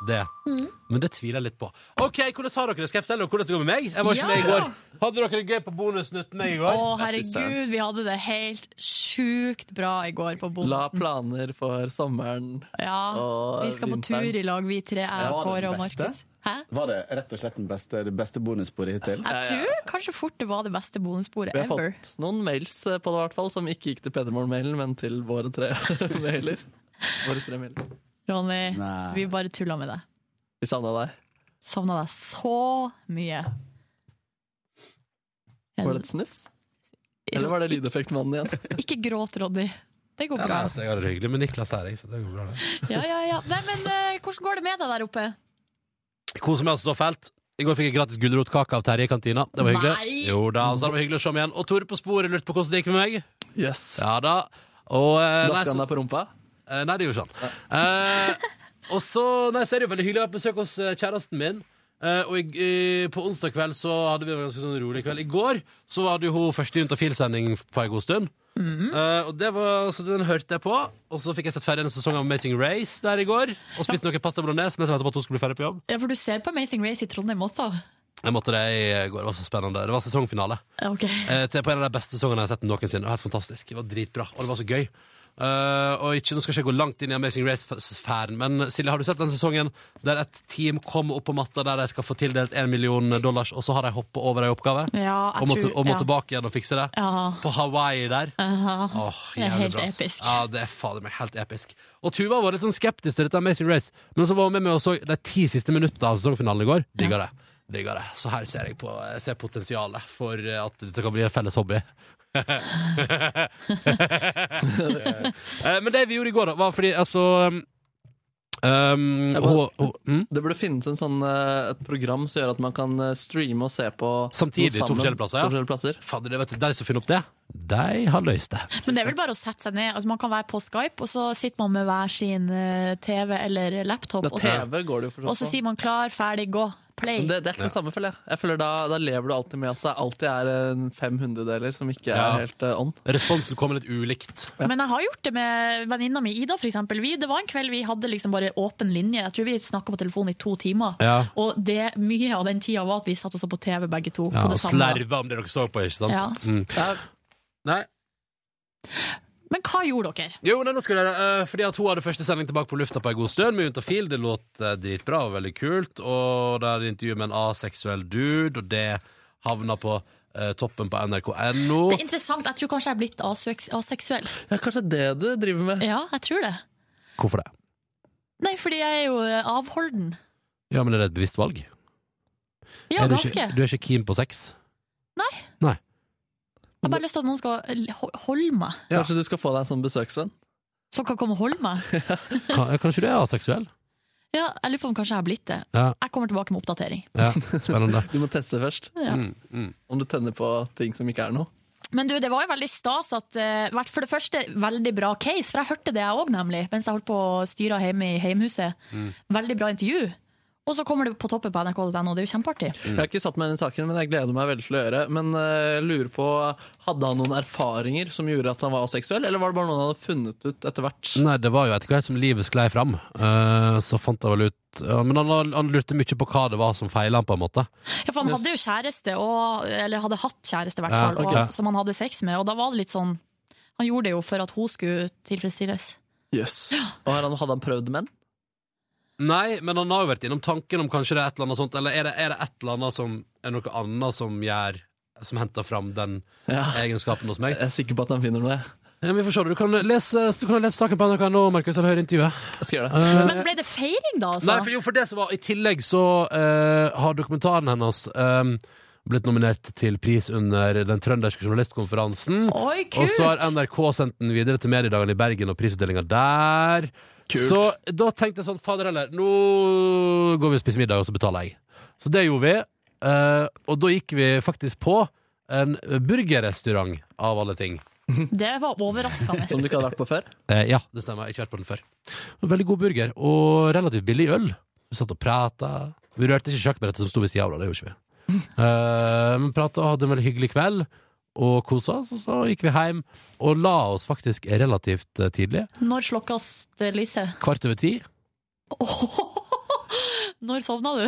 Speaker 1: det. Men det tviler jeg litt på. OK, hvordan har dere det? Skal jeg fortelle dere hvordan det går med meg? Jeg var ikke
Speaker 2: Ja.
Speaker 1: med i går. Hadde dere det gøy på bonusnytt med i
Speaker 2: Å,
Speaker 1: går?
Speaker 2: herregud, vi hadde det helt sjukt bra i går på
Speaker 3: La
Speaker 2: bonusen.
Speaker 3: planer for sommeren
Speaker 2: Ja,
Speaker 3: og
Speaker 2: vi skal på
Speaker 3: vinteren.
Speaker 2: tur i lag, vi tre. Jeg,
Speaker 13: Ja, det
Speaker 2: Kåre
Speaker 13: er
Speaker 2: og
Speaker 13: det beste.
Speaker 2: Markus. Hæ?
Speaker 13: Var det rett og slett den beste, det beste bonussporet hittil?
Speaker 2: Jeg tror kanskje fort det var det beste bonussporet
Speaker 3: Vi har
Speaker 2: ever.
Speaker 3: fått noen mails eh, på det, i hvert fall, som ikke gikk til Pedermorgen-mailen, men til våre tre <laughs> mailer. Våre tre mailer.
Speaker 2: Ronny,
Speaker 3: Nei.
Speaker 2: vi bare tulla med deg.
Speaker 3: Vi savna deg.
Speaker 2: Savna deg så mye.
Speaker 3: Var det et snufs? Eller var det lydeffektmannen igjen?
Speaker 2: Ikke gråt, Ronny. Det går
Speaker 1: Ja,
Speaker 2: bra.
Speaker 1: nei, altså, jeg har det hyggelig med Niklas her, jeg, så det går bra. det.
Speaker 2: Ja, ja, ja. Nei, men eh, hvordan går det med deg der oppe?
Speaker 1: Koser meg altså så fælt. I går fikk jeg gratis gulrotkake av Terje i kantina. Det var hyggelig.
Speaker 2: Nei!
Speaker 1: Jo da, altså, det var hyggelig å se ham igjen. Og Tore på sporet lurte på hvordan det gikk med meg.
Speaker 3: Yes.
Speaker 1: Ja da. Og, eh,
Speaker 3: Daska han deg på rumpa?
Speaker 1: Eh, nei, det gjorde ikke han. Eh, og så nei, så er det jo veldig hyggelig å være på besøk hos eh, kjæresten min. Eh, og i, i, på onsdag kveld så hadde vi en ganske sånn rolig kveld. I går så hadde jo hun første Juntafil-sending på en god stund. Eh, og det var, så Den hørte jeg på, og så fikk jeg sett ferdig en sesong av Amazing Race der i går. Og spiste noe pasta bolognese mens jeg ventet på at hun skulle bli ferdig på jobb.
Speaker 2: Ja, for du ser på Amazing Race i Trondheim også.
Speaker 1: Jeg måtte det i går, det var så spennende. Det var sesongfinale.
Speaker 2: Ja, Ok.
Speaker 1: Eh, til- på en av de beste sesongene jeg har sett noensinne. Det var helt fantastisk. Det var dritbra, og det var så gøy. Eh, og ikke, Nå skal jeg ikke gå langt inn i Amazing Race-sfæren, men Silje, har du sett den sesongen der et team kommer opp på matta der de skal få tildelt én million dollars, og så har de hoppa over ei oppgave?
Speaker 2: Ja, jeg
Speaker 1: og må,
Speaker 2: tror-
Speaker 1: og må
Speaker 2: ja.
Speaker 1: tilbake igjen og fikse det?
Speaker 2: Ja.
Speaker 1: På Hawaii der?
Speaker 2: Aha.
Speaker 1: Åh,
Speaker 2: det er
Speaker 1: jævlig
Speaker 2: helt
Speaker 1: bra, ass.
Speaker 2: episk.
Speaker 1: Ja, det er fader meg helt episk. Og Tuva var litt sånn skeptisk til dette Amazing Race, men så var hun med meg og så de ti siste minuttene av sesongfinalen i går. Digga det. Digga det. Så her ser jeg på jeg ser potensialet for eh, at dette kan bli en felles hobby. <laughs> Eh, men det vi gjorde i går, da, var fordi altså um, um, hun,
Speaker 3: Jeg bare- Det burde finnes en sånn, eh, et program som gjør at man kan eh, streame og se på
Speaker 1: Samtidig,
Speaker 3: noe
Speaker 1: to
Speaker 3: sammen.
Speaker 1: forskjellige plasser. Ja.
Speaker 3: To forskjellige plasser.
Speaker 1: Fader, det vet du, de som finner opp det, de har løst det.
Speaker 2: Men det er vel bare å sette seg ned. Altså, man kan være på Skype, og så sitter man med hver sin eh, TV eller laptop.
Speaker 3: Men
Speaker 2: Og så,
Speaker 3: TV går det jo for så vidt
Speaker 2: og så
Speaker 3: på.
Speaker 2: sier man klar, ferdig, gå. Play.
Speaker 3: Men Det, det er ikke det samme, føler jeg. jeg føler da, da lever du alltid med at det alltid er eh, fem hundredeler som ikke
Speaker 1: Ja.
Speaker 3: er helt eh, on.
Speaker 1: Responsen kommer litt ulikt.
Speaker 2: Men jeg har gjort det med venninna mi Ida, for eksempel. Vi, det var en kveld vi hadde liksom bare åpen linje. Jeg tror vi snakka på telefonen i to timer.
Speaker 1: Ja.
Speaker 2: Og det, mye av den tida var at vi satt også på TV begge to.
Speaker 1: Ja,
Speaker 2: på
Speaker 1: og
Speaker 2: det samme.
Speaker 1: slerva om det dere så på, ikke sant?
Speaker 2: Ja.
Speaker 1: Mm. Nei.
Speaker 2: Men hva gjorde dere?
Speaker 1: Jo, nei, nå skal dere, eh, fordi at hun hadde første sending tilbake på lufta på en god stund med Juntafil. Det låt eh, dritbra og veldig kult. Og der er intervju med en aseksuell dude, og det havna på eh, toppen på nrk.no.
Speaker 2: Det er interessant. Jeg tror kanskje jeg er blitt aseks- aseksuell.
Speaker 3: Ja, kanskje det du driver med.
Speaker 2: Ja, jeg tror det.
Speaker 1: Hvorfor det?
Speaker 2: Nei, fordi jeg er jo eh, avholden.
Speaker 1: Ja, men er det et bevisst valg?
Speaker 2: Ja,
Speaker 1: er du,
Speaker 2: ganske.
Speaker 1: ikke, du er ikke keen på sex?
Speaker 2: Nei.
Speaker 1: Nei.
Speaker 2: Jeg har bare lyst til at noen skal l- ho- holde meg.
Speaker 3: Kanskje du skal få deg en sånn besøksvenn?
Speaker 2: Som kan komme og holde meg.
Speaker 1: Kan, kanskje du er aseksuell?
Speaker 2: Ja, jeg lurer på om kanskje jeg har blitt det.
Speaker 1: Ja.
Speaker 2: Jeg kommer tilbake med oppdatering. <laughs>
Speaker 1: Ja, spennende.
Speaker 3: du må teste først.
Speaker 2: Ja.
Speaker 1: Mm,
Speaker 3: Om du tenner på ting som ikke er noe.
Speaker 2: Men du, det var jo veldig stas at eh, vært- For det første, veldig bra case, for jeg hørte det jeg òg, nemlig, mens jeg holdt på å styre hjemme i heimhuset.
Speaker 1: Mm.
Speaker 2: Veldig bra intervju. Og så kommer det på toppen på nrk.no, det er jo kjempeartig.
Speaker 1: Mm.
Speaker 3: Jeg har ikke satt meg inn i saken, men jeg gleder meg veldig til å gjøre. Men eh, jeg lurer på, Hadde han noen erfaringer som gjorde at han var aseksuell, eller var det bare noe han hadde funnet ut etter hvert?
Speaker 1: Nei, det var jo etter hvert som livet sklei fram, eh, så fant jeg vel ut ja, Men han, han lurte mye på hva det var som feila han, på en måte.
Speaker 2: Ja, for han hadde jo kjæreste, og, eller hadde hatt kjæreste, i hvert
Speaker 1: Ja,
Speaker 2: fall,
Speaker 1: ok.
Speaker 2: og, som han hadde sex med, og da var det litt sånn Han
Speaker 3: <gasps>
Speaker 2: gjorde det jo for at hun skulle tilfredsstilles.
Speaker 3: Yes. Og har han, hadde han prøvd menn?
Speaker 1: Nei, men han har jo vært innom tanken om kanskje det er et eller annet sånt, eller er det, er det et eller annet som er noe annet som gjør Som henter fram den egenskapen hos meg? Jeg
Speaker 3: er sikker på at han finner noe.
Speaker 1: Ja, men vi får se. Du kan lese, du kan lese saken på NRK nå, Markus, eller høre intervjuet.
Speaker 3: Jeg skal gjøre
Speaker 2: Men ble det feiring, da? Altså?
Speaker 1: Nei, for jo, for det som var I tillegg så eh, har dokumentaren hennes eh, blitt nominert til pris under den trønderske journalistkonferansen.
Speaker 2: Oi, kult!
Speaker 1: Og så har NRK sendt den videre til mediedagene i Bergen og prisutdelinga der.
Speaker 9: Kult.
Speaker 1: Så da tenkte jeg sånn, fader heller, nå går vi og spiser middag, og så betaler jeg. Så det gjorde vi. eh, og da gikk vi faktisk på en burgerrestaurant, av alle ting.
Speaker 2: Det var overraskende.
Speaker 1: Sånn
Speaker 3: Som du ikke hadde vært på før?
Speaker 1: Eh, ja, det stemmer. Jeg har ikke vært på den før. Veldig god burger, og relativt billig øl. Vi satt og prata. Vi rørte ikke sjakkbrettet som sto ved sida av, da. Det gjorde ikke vi. Eh, men prata og hadde en veldig hyggelig kveld. Og kosa oss, og så gikk vi hjem og la oss faktisk relativt eh, tidlig.
Speaker 2: Når eh, slokkes det lyset?
Speaker 1: Kvart over ti.
Speaker 2: <laughs> Når sovna du?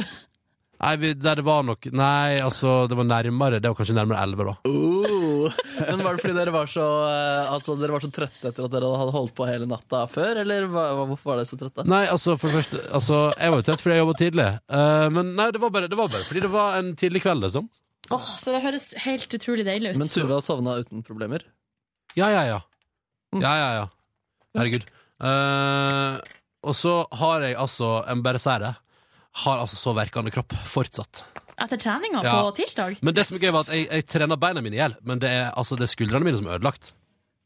Speaker 1: Nei, vi, der det var nok Nei, altså, det var nærmere. Det var kanskje nærmere elleve, da.
Speaker 3: Oh. Men Var det fordi dere var, så, eh, altså, dere var så trøtte etter at dere hadde holdt på hele natta før? Eller hva, hva- hvorfor var dere så trøtte?
Speaker 1: Nei, altså, for det første altså, Jeg var jo trett fordi jeg jobba tidlig. Eh, men nei, det var, bare, det var bare fordi det var en tidlig kveld, liksom.
Speaker 2: Åh, så det høres helt utrolig deilig ut.
Speaker 3: Men Tuva sovna uten problemer?
Speaker 1: Ja, ja, ja. Ja, ja, ja. Herregud. Eh, og så har jeg altså en berserre. Har altså så verkende kropp fortsatt.
Speaker 2: Etter treninga
Speaker 1: Ja.
Speaker 2: på tirsdag?
Speaker 1: Men det som er gøy, var at jeg, jeg trener beina mine i hjel, men det er, altså, det er skuldrene mine som er ødelagt.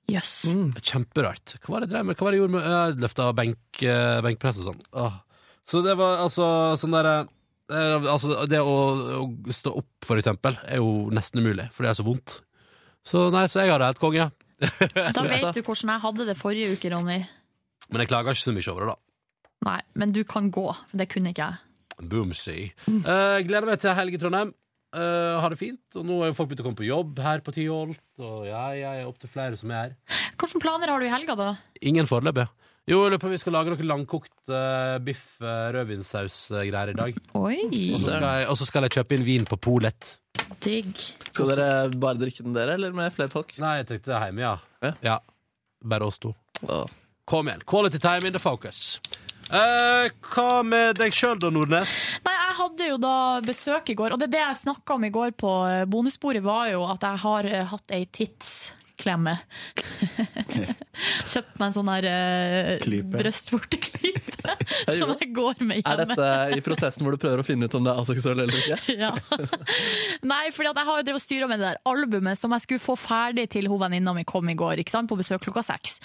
Speaker 2: Yes.
Speaker 1: Mm. Kjemperart. Hva var det jeg drev med? Hva var det jeg gjorde med Jeg løfta benk, eh, benkpress og sånn. Åh. Så det var altså sånn derre eh, Altså, det å, å stå opp, for eksempel, er jo nesten umulig, for det er så vondt. Så nei, så jeg har det helt konge.
Speaker 2: Da vet du hvordan jeg hadde det forrige uke, Ronny.
Speaker 1: Men jeg klager ikke så mye over det, da.
Speaker 2: Nei, men du kan gå. for Det kunne ikke jeg.
Speaker 1: Boomsy. Eh, gleder meg til helg i Trondheim. Eh, ha det fint. Og nå har jo folk begynt å komme på jobb her på Tyholt. Og ja, jeg er opptil flere som er her.
Speaker 2: Hvilke planer har du i helga, da?
Speaker 1: Ingen foreløpig. Jo, jeg lurer på om vi skal lage noe langkokt eh, biff uh, rødvinssaus-greier i dag.
Speaker 2: Oi.
Speaker 1: Og så skal, jeg- og så skal jeg kjøpe inn vin på Polet.
Speaker 2: Digg.
Speaker 3: Skal dere bare drikke den dere, eller med flere folk?
Speaker 1: Nei, jeg tenkte det er hjemme, ja. Ja. Bare oss to. Kom igjen. Quality time in the focus. Eh, hva med deg sjøl da, Nordnes?
Speaker 2: Nei, jeg hadde jo da besøk i går, og det er det jeg snakka om i går på eh, bonusbordet, var jo at jeg har eh, hatt ei tidsklemme. <laughs> Kjøpt meg en sånn her eh,
Speaker 3: Klype. <laughs>
Speaker 2: brystvorteklype
Speaker 3: Jeg
Speaker 2: som
Speaker 3: gjorde.
Speaker 2: jeg går med
Speaker 3: Er
Speaker 2: hjemme.
Speaker 3: dette i prosessen hvor du prøver å finne ut om det er aseksuell eller ikke?
Speaker 2: ja. Nei, fordi at jeg har jo drevet og styra med det der albumet som jeg skulle få ferdig til hun venninna mi kom i går, ikke sant? på besøk klokka seks.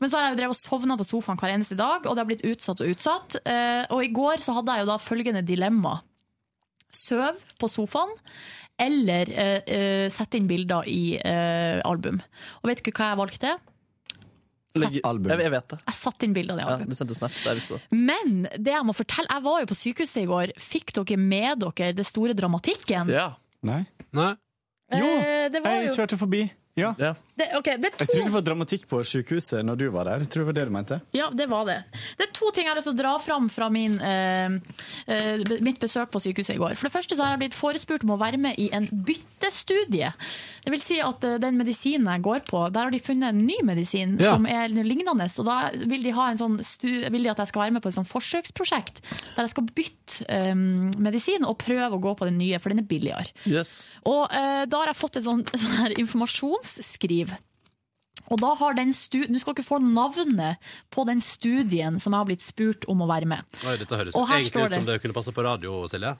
Speaker 2: Men så har jeg jo drevet og sovna på sofaen hver eneste dag, og det har blitt utsatt og utsatt. Eh, Og i går så hadde jeg jo da følgende dilemma. Søv på sofaen, eller eh, eh, sette inn bilder i eh, album. Og vet du hva jeg valgte?
Speaker 3: Legge, jeg, jeg vet det.
Speaker 2: Jeg satte inn bilder i
Speaker 3: Ja,
Speaker 2: album.
Speaker 3: du sendte snap, så jeg visste det.
Speaker 2: Men det jeg må fortelle, jeg var jo på sykehuset i går. Fikk dere med dere det store dramatikken?
Speaker 3: Ja.
Speaker 13: Nei.
Speaker 1: Nei.
Speaker 13: Jo,
Speaker 2: Eh, det var
Speaker 13: jeg
Speaker 2: jo-
Speaker 13: kjørte forbi. Ja.
Speaker 2: Det, ok, det er
Speaker 13: Jeg tror det
Speaker 2: to...
Speaker 13: var dramatikk på sykehuset når du var der. Jeg tror det var det du mente.
Speaker 2: Ja, det var det. Det er to ting jeg har lyst til å dra fram fra min, eh, eh, be- mitt besøk på sykehuset i går. For det første så har jeg blitt forespurt om å være med i en byttestudie. Det vil si at eh, den medisinen jeg går på, der har de funnet en ny medisin
Speaker 14: Ja.
Speaker 2: som er lignende. Og da vil de, ha en sånn stu, vil de at jeg skal være med på et sånn forsøksprosjekt der jeg skal bytte eh, medisin og prøve å gå på den nye, for den er billigere.
Speaker 3: Yes.
Speaker 2: Og eh, da har jeg fått et sånn, <laughs> sånn her informasjonsskriv. Og da har den stu- Nå skal dere få navnet på den studien som jeg har blitt spurt om å være med.
Speaker 1: Oi, dette høres
Speaker 2: Og her
Speaker 1: egentlig
Speaker 2: står
Speaker 1: ut som
Speaker 2: det.
Speaker 1: det kunne passe på radio, Silje.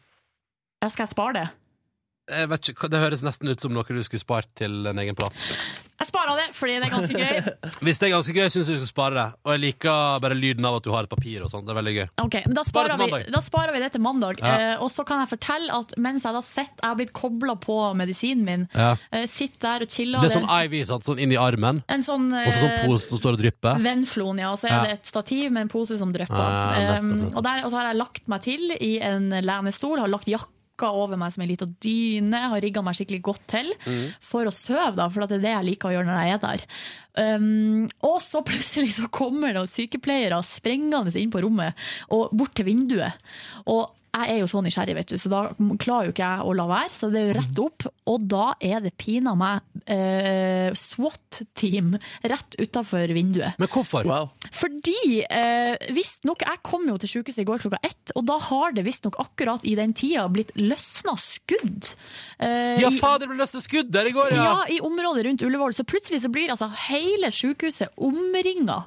Speaker 2: Ja, Skal jeg spare det?
Speaker 1: Jeg vet ikke, Det høres nesten ut som noe du skulle spart til en egen plat.
Speaker 2: Jeg sparer det, fordi det er ganske
Speaker 1: <laughs>
Speaker 2: gøy.
Speaker 1: Hvis det er ganske gøy, syns jeg du skal spare det. Og jeg liker bare lyden av at du har et papir og sånn. Det er veldig gøy.
Speaker 2: Ok, men da
Speaker 1: Spar det
Speaker 2: sparer,
Speaker 1: til
Speaker 2: vi,
Speaker 1: mandag.
Speaker 2: da sparer vi det til mandag.
Speaker 1: Ja.
Speaker 2: Eh, og så kan jeg fortelle at mens jeg da sitter, jeg har blitt kobla på medisinen min,
Speaker 1: Ja.
Speaker 2: eh, sitter der og chiller
Speaker 1: Det er sånn IV, sant? sånn inn i armen.
Speaker 2: en sånn,
Speaker 1: Og så sånn
Speaker 2: eh,
Speaker 1: pose som står og drypper.
Speaker 2: Vennfloen, ja. Og så er
Speaker 1: Ja. Ah,
Speaker 2: det et stativ med en pose som drypper.
Speaker 1: Ja, nettopp,
Speaker 2: um,
Speaker 1: nettopp.
Speaker 2: og, der, og så har jeg lagt meg til i en lenestol, har lagt jakka over meg som en liten dyne, har rigga meg skikkelig godt til
Speaker 1: Mm.
Speaker 14: Mhm.
Speaker 2: for å sove, da, for at det er det jeg liker å gjøre når jeg er der. Um, og så <laughs> plutselig så kommer det sykepleiere sprengende inn på rommet og bort til vinduet. Og jeg er jo så
Speaker 1: Mm.
Speaker 2: nysgjerrig, vet du, så da klarer jo ikke jeg å la være. Så det er jo rett opp. Og da er det pinadø meg eh, SWAT-team rett utafor vinduet.
Speaker 1: Men hvorfor?
Speaker 2: Fordi eh, visstnok Jeg kom jo til sykehuset i går klokka ett, og da har det visstnok akkurat i den tida blitt løsna skudd. Eh,
Speaker 1: Ja,
Speaker 2: i-
Speaker 1: fader, det ble løsnet skudd der i går,
Speaker 2: ja.
Speaker 1: ja!
Speaker 2: i området rundt Ullevål. Så plutselig så blir altså hele sykehuset omringa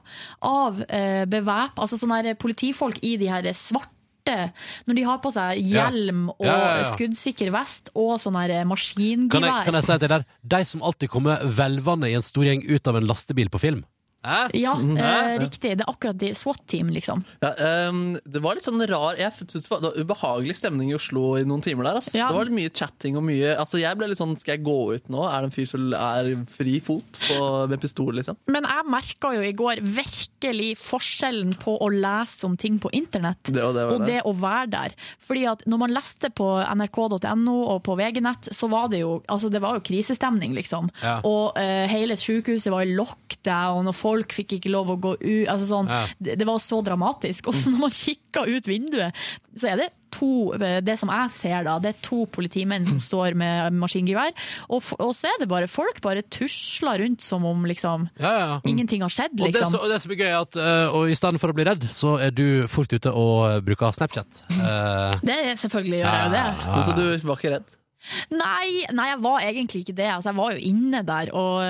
Speaker 2: av eh, bevæp, altså sånne her politifolk i de her svarte når de har på seg
Speaker 1: Ja.
Speaker 2: hjelm og
Speaker 1: Ja, ja, ja.
Speaker 2: skuddsikker vest og sånn her
Speaker 1: Kan jeg,
Speaker 2: maskingevær.
Speaker 1: kan jeg si at det der De som alltid kommer hvelvende i en stor gjeng ut av en lastebil på film.
Speaker 2: Ja,
Speaker 1: Mm,
Speaker 3: Mhm.
Speaker 2: eh,
Speaker 3: Hæ?
Speaker 2: riktig. Det er akkurat de SWAT-team, liksom.
Speaker 3: Ja, ehm, det var litt sånn rar Jeg synes det var det var ubehagelig stemning i Oslo i noen timer der. ass.
Speaker 2: Ja.
Speaker 3: Det var litt mye chatting og mye Altså Jeg ble litt sånn Skal jeg gå ut nå? Er det en fyr som er fri fot på, med pistol, liksom?
Speaker 2: Men jeg merka jo i går virkelig forskjellen på å lese om ting på internett
Speaker 3: Det og det var
Speaker 2: og
Speaker 3: det.
Speaker 2: det å være der. Fordi at når man leste på nrk.no og på VG-nett, så var det jo, altså det var jo krisestemning, liksom.
Speaker 14: Ja.
Speaker 2: Og eh, hele sykehuset var i lockdown, og folk fikk ikke lov å gå ut. Altså sånn,
Speaker 14: Ja.
Speaker 2: det, det var så dramatisk. <laughs> Og så når man kikka ut vinduet, så er det to eh, Det som jeg ser da, det er to politimenn som står med maskingevær, og, f- og så er det bare folk bare tusler rundt som om liksom
Speaker 1: Ja, ja, ja.
Speaker 2: Ingenting har skjedd,
Speaker 1: Og det,
Speaker 2: liksom.
Speaker 1: som- og det som er gøy, er at eh, og i stedet for å bli redd, så er du fort ute og bruker Snapchat. Eh,
Speaker 2: Det er selvfølgelig gjør jeg jo det.
Speaker 1: Ja.
Speaker 3: Men Så du var ikke redd?
Speaker 2: Nei, nei, jeg var egentlig ikke det. Altså, jeg var jo inne der, og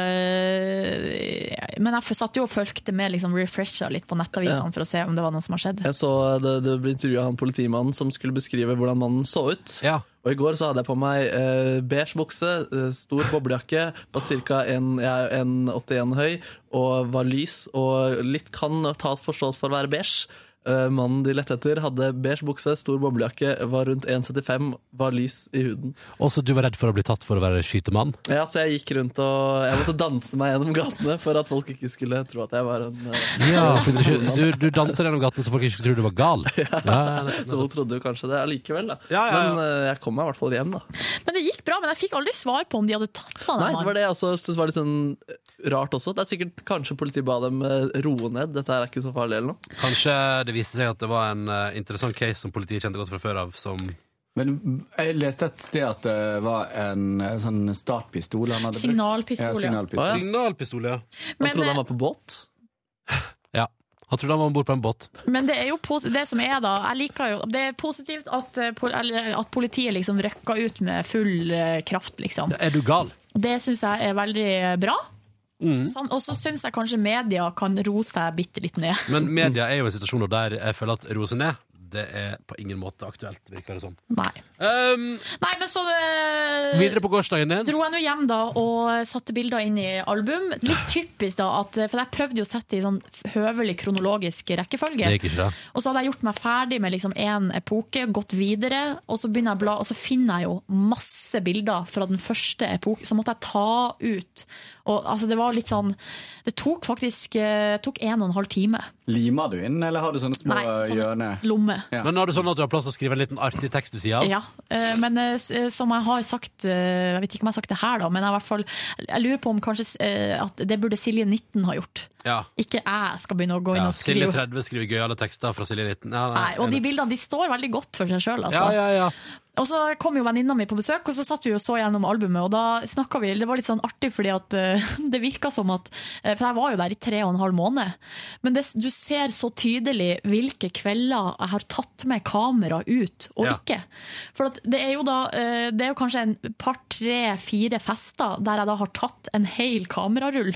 Speaker 2: øh, Men jeg satt jo og fulgte med, liksom refresha litt på nettavisene
Speaker 3: Ja.
Speaker 2: for å se om det var noe som har skjedd.
Speaker 3: Jeg så det, det ble intervjua han politimannen som skulle beskrive hvordan mannen så ut. Og i går så hadde jeg på meg eh, beige bukse, eh, stor boblejakke, var ca. 1,81 høy og var lys og litt kan tas forstås for å være beige. Eh, mannen de lette etter, hadde beige bukse, stor boblejakke, var rundt 1,75, var lys i huden.
Speaker 1: Og så du var redd for å bli tatt for å være skytemann?
Speaker 3: Ja, Så jeg gikk rundt og jeg måtte danse meg gjennom gatene for at folk ikke skulle tro at jeg var en
Speaker 1: <laughs>
Speaker 3: eh,
Speaker 1: Ja, for du,
Speaker 3: skytemann.
Speaker 1: du, du danser gjennom gaten så folk ikke skulle tro du var <laughs> gal. Ja,
Speaker 3: Så hun trodde jo kanskje det allikevel, da.
Speaker 1: ja, ja.
Speaker 3: Men eh, jeg kom meg i hvert fall hjem, da.
Speaker 2: Men det gikk bra, men jeg fikk aldri svar på om de hadde tatt han.
Speaker 3: Nei,
Speaker 2: den
Speaker 3: det
Speaker 2: mannen.
Speaker 3: var det jeg også syntes var litt sånn rart også. Det er sikkert kanskje politiet ba dem eh, roe ned, dette her er ikke så farlig eller noe.
Speaker 1: Kanskje det viste seg at det var en eh, interessant case som politiet kjente godt fra før av, som
Speaker 13: Men jeg leste et sted at det var en eh, sånn startpistol han hadde
Speaker 2: Signalpistol,
Speaker 13: brukt.
Speaker 2: ja.
Speaker 13: signalpistol.
Speaker 1: Å, ja. Signalpistol, ja.
Speaker 2: Men, eh, trodde han
Speaker 3: var på båt?
Speaker 1: Ja. Han trodde han var om bord på en båt.
Speaker 2: eh, Men det er jo posi- det som er, da jeg liker jo, Det er positivt at, eh, pol- eller at politiet liksom røkka ut med full eh, kraft, liksom.
Speaker 1: Er du gal?
Speaker 2: Det syns jeg er veldig eh, bra. Sånn, og så syns jeg kanskje media kan roe seg bitte litt ned.
Speaker 1: Men media er jo en situasjon der jeg føler at roe seg ned, det er på ingen måte aktuelt, virker det som. Ehm,
Speaker 2: Nei. Nei, men så eh,
Speaker 1: Videre på gårsdagen din.
Speaker 2: dro jeg nå hjem da og satte bilder inn i album. Litt typisk, da, at, eh, for jeg prøvde jo å sette det i sånn høvelig kronologisk rekkefølge.
Speaker 1: Det gikk ikke, da.
Speaker 2: Og så hadde jeg gjort meg ferdig med liksom én epoke, gått videre, og så begynner jeg å bla, og så finner jeg jo masse bilder fra den første epoken. Så måtte jeg ta ut. Og altså, det var litt sånn Det tok faktisk eh, tok en og en halv time.
Speaker 13: Limer du inn, eller har du sånne små
Speaker 2: Nei, sånne
Speaker 13: hjørner?
Speaker 2: Lomme.
Speaker 1: Men har du sånn at du har plass til å skrive en liten artig tekst ved sida av?
Speaker 2: Ja, eh, men eh, s- eh, som jeg har sagt eh, Jeg vet ikke om jeg har sagt det her, da, men jeg, har i hvert fall, jeg lurer på om kanskje eh, at det burde Silje 19 ha gjort.
Speaker 1: Ja.
Speaker 2: Ikke jeg skal begynne å gå inn
Speaker 1: Ja,
Speaker 2: og
Speaker 1: Silje
Speaker 2: skrive.
Speaker 1: 30 skriver gøyale tekster fra Silje 19. Ja,
Speaker 2: Nei, og de bildene de står veldig godt for seg sjøl, altså.
Speaker 1: Ja, ja, ja.
Speaker 2: Og så kom jo venninna mi på besøk, og så satt vi og så gjennom albumet. Og da snakka vi Det var litt sånn artig, fordi at eh, <laughs> det virka som at eh, For jeg var jo der i tre og en halv måned. Men det, du ser så tydelig hvilke kvelder jeg har tatt med kamera ut, og
Speaker 14: Ja.
Speaker 2: ikke. For at det er jo da eh, Det er jo kanskje en par, tre, fire fester der jeg da har tatt en hel kamerarull.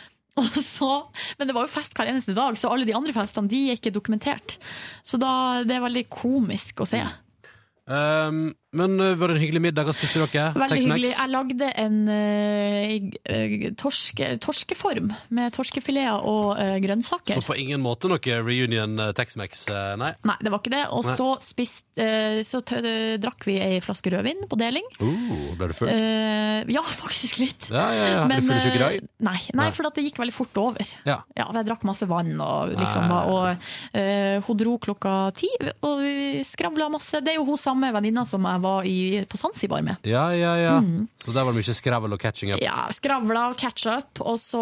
Speaker 2: <laughs> Og så, men det var jo fest hver eneste dag, så alle de andre festene de er ikke dokumentert. Så da, det er veldig komisk å se.
Speaker 1: Um, men uh, var det en hyggelig middag? Hva spiste dere?
Speaker 2: Veldig
Speaker 1: Tex-Mex?
Speaker 2: hyggelig. Jeg lagde en eh, torske, torskeform med torskefileter og eh, grønnsaker.
Speaker 1: Så på ingen måte noe reunion uh, Tex-Mex, uh, nei.
Speaker 2: Nei, det var ikke det. Og
Speaker 1: Nei.
Speaker 2: så, spist, eh, så tø drakk vi ei flaske rødvin på deling.
Speaker 1: Uh, ble du full?
Speaker 2: Eh, ja, <laughs> faktisk litt.
Speaker 1: Ja, ja, ja. Er du full i
Speaker 2: eh,
Speaker 1: tjukkerøy?
Speaker 2: nei, nei,
Speaker 1: Nei.
Speaker 2: for at det gikk veldig fort over.
Speaker 1: Ja.
Speaker 2: for jeg drakk masse vann, og, liksom,
Speaker 1: Nei.
Speaker 2: og eh, hun dro klokka ti, og vi skravla masse. Det er jo hun samme venninna som jeg var i, på Zanzibar med.
Speaker 1: Ja, ja, ja.
Speaker 2: Mm.
Speaker 1: Så der var det mye skrevel og catching up.
Speaker 2: Ja, skravla og catch up, og så,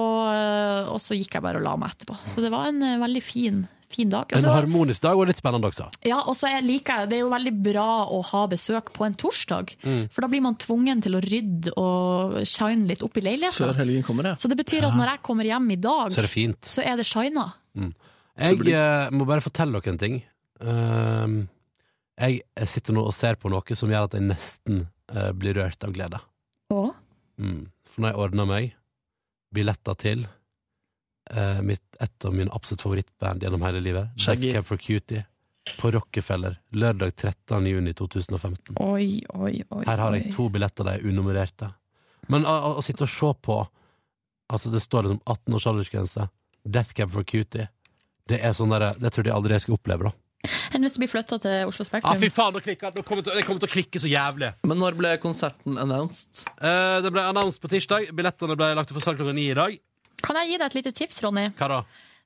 Speaker 2: og så gikk jeg bare og la meg etterpå. Så det var en eh, veldig fin, fin dag.
Speaker 1: En
Speaker 2: Altså-
Speaker 1: harmonisk dag og litt spennende også.
Speaker 2: Ja, og så er- liker jeg Det er jo veldig bra å ha besøk på en torsdag.
Speaker 1: Mm.
Speaker 2: For da blir man tvungen til å rydde og shine litt opp i leiligheten.
Speaker 3: Før helgen kommer, ja.
Speaker 2: Så det betyr at når jeg kommer hjem i dag,
Speaker 1: Så er det fint.
Speaker 2: så er det shina.
Speaker 1: Mm. Jeg eh, må bare fortelle dere en ting. Ehm, jeg sitter nå og ser på noe som gjør at jeg nesten eh, blir rørt av glede.
Speaker 2: Å?
Speaker 1: Mm. For når jeg ordner meg billetter til eh, mitt, et av mine absolutt favorittband gjennom hele livet,
Speaker 3: Shaggy.
Speaker 1: Death Cab for Cutie, på Rockefeller lørdag 13. juni 2015.
Speaker 2: Oi, oi, oi.
Speaker 1: Her har jeg
Speaker 2: oi.
Speaker 1: to billetter, de er unummererte. Men å, å, å sitte og se på Altså, det står liksom 18 års aldersgrense. Death Cab for Cutie. Det er sånn der, det trodde jeg aldri jeg skulle oppleve, da.
Speaker 2: Enn hvis det blir flytta til Oslo Spektrum?
Speaker 1: Ah, fy faen, nå klikka jeg. Nå kommer jeg til- Jeg kommer til å klikke så jævlig.
Speaker 3: Men når ble konserten announced?
Speaker 1: Eh, det ble annonset på tirsdag. Billettene ble lagt ut for salg klokka ni i dag.
Speaker 2: Kan jeg gi deg et lite tips, Ronny?
Speaker 1: Hva da?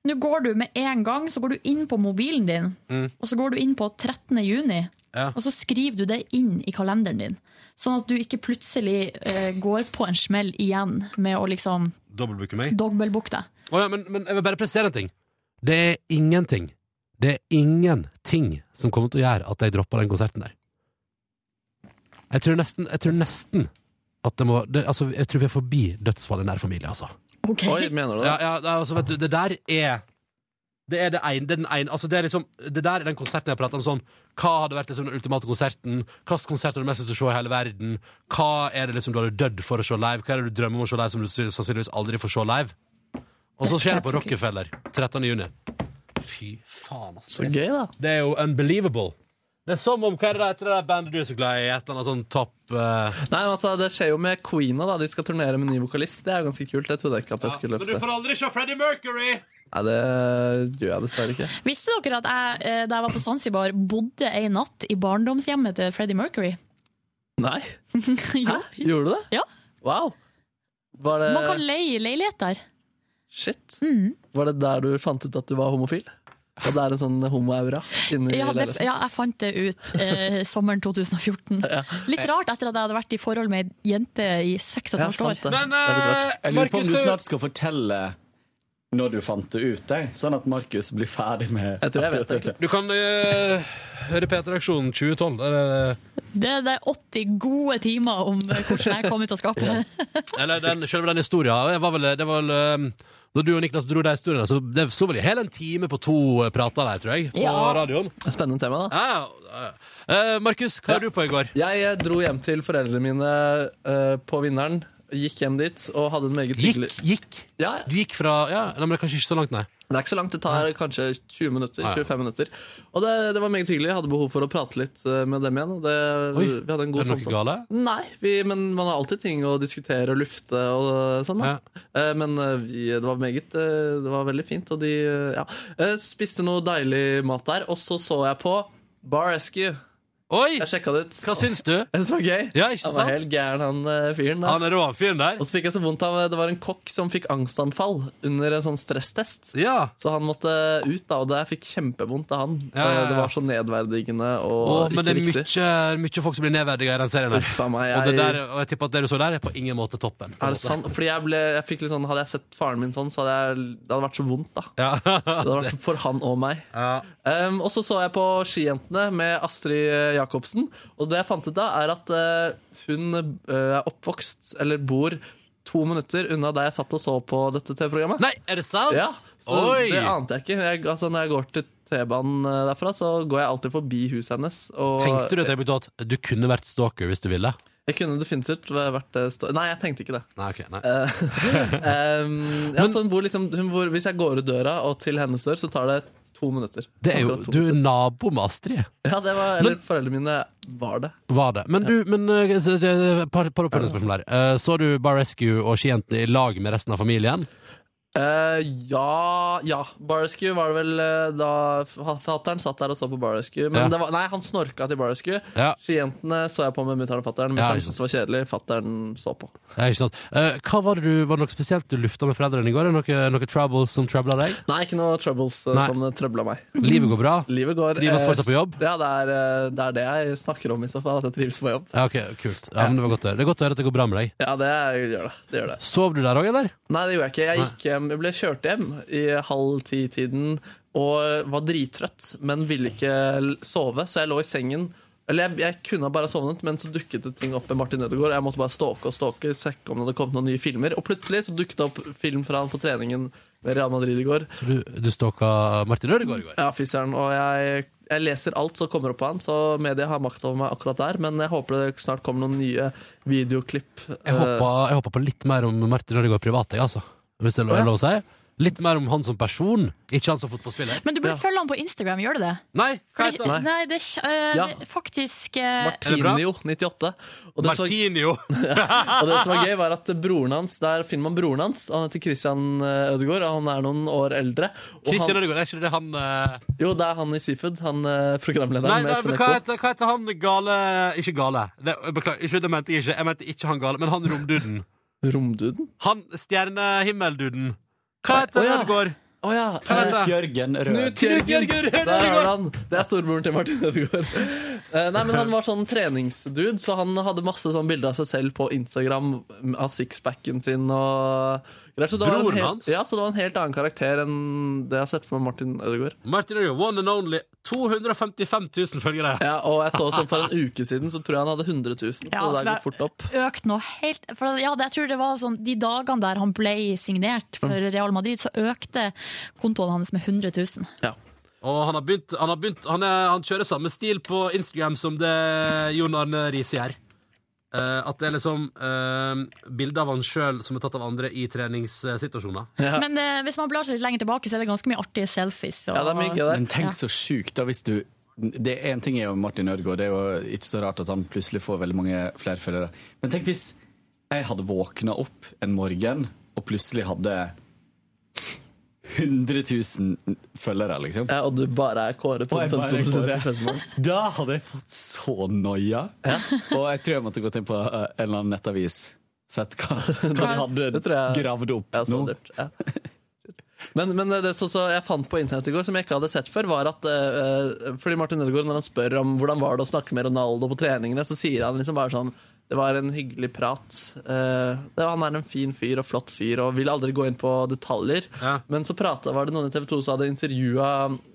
Speaker 2: Nå går du med en gang så går du inn på mobilen din,
Speaker 1: Mm.
Speaker 2: og så går du inn på 13. juni,
Speaker 1: Ja.
Speaker 2: og så skriver du det inn i kalenderen din. Sånn at du ikke plutselig eh, går på en smell igjen med å liksom
Speaker 1: Dobbeltbooker meg.
Speaker 2: dobbeltbooke deg.
Speaker 1: Å ja, men, men jeg vil bare presisere en ting. Det er ingenting. Det er ingenting som kommer til å gjøre at jeg dropper den konserten der. Jeg tror nesten, jeg tror nesten at det må det, altså, Jeg tror vi er forbi dødsfall i nær familie, altså.
Speaker 3: Oi, mener du det?
Speaker 1: Ja, ja, det er altså, vet du, det der er Det er det ene, det er den ene altså, det, er liksom, det der er den konserten jeg prater om sånn Hva hadde vært liksom, den ultimate konserten? Hvilken konsert har du mest lyst til å se i hele verden? Hva er det liksom, du hadde dødd for å se live? Hva er det du drømmer om å se live som du sannsynligvis aldri får se live? Og så skjer det på Rockefeller 13. juni. Fy faen, altså.
Speaker 3: Så gøy, da.
Speaker 1: Det er jo unbelievable. Det er som om hva er det der- etter det der bandet du er så glad i? Et eller annet sånn topp eh,
Speaker 3: Nei, men altså, Det skjer jo med Queena. da De skal turnere med ny vokalist. Det er jo ganske kult. Det trodde jeg ikke at jeg skulle
Speaker 1: Men du
Speaker 3: løpe
Speaker 1: får aldri se Freddie Mercury!
Speaker 3: Nei, det gjør jeg dessverre ikke.
Speaker 2: Visste dere at jeg, eh, da jeg var på Zanzibar, bodde ei natt i barndomshjemmet til Freddie Mercury? <laughs>
Speaker 3: Nei?
Speaker 2: jo.
Speaker 3: Gjorde du det?
Speaker 2: Ja.
Speaker 3: Wow. Var det,
Speaker 2: Man kan leie leilighet der.
Speaker 3: Shit.
Speaker 2: Mm.
Speaker 3: var det der du fant ut at du var homofil? Og det er en sånn homoaura inni
Speaker 2: Ja, det,
Speaker 3: leiligheten?
Speaker 2: ja, jeg fant det ut eh,
Speaker 1: <laughs>
Speaker 2: sommeren 2014. Litt rart etter at jeg hadde vært i forhold med ei jente i seks og et halvt år.
Speaker 1: eh,
Speaker 13: jeg lurer på om du snart skal fortelle når du fant det ut, jeg, sånn at Markus blir ferdig med
Speaker 3: Jeg tror jeg vet det.
Speaker 1: Du kan eh, høre P3-aksjonen 2012. Eller,
Speaker 2: Det, det er 80 gode timer om eh, hvordan jeg kom ut av skapet.
Speaker 1: eller den, selve den historien. Det var vel, det var vel eh, Da du og Niklas dro de historiene, så det sto vel i hele en time på to eh, prater der, tror jeg. På
Speaker 3: Ja.
Speaker 1: radioen.
Speaker 3: Spennende tema, da.
Speaker 1: Ja, ja. Eh, Markus, hva har du på i går?
Speaker 3: Jeg eh, dro hjem til foreldrene mine eh, på Vinneren. Gikk hjem dit og hadde en meget hyggelig
Speaker 1: Gikk?
Speaker 3: Ja,
Speaker 1: Du gikk fra ja, nei, men det er Kanskje ikke så langt, nei.
Speaker 3: Det er ikke så langt, det tar kanskje 20 minutter,
Speaker 1: Ja, ja.
Speaker 3: 25 minutter. Og det, det var meget hyggelig. Jeg hadde behov for å prate litt eh, med dem igjen. og Det,
Speaker 1: Oi,
Speaker 3: vi hadde en
Speaker 1: er
Speaker 3: god
Speaker 1: det noe
Speaker 3: samtale.
Speaker 1: gale?
Speaker 3: Nei, vi, men man har alltid ting å diskutere og lufte og sånn. Da. Eh, Men eh, vi, det var meget eh, Det var veldig fint. Og de eh, ja. Eh, spiste noe deilig mat der. Og så så jeg på Bar Rescue.
Speaker 1: Oi!
Speaker 3: Jeg sjekka det ut.
Speaker 1: Hva syns du?
Speaker 3: Jeg synes det var gøy.
Speaker 1: Ja, ikke
Speaker 3: Han var
Speaker 1: sant?
Speaker 3: helt gæren, han eh, fyren. da.
Speaker 1: Han er rå, han fyren der.
Speaker 3: Og så fikk jeg så vondt av eh, Det var en kokk som fikk angstanfall under en sånn stresstest. Så han måtte eh, ut, da, og det jeg fikk kjempevondt av han.
Speaker 1: Ja, ja, ja.
Speaker 3: Eh, Det var så nedverdigende og
Speaker 1: Å, men
Speaker 3: ikke
Speaker 1: det er
Speaker 3: riktig.
Speaker 1: mye, mye folk som blir nedverdiga i den serien. her.
Speaker 3: Uff a meg,
Speaker 1: Og, det
Speaker 3: jeg-
Speaker 1: der, og jeg tipper at det du så der, er på ingen måte toppen. på en
Speaker 3: Er det
Speaker 1: måte.
Speaker 3: sant? Fordi jeg ble, jeg fikk litt sånn, Hadde jeg sett faren min sånn, så hadde jeg, det hadde vært så vondt. da Det hadde vært for han og meg. Um, og så så jeg på Skijentene med Astrid eh, Jacobsen. Og det jeg fant ut da, er at eh, hun eh, er oppvokst, eller bor, to minutter unna der jeg satt og så på dette TV-programmet.
Speaker 1: Nei, er det sant?
Speaker 3: Ja, så
Speaker 1: Oi!
Speaker 3: Det ante jeg ikke. Jeg, altså, når jeg går til T-banen eh, derfra, så går jeg alltid forbi huset hennes. Og
Speaker 1: Tenkte du et øyeblikk at du kunne vært stalker hvis du ville?
Speaker 3: Jeg kunne definitivt vært eh, stå... Nei, jeg tenkte ikke det.
Speaker 1: Nei, ok, nei.
Speaker 3: Eh, um, ja, så hun bor liksom, hun bor, hvis jeg går ut døra og til hennes dør, så tar det to minutter.
Speaker 1: Det er jo,
Speaker 3: Akkurat to
Speaker 1: du er
Speaker 3: minutter.
Speaker 1: nabo med Astrid,
Speaker 3: Ja, det var, eller foreldrene mine var det.
Speaker 1: var det. Men du, men eh, så- det- det- par, par oppfølgingsspørsmål her. Eh, Så du Bar Rescue og Skijentene i lag med resten av familien?
Speaker 3: Eh, ja, ja. Barrescue var det vel eh, da Fattern satt der og så på Barrescue. Men
Speaker 1: Ja.
Speaker 3: det var, nei, han snorka til Barrescue.
Speaker 1: Ja.
Speaker 3: Skijentene så jeg på med mutter'n og fatter'n.
Speaker 1: Ja,
Speaker 3: Mutter'n
Speaker 1: ikke sant.
Speaker 3: syntes det var kjedelig, fatter'n så på.
Speaker 1: Det er ikke sant. Eh, Hva var det du, var det noe spesielt du lufta med foreldrene i går? Er det Noe, noe troubles som troubla deg?
Speaker 3: Nei, ikke noe troubles eh,
Speaker 1: Nei.
Speaker 3: som trøbla meg.
Speaker 1: Livet går bra?
Speaker 3: Livet går
Speaker 1: Trives
Speaker 3: eh,
Speaker 1: fortsatt på jobb?
Speaker 3: Ja, det er, eh, det er det jeg snakker om i så fall. At jeg trives på jobb.
Speaker 1: Ja, ok, kult. Ja, men det var godt å høre. Det er godt å høre at det går bra med deg.
Speaker 3: Ja, det gjør det. det, gjør det.
Speaker 1: Sov du der òg, eller?
Speaker 3: Nei, det gjorde jeg ikke. Jeg, gikk hjem, jeg ble kjørt hjem i halv ti-tiden og var drittrøtt, men ville ikke l- sove, så jeg lå i sengen. Eller jeg, jeg kunne ha bare sovnet, men så dukket det ting opp med Martin Ødegaard. Jeg måtte bare stalke og stalke, sjekke om det hadde kommet noen nye filmer. Og plutselig så dukket det opp film fra han på treningen med Real Madrid i går.
Speaker 1: Så du, du stalka Martin Ødegaard i går?
Speaker 3: Ja, fy søren. Og jeg, jeg leser alt som kommer opp på han, så media har makt over meg akkurat der. Men jeg håper det snart kommer noen nye videoklipp.
Speaker 1: Jeg håpa, jeg håpa på litt mer om Martin Ødegaard privat, jeg, altså. Hvis det er lov- er lov å si. Litt mer om han som person, ikke han som fotballspiller.
Speaker 2: Men du burde
Speaker 1: Ja.
Speaker 2: følge han på Instagram, gjør du det?
Speaker 1: Nei, hva heter
Speaker 2: Fordi-
Speaker 1: han?
Speaker 2: Nei, det er ikke- eh,
Speaker 3: Ja.
Speaker 2: det- faktisk eh,
Speaker 3: Martinio, 98. Og det som-
Speaker 1: Martinio!
Speaker 3: Ja, og det som var gøy, var at broren hans, der finner man broren hans. og Han heter Christian eh, Ødegaard, og han er noen år eldre. Og
Speaker 1: Christian Ødegaard, er ikke det han eh?
Speaker 3: Jo, det er han i Seafood. Han eh, programlederen
Speaker 1: Nei,
Speaker 3: med
Speaker 1: nei,
Speaker 3: Espen
Speaker 1: men hva
Speaker 3: Eckbo.
Speaker 1: heter, hva heter han gale Ikke gale. Det, beklager, ikke, det mente jeg ikke. Jeg mente ikke han gale, men han romduden.
Speaker 3: Romduden?
Speaker 1: Han stjernehimmelduden. Hva heter
Speaker 3: Å, ja.
Speaker 1: Ødegaard?
Speaker 3: Å ja.
Speaker 1: Hva heter
Speaker 13: Knut Jørgen Rød.
Speaker 3: Knut
Speaker 1: Knut Jørgen Rød
Speaker 3: Der har
Speaker 1: Ødegaard.
Speaker 3: du han. Det er storebroren til Martin Ødegaard. Eh, Nei, men Han var sånn treningsdude, så han hadde masse sånn bilder av seg selv på Instagram. Av sixpacken sin og greier. Så det var en
Speaker 1: Broren
Speaker 3: helt-
Speaker 1: hans?
Speaker 3: Ja, så det var en helt annen karakter enn det jeg har sett for meg Martin Ødegaard.
Speaker 1: Martin Ødegaard, one and only. 255 000 følgere.
Speaker 3: Ja, og jeg så sånn for en uke siden, så tror jeg han hadde 100 000. Så
Speaker 2: Ja,
Speaker 3: det
Speaker 2: altså,
Speaker 3: der går fort opp.
Speaker 2: økt noe helt for ja, det- Jeg tror det var sånn De dagene der han ble signert for Real Madrid, så økte kontoen hans med 100 000.
Speaker 1: Og han har begynt, han, har begynt han, er, han kjører samme stil på Instagram som det Jon Arne Riise gjør. Eh, at det er liksom eh, bilder av han sjøl som er tatt av andre i treningssituasjoner.
Speaker 2: <laughs> Men eh, hvis man blar seg litt lenger tilbake, så er det ganske mye artige selfies. og-
Speaker 13: Men
Speaker 2: Ja.
Speaker 13: tenk så sjukt, da, hvis du det er En ting er jo Martin Ødegaard, det er jo ikke så rart at han plutselig får veldig mange flere følgere. Men tenk hvis jeg hadde våkna opp en morgen og plutselig hadde 100 000 følgere, liksom.
Speaker 3: Ja, og du bare er Kåre
Speaker 13: Og jeg bare er
Speaker 3: 100%
Speaker 13: Kåre.
Speaker 3: prosent.
Speaker 13: Da hadde jeg fått så noia. Og jeg tror jeg måtte gått inn på eh, en eller annen nettavis. Sett
Speaker 3: <laughs>
Speaker 13: hva, hva de hadde
Speaker 3: Det tror jeg-
Speaker 13: gravd opp nå.
Speaker 3: Men, men det som så jeg fant på internett i går, som jeg ikke hadde sett før, var at eh, Fordi Martin Ødegaard, når han spør om hvordan var det å snakke med Ronaldo på treningene, så sier han liksom bare sånn Det var en hyggelig prat. eh, det, han er en fin fyr og flott fyr og vil aldri gå inn på detaljer. Men så pratet, var det noen i TV 2 som hadde intervjua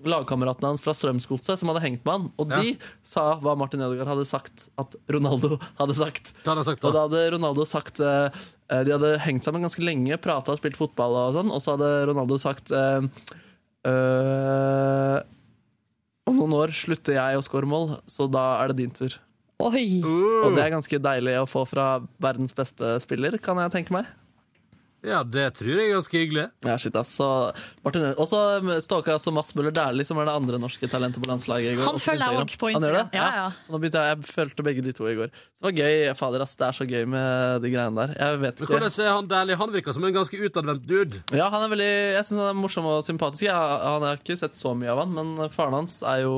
Speaker 3: lagkameratene hans fra Strømsgodset, som hadde hengt med han, og de sa hva Martin Ødegaard hadde sagt at Ronaldo hadde sagt.
Speaker 1: da.
Speaker 3: Og da hadde Ronaldo sagt eh, eh, De hadde hengt sammen ganske lenge, prata og spilt fotball og sånn, og så hadde Ronaldo sagt eh, eh, Om noen år slutter jeg å score mål, så da er det din tur.
Speaker 2: Oi.
Speaker 3: Og det er ganske deilig å få fra verdens beste spiller, kan jeg tenke meg.
Speaker 1: Ja, det tror jeg er ganske hyggelig.
Speaker 3: Ja, shit, ass. Så Martin Ødegaard- Og så stalka jeg også Mats Møller Dæhlie, som er det andre norske talentet på landslaget. i går.
Speaker 2: Han
Speaker 3: også
Speaker 2: følger jeg også på
Speaker 3: Han gjør
Speaker 2: Instagram.
Speaker 3: det?
Speaker 2: Ja, ja.
Speaker 3: Så nå begynte jeg, jeg fulgte begge de to i går. Så det var gøy. Fader, ass, det er så gøy med de greiene der. Jeg vet
Speaker 1: Men
Speaker 3: ikke.
Speaker 1: hvordan er han deilig? Han virker som en ganske utadvendt dude.
Speaker 3: Ja, han er veldig, Jeg syns han er morsom og sympatisk. Jeg, han har ikke sett så mye av han, men faren hans er jo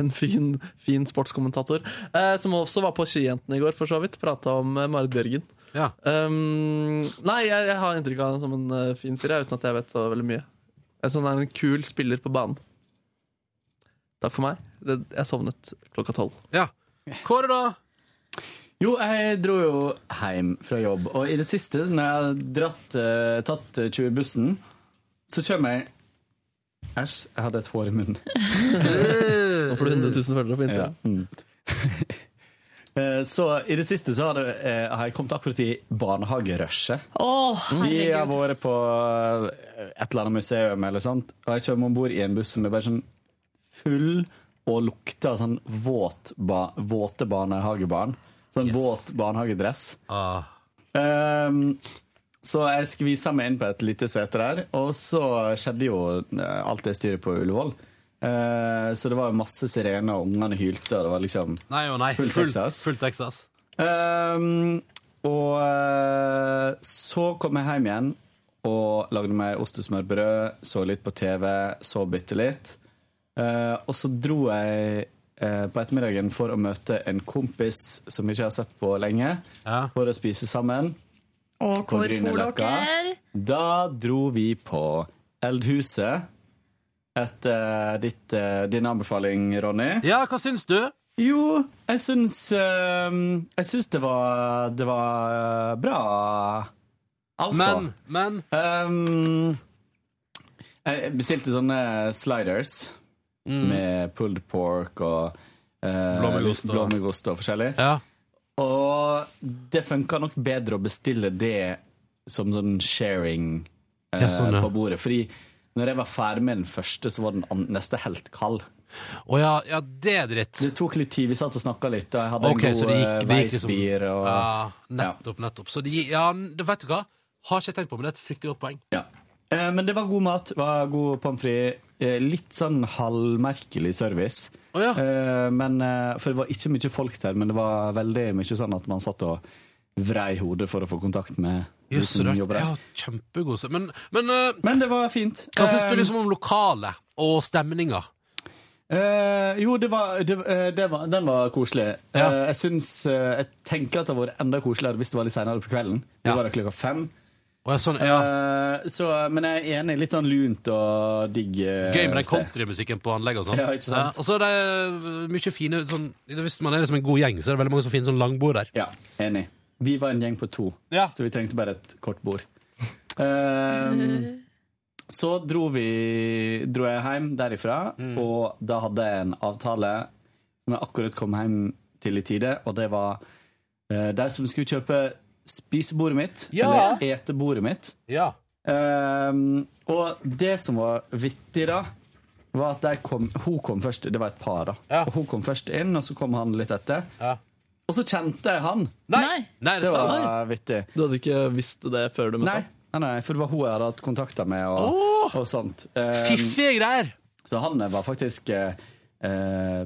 Speaker 3: en fin, fin sportskommentator. Eh, som også var på Skijentene i går, for så vidt. Prata om eh, Marit Bjørgen. Um, nei, jeg, jeg har inntrykk av han som en eh, fin fyr, jeg, uten at jeg vet så veldig mye. Jeg synes han er en kul spiller på banen. Takk for meg. Det, jeg sovnet klokka tolv.
Speaker 1: Ja. Kåre, da?
Speaker 13: Jo, jeg dro jo hjem fra jobb, og i det siste, når jeg har dratt, eh, tatt 20-bussen, så kommer jeg Æsj, jeg hadde et hår i munnen.
Speaker 3: Nå får du 100 000 følgere på Instagram.
Speaker 13: Ja. Mm. <laughs> Eh, Så i det siste så har, det, eh, har jeg kommet akkurat i barnehagerushet.
Speaker 2: Å,
Speaker 13: Mm. Vi har
Speaker 2: herregud.
Speaker 13: vært på eh, et eller annet museum, eller sånt, og jeg kommer om bord i en buss som er bare sånn full og lukter av sånn våt ba våte barnehagebarn. Sånn våt barnehagedress.
Speaker 1: Ah,
Speaker 13: Ehm, så jeg skvisa meg inn på et lite sete der, og så skjedde jo eh, alt det styret på Ullevål. Eh, så det var jo masse sirener, og ungene hylte, og det var liksom
Speaker 1: Nei og nei.
Speaker 13: Full
Speaker 1: Full
Speaker 13: Texas.
Speaker 1: Full Texas.
Speaker 13: Ehm, og eh, så kom jeg hjem igjen og lagde meg ostesmørbrød, så litt på TV, så bitte litt. Eh, og så dro jeg eh, på ettermiddagen for å møte en kompis som jeg ikke har sett på lenge, for å spise sammen.
Speaker 2: Og
Speaker 13: på
Speaker 2: hvor får
Speaker 13: Grünerløkka.
Speaker 2: dere?
Speaker 13: Da dro vi på Eldhuset etter ditt, eh, din anbefaling, Ronny.
Speaker 1: Ja, hva syns du?
Speaker 13: Jo, jeg syns eh, Jeg syns det var Det var bra. Altså
Speaker 1: Men, men
Speaker 13: Ehm, Jeg bestilte sånne sliders med pulled pork og eh,
Speaker 9: Blåmuggost og-
Speaker 13: blåmuggost og forskjellig. Og det funka nok bedre å bestille det som sånn sharing eh,
Speaker 1: Ja, sånn, ja.
Speaker 13: på bordet. Fordi når jeg var ferdig med den første, så var den an- neste helt kald.
Speaker 1: Å ja, ja, det er dritt.
Speaker 13: Det tok litt tid. Vi satt og snakka litt, og jeg hadde
Speaker 1: Ok,
Speaker 13: en
Speaker 1: så
Speaker 13: god
Speaker 1: det
Speaker 13: eh,
Speaker 1: gikk- det gikk liksom-
Speaker 13: veispir. Og,
Speaker 1: Ja, nettopp, nettopp. Så det gi- ja, det vet du hva? Har ikke jeg tenkt på, men det er et fryktelig godt poeng.
Speaker 13: Ja. Eh, Men det var god mat, var god pommes frites. eh, Litt sånn halvmerkelig service. Eh, Men, eh, for det var ikke mye folk der, men det var veldig mye sånn at man satt og vrei hodet for å få kontakt med de
Speaker 1: Jøss,
Speaker 13: som
Speaker 1: så rart.
Speaker 13: jobber der.
Speaker 1: Ja, kjempegod sø- Men, men, eh,
Speaker 13: det var fint.
Speaker 1: Hva syns du
Speaker 13: Eh,
Speaker 1: liksom om lokalet og stemninga?
Speaker 13: Eh, jo, det var, det, eh, det var, den var koselig. Eh, jeg syns eh, Jeg tenker at det hadde vært enda koseligere hvis det var litt seinere på kvelden. Det var da klokka fem.
Speaker 1: sånn,
Speaker 13: Eh, så, men jeg er enig. Litt sånn lunt og digg. eh,
Speaker 1: Gøy med den
Speaker 13: sted.
Speaker 1: countrymusikken på anlegget og sånn.
Speaker 13: Ja, ikke sant?
Speaker 1: og så er det eh, mye fine sånn, Hvis man er liksom en god gjeng, så er det veldig mange som finner sånn langbord der.
Speaker 13: Ja, enig. Vi var en gjeng på to, så vi trengte bare et kort bord. Ehm, så dro, vi, dro jeg hjem derifra, og da hadde jeg en avtale som jeg akkurat kom hjem til i tide, og det var eh, de som skulle kjøpe spisebordet mitt,
Speaker 1: Ja.
Speaker 13: eller etebordet mitt. Ehm, og det som var vittig da, var at de kom, hun kom først, det var et par da, og hun kom først inn, og så kom han litt etter. Og så kjente jeg han.
Speaker 2: Nei!
Speaker 1: Nei,
Speaker 13: det var vittig.
Speaker 3: Du hadde ikke visst det før du møtte
Speaker 13: Nei,
Speaker 3: opp?
Speaker 13: nei, nei, for det var hun jeg hadde hatt kontakter med og, og sånt. Eh,
Speaker 1: Fiffige greier!
Speaker 13: Så han var faktisk eh, eh,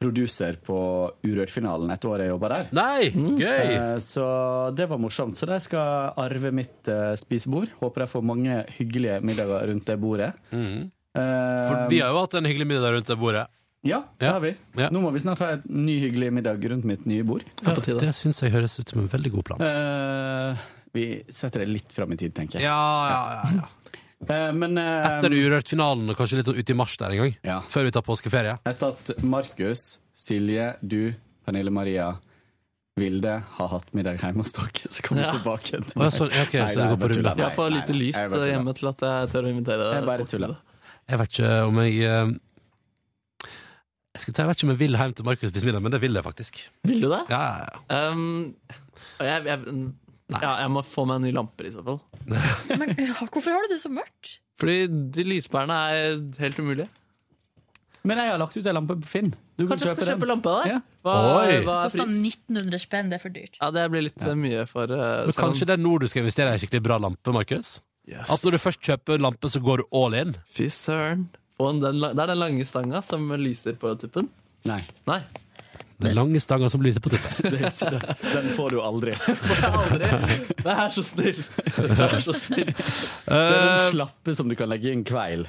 Speaker 13: produser på Urørt-finalen et år jeg jobba der.
Speaker 1: Nei, gøy!
Speaker 13: Eh, så det var morsomt. Så de skal arve mitt eh, spisebord. Håper jeg får mange hyggelige middager rundt det bordet. Eh,
Speaker 1: Mhm. For vi har jo hatt en hyggelig middag rundt det bordet.
Speaker 13: Ja, det har vi. Nå må vi snart ha et ny hyggelig middag rundt mitt nye bord.
Speaker 1: Ja, det syns jeg høres ut som en veldig god plan.
Speaker 13: Eh, vi setter det litt fram i tid, tenker jeg.
Speaker 1: Ja, ja, <laughs> ja, ja.
Speaker 13: Eh, men eh,
Speaker 1: Etter Urørt-finalen og kanskje litt sånn ut i mars der en gang. Før vi tar påskeferie.
Speaker 13: Etter at Markus, Silje, du, Pernille Maria, Vilde har hatt middag hjemme hos dere, så kommer vi
Speaker 3: Ja.
Speaker 13: tilbake til
Speaker 1: Å, ja, sånn, ja, ok, så det går på rulle.
Speaker 3: Jeg får lite lys eh, hjemme til at jeg tør å invitere deg.
Speaker 13: Jeg bare tuller.
Speaker 1: Jeg vet ikke om jeg eh, Jeg skulle ta, jeg vet ikke om jeg vil hjem til Markus spise middag, men det vil jeg faktisk.
Speaker 3: Vil du det?
Speaker 1: Ja, ja, ja.
Speaker 3: Um, jeg, jeg, ja, jeg må få meg en ny lampe i så fall.
Speaker 2: Men ja, hvorfor har du det så mørkt?
Speaker 3: Fordi de lyspærene er helt umulige.
Speaker 13: Men jeg har lagt ut en lampe på Finn. Du
Speaker 3: Kanskje jeg skal kjøpe lampe av deg? Hva,
Speaker 1: Oi.
Speaker 3: hva er
Speaker 2: Kosta
Speaker 3: pris?
Speaker 2: 1900 spenn, det er for dyrt.
Speaker 3: Ja, det blir litt eh, mye for eh,
Speaker 1: Men
Speaker 3: selv om-
Speaker 1: kanskje det er nå du skal investere i en skikkelig bra lampe, Markus? At når du først kjøper en lampe, så går du all in?
Speaker 3: Fy søren. Og den, la- det er den lange stanga som lyser på tuppen.
Speaker 13: Nei.
Speaker 3: Nei.
Speaker 1: Den lange stanga som lyser på <laughs> tuppen.
Speaker 13: Det er ikke det. Den får du
Speaker 3: <laughs>
Speaker 13: aldri. <laughs>
Speaker 3: Det er så snill! Eh. Det er så snill.
Speaker 13: Det er
Speaker 1: Eh,
Speaker 13: den slappe som du kan legge i en kveil.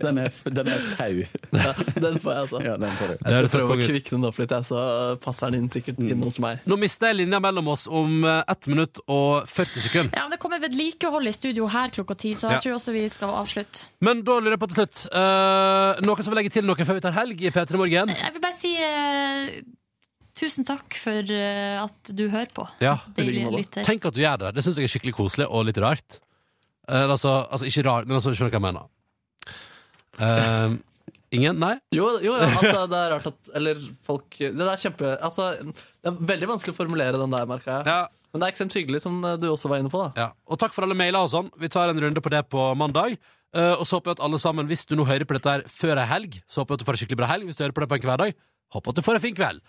Speaker 13: Den, er, den er
Speaker 3: <laughs>
Speaker 13: tau.
Speaker 3: Ja, den får jeg, altså.
Speaker 13: Ja, den får du.
Speaker 3: Jeg skal prøve å kvikne den opp litt, jeg, så passer den inn sikkert
Speaker 13: Mm.
Speaker 3: inn hos meg.
Speaker 1: Nå mister jeg linja mellom oss om eh, 1 minutt og 40 sekunder.
Speaker 2: Ja, men Det kommer vedlikehold i studio her klokka ti, så jeg
Speaker 1: Ja.
Speaker 2: tror også vi skal avslutte.
Speaker 1: Men da lurer jeg på til slutt eh, Noen som vil legge til noe før vi tar helg i P3 Morgen?
Speaker 2: Jeg vil bare si eh, tusen takk for eh, at du hører på.
Speaker 1: Ja.
Speaker 2: Deilig lytter.
Speaker 1: Tenk at du gjør det. Det syns jeg er skikkelig koselig og litt rart. Eh, altså, altså ikke rart, men altså, skjønner hva jeg mener. Eh, ingen? Nei?
Speaker 3: Jo, jo, jo altså, det er rart at Eller folk Det er kjempe Altså, det er veldig vanskelig å formulere den der, merka jeg. Men det er ekstremt hyggelig, som eh, du også var inne på,
Speaker 1: Ja.
Speaker 3: da.
Speaker 1: Og takk for alle mailer og sånn. Vi tar en runde på det på mandag. Eh, og så håper jeg at alle sammen, hvis du nå hører på dette her før ei helg, så håper jeg at du får en skikkelig bra helg. Hvis du hører på det på en hverdag, håper at du får en fin kveld.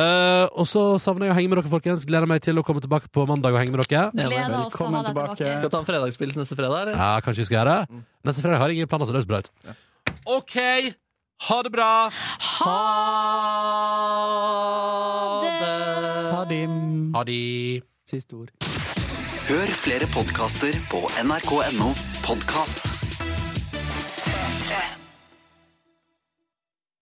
Speaker 1: Eh, og så savner jeg å henge med dere, folkens. Gleder meg til å komme tilbake på mandag og henge med dere.
Speaker 2: Gleder oss til å ha deg tilbake.
Speaker 3: Skal vi ta en fredagspils neste fredag, eller?
Speaker 1: Ja, kanskje vi skal gjøre det. Neste fredag har jeg ingen planer, så det høres bra ut. OK! Ha det bra!
Speaker 3: Ha det!
Speaker 13: Ha det.
Speaker 1: Ha det.
Speaker 13: Siste ord.
Speaker 5: Hør flere podkaster på nrk.no podkast.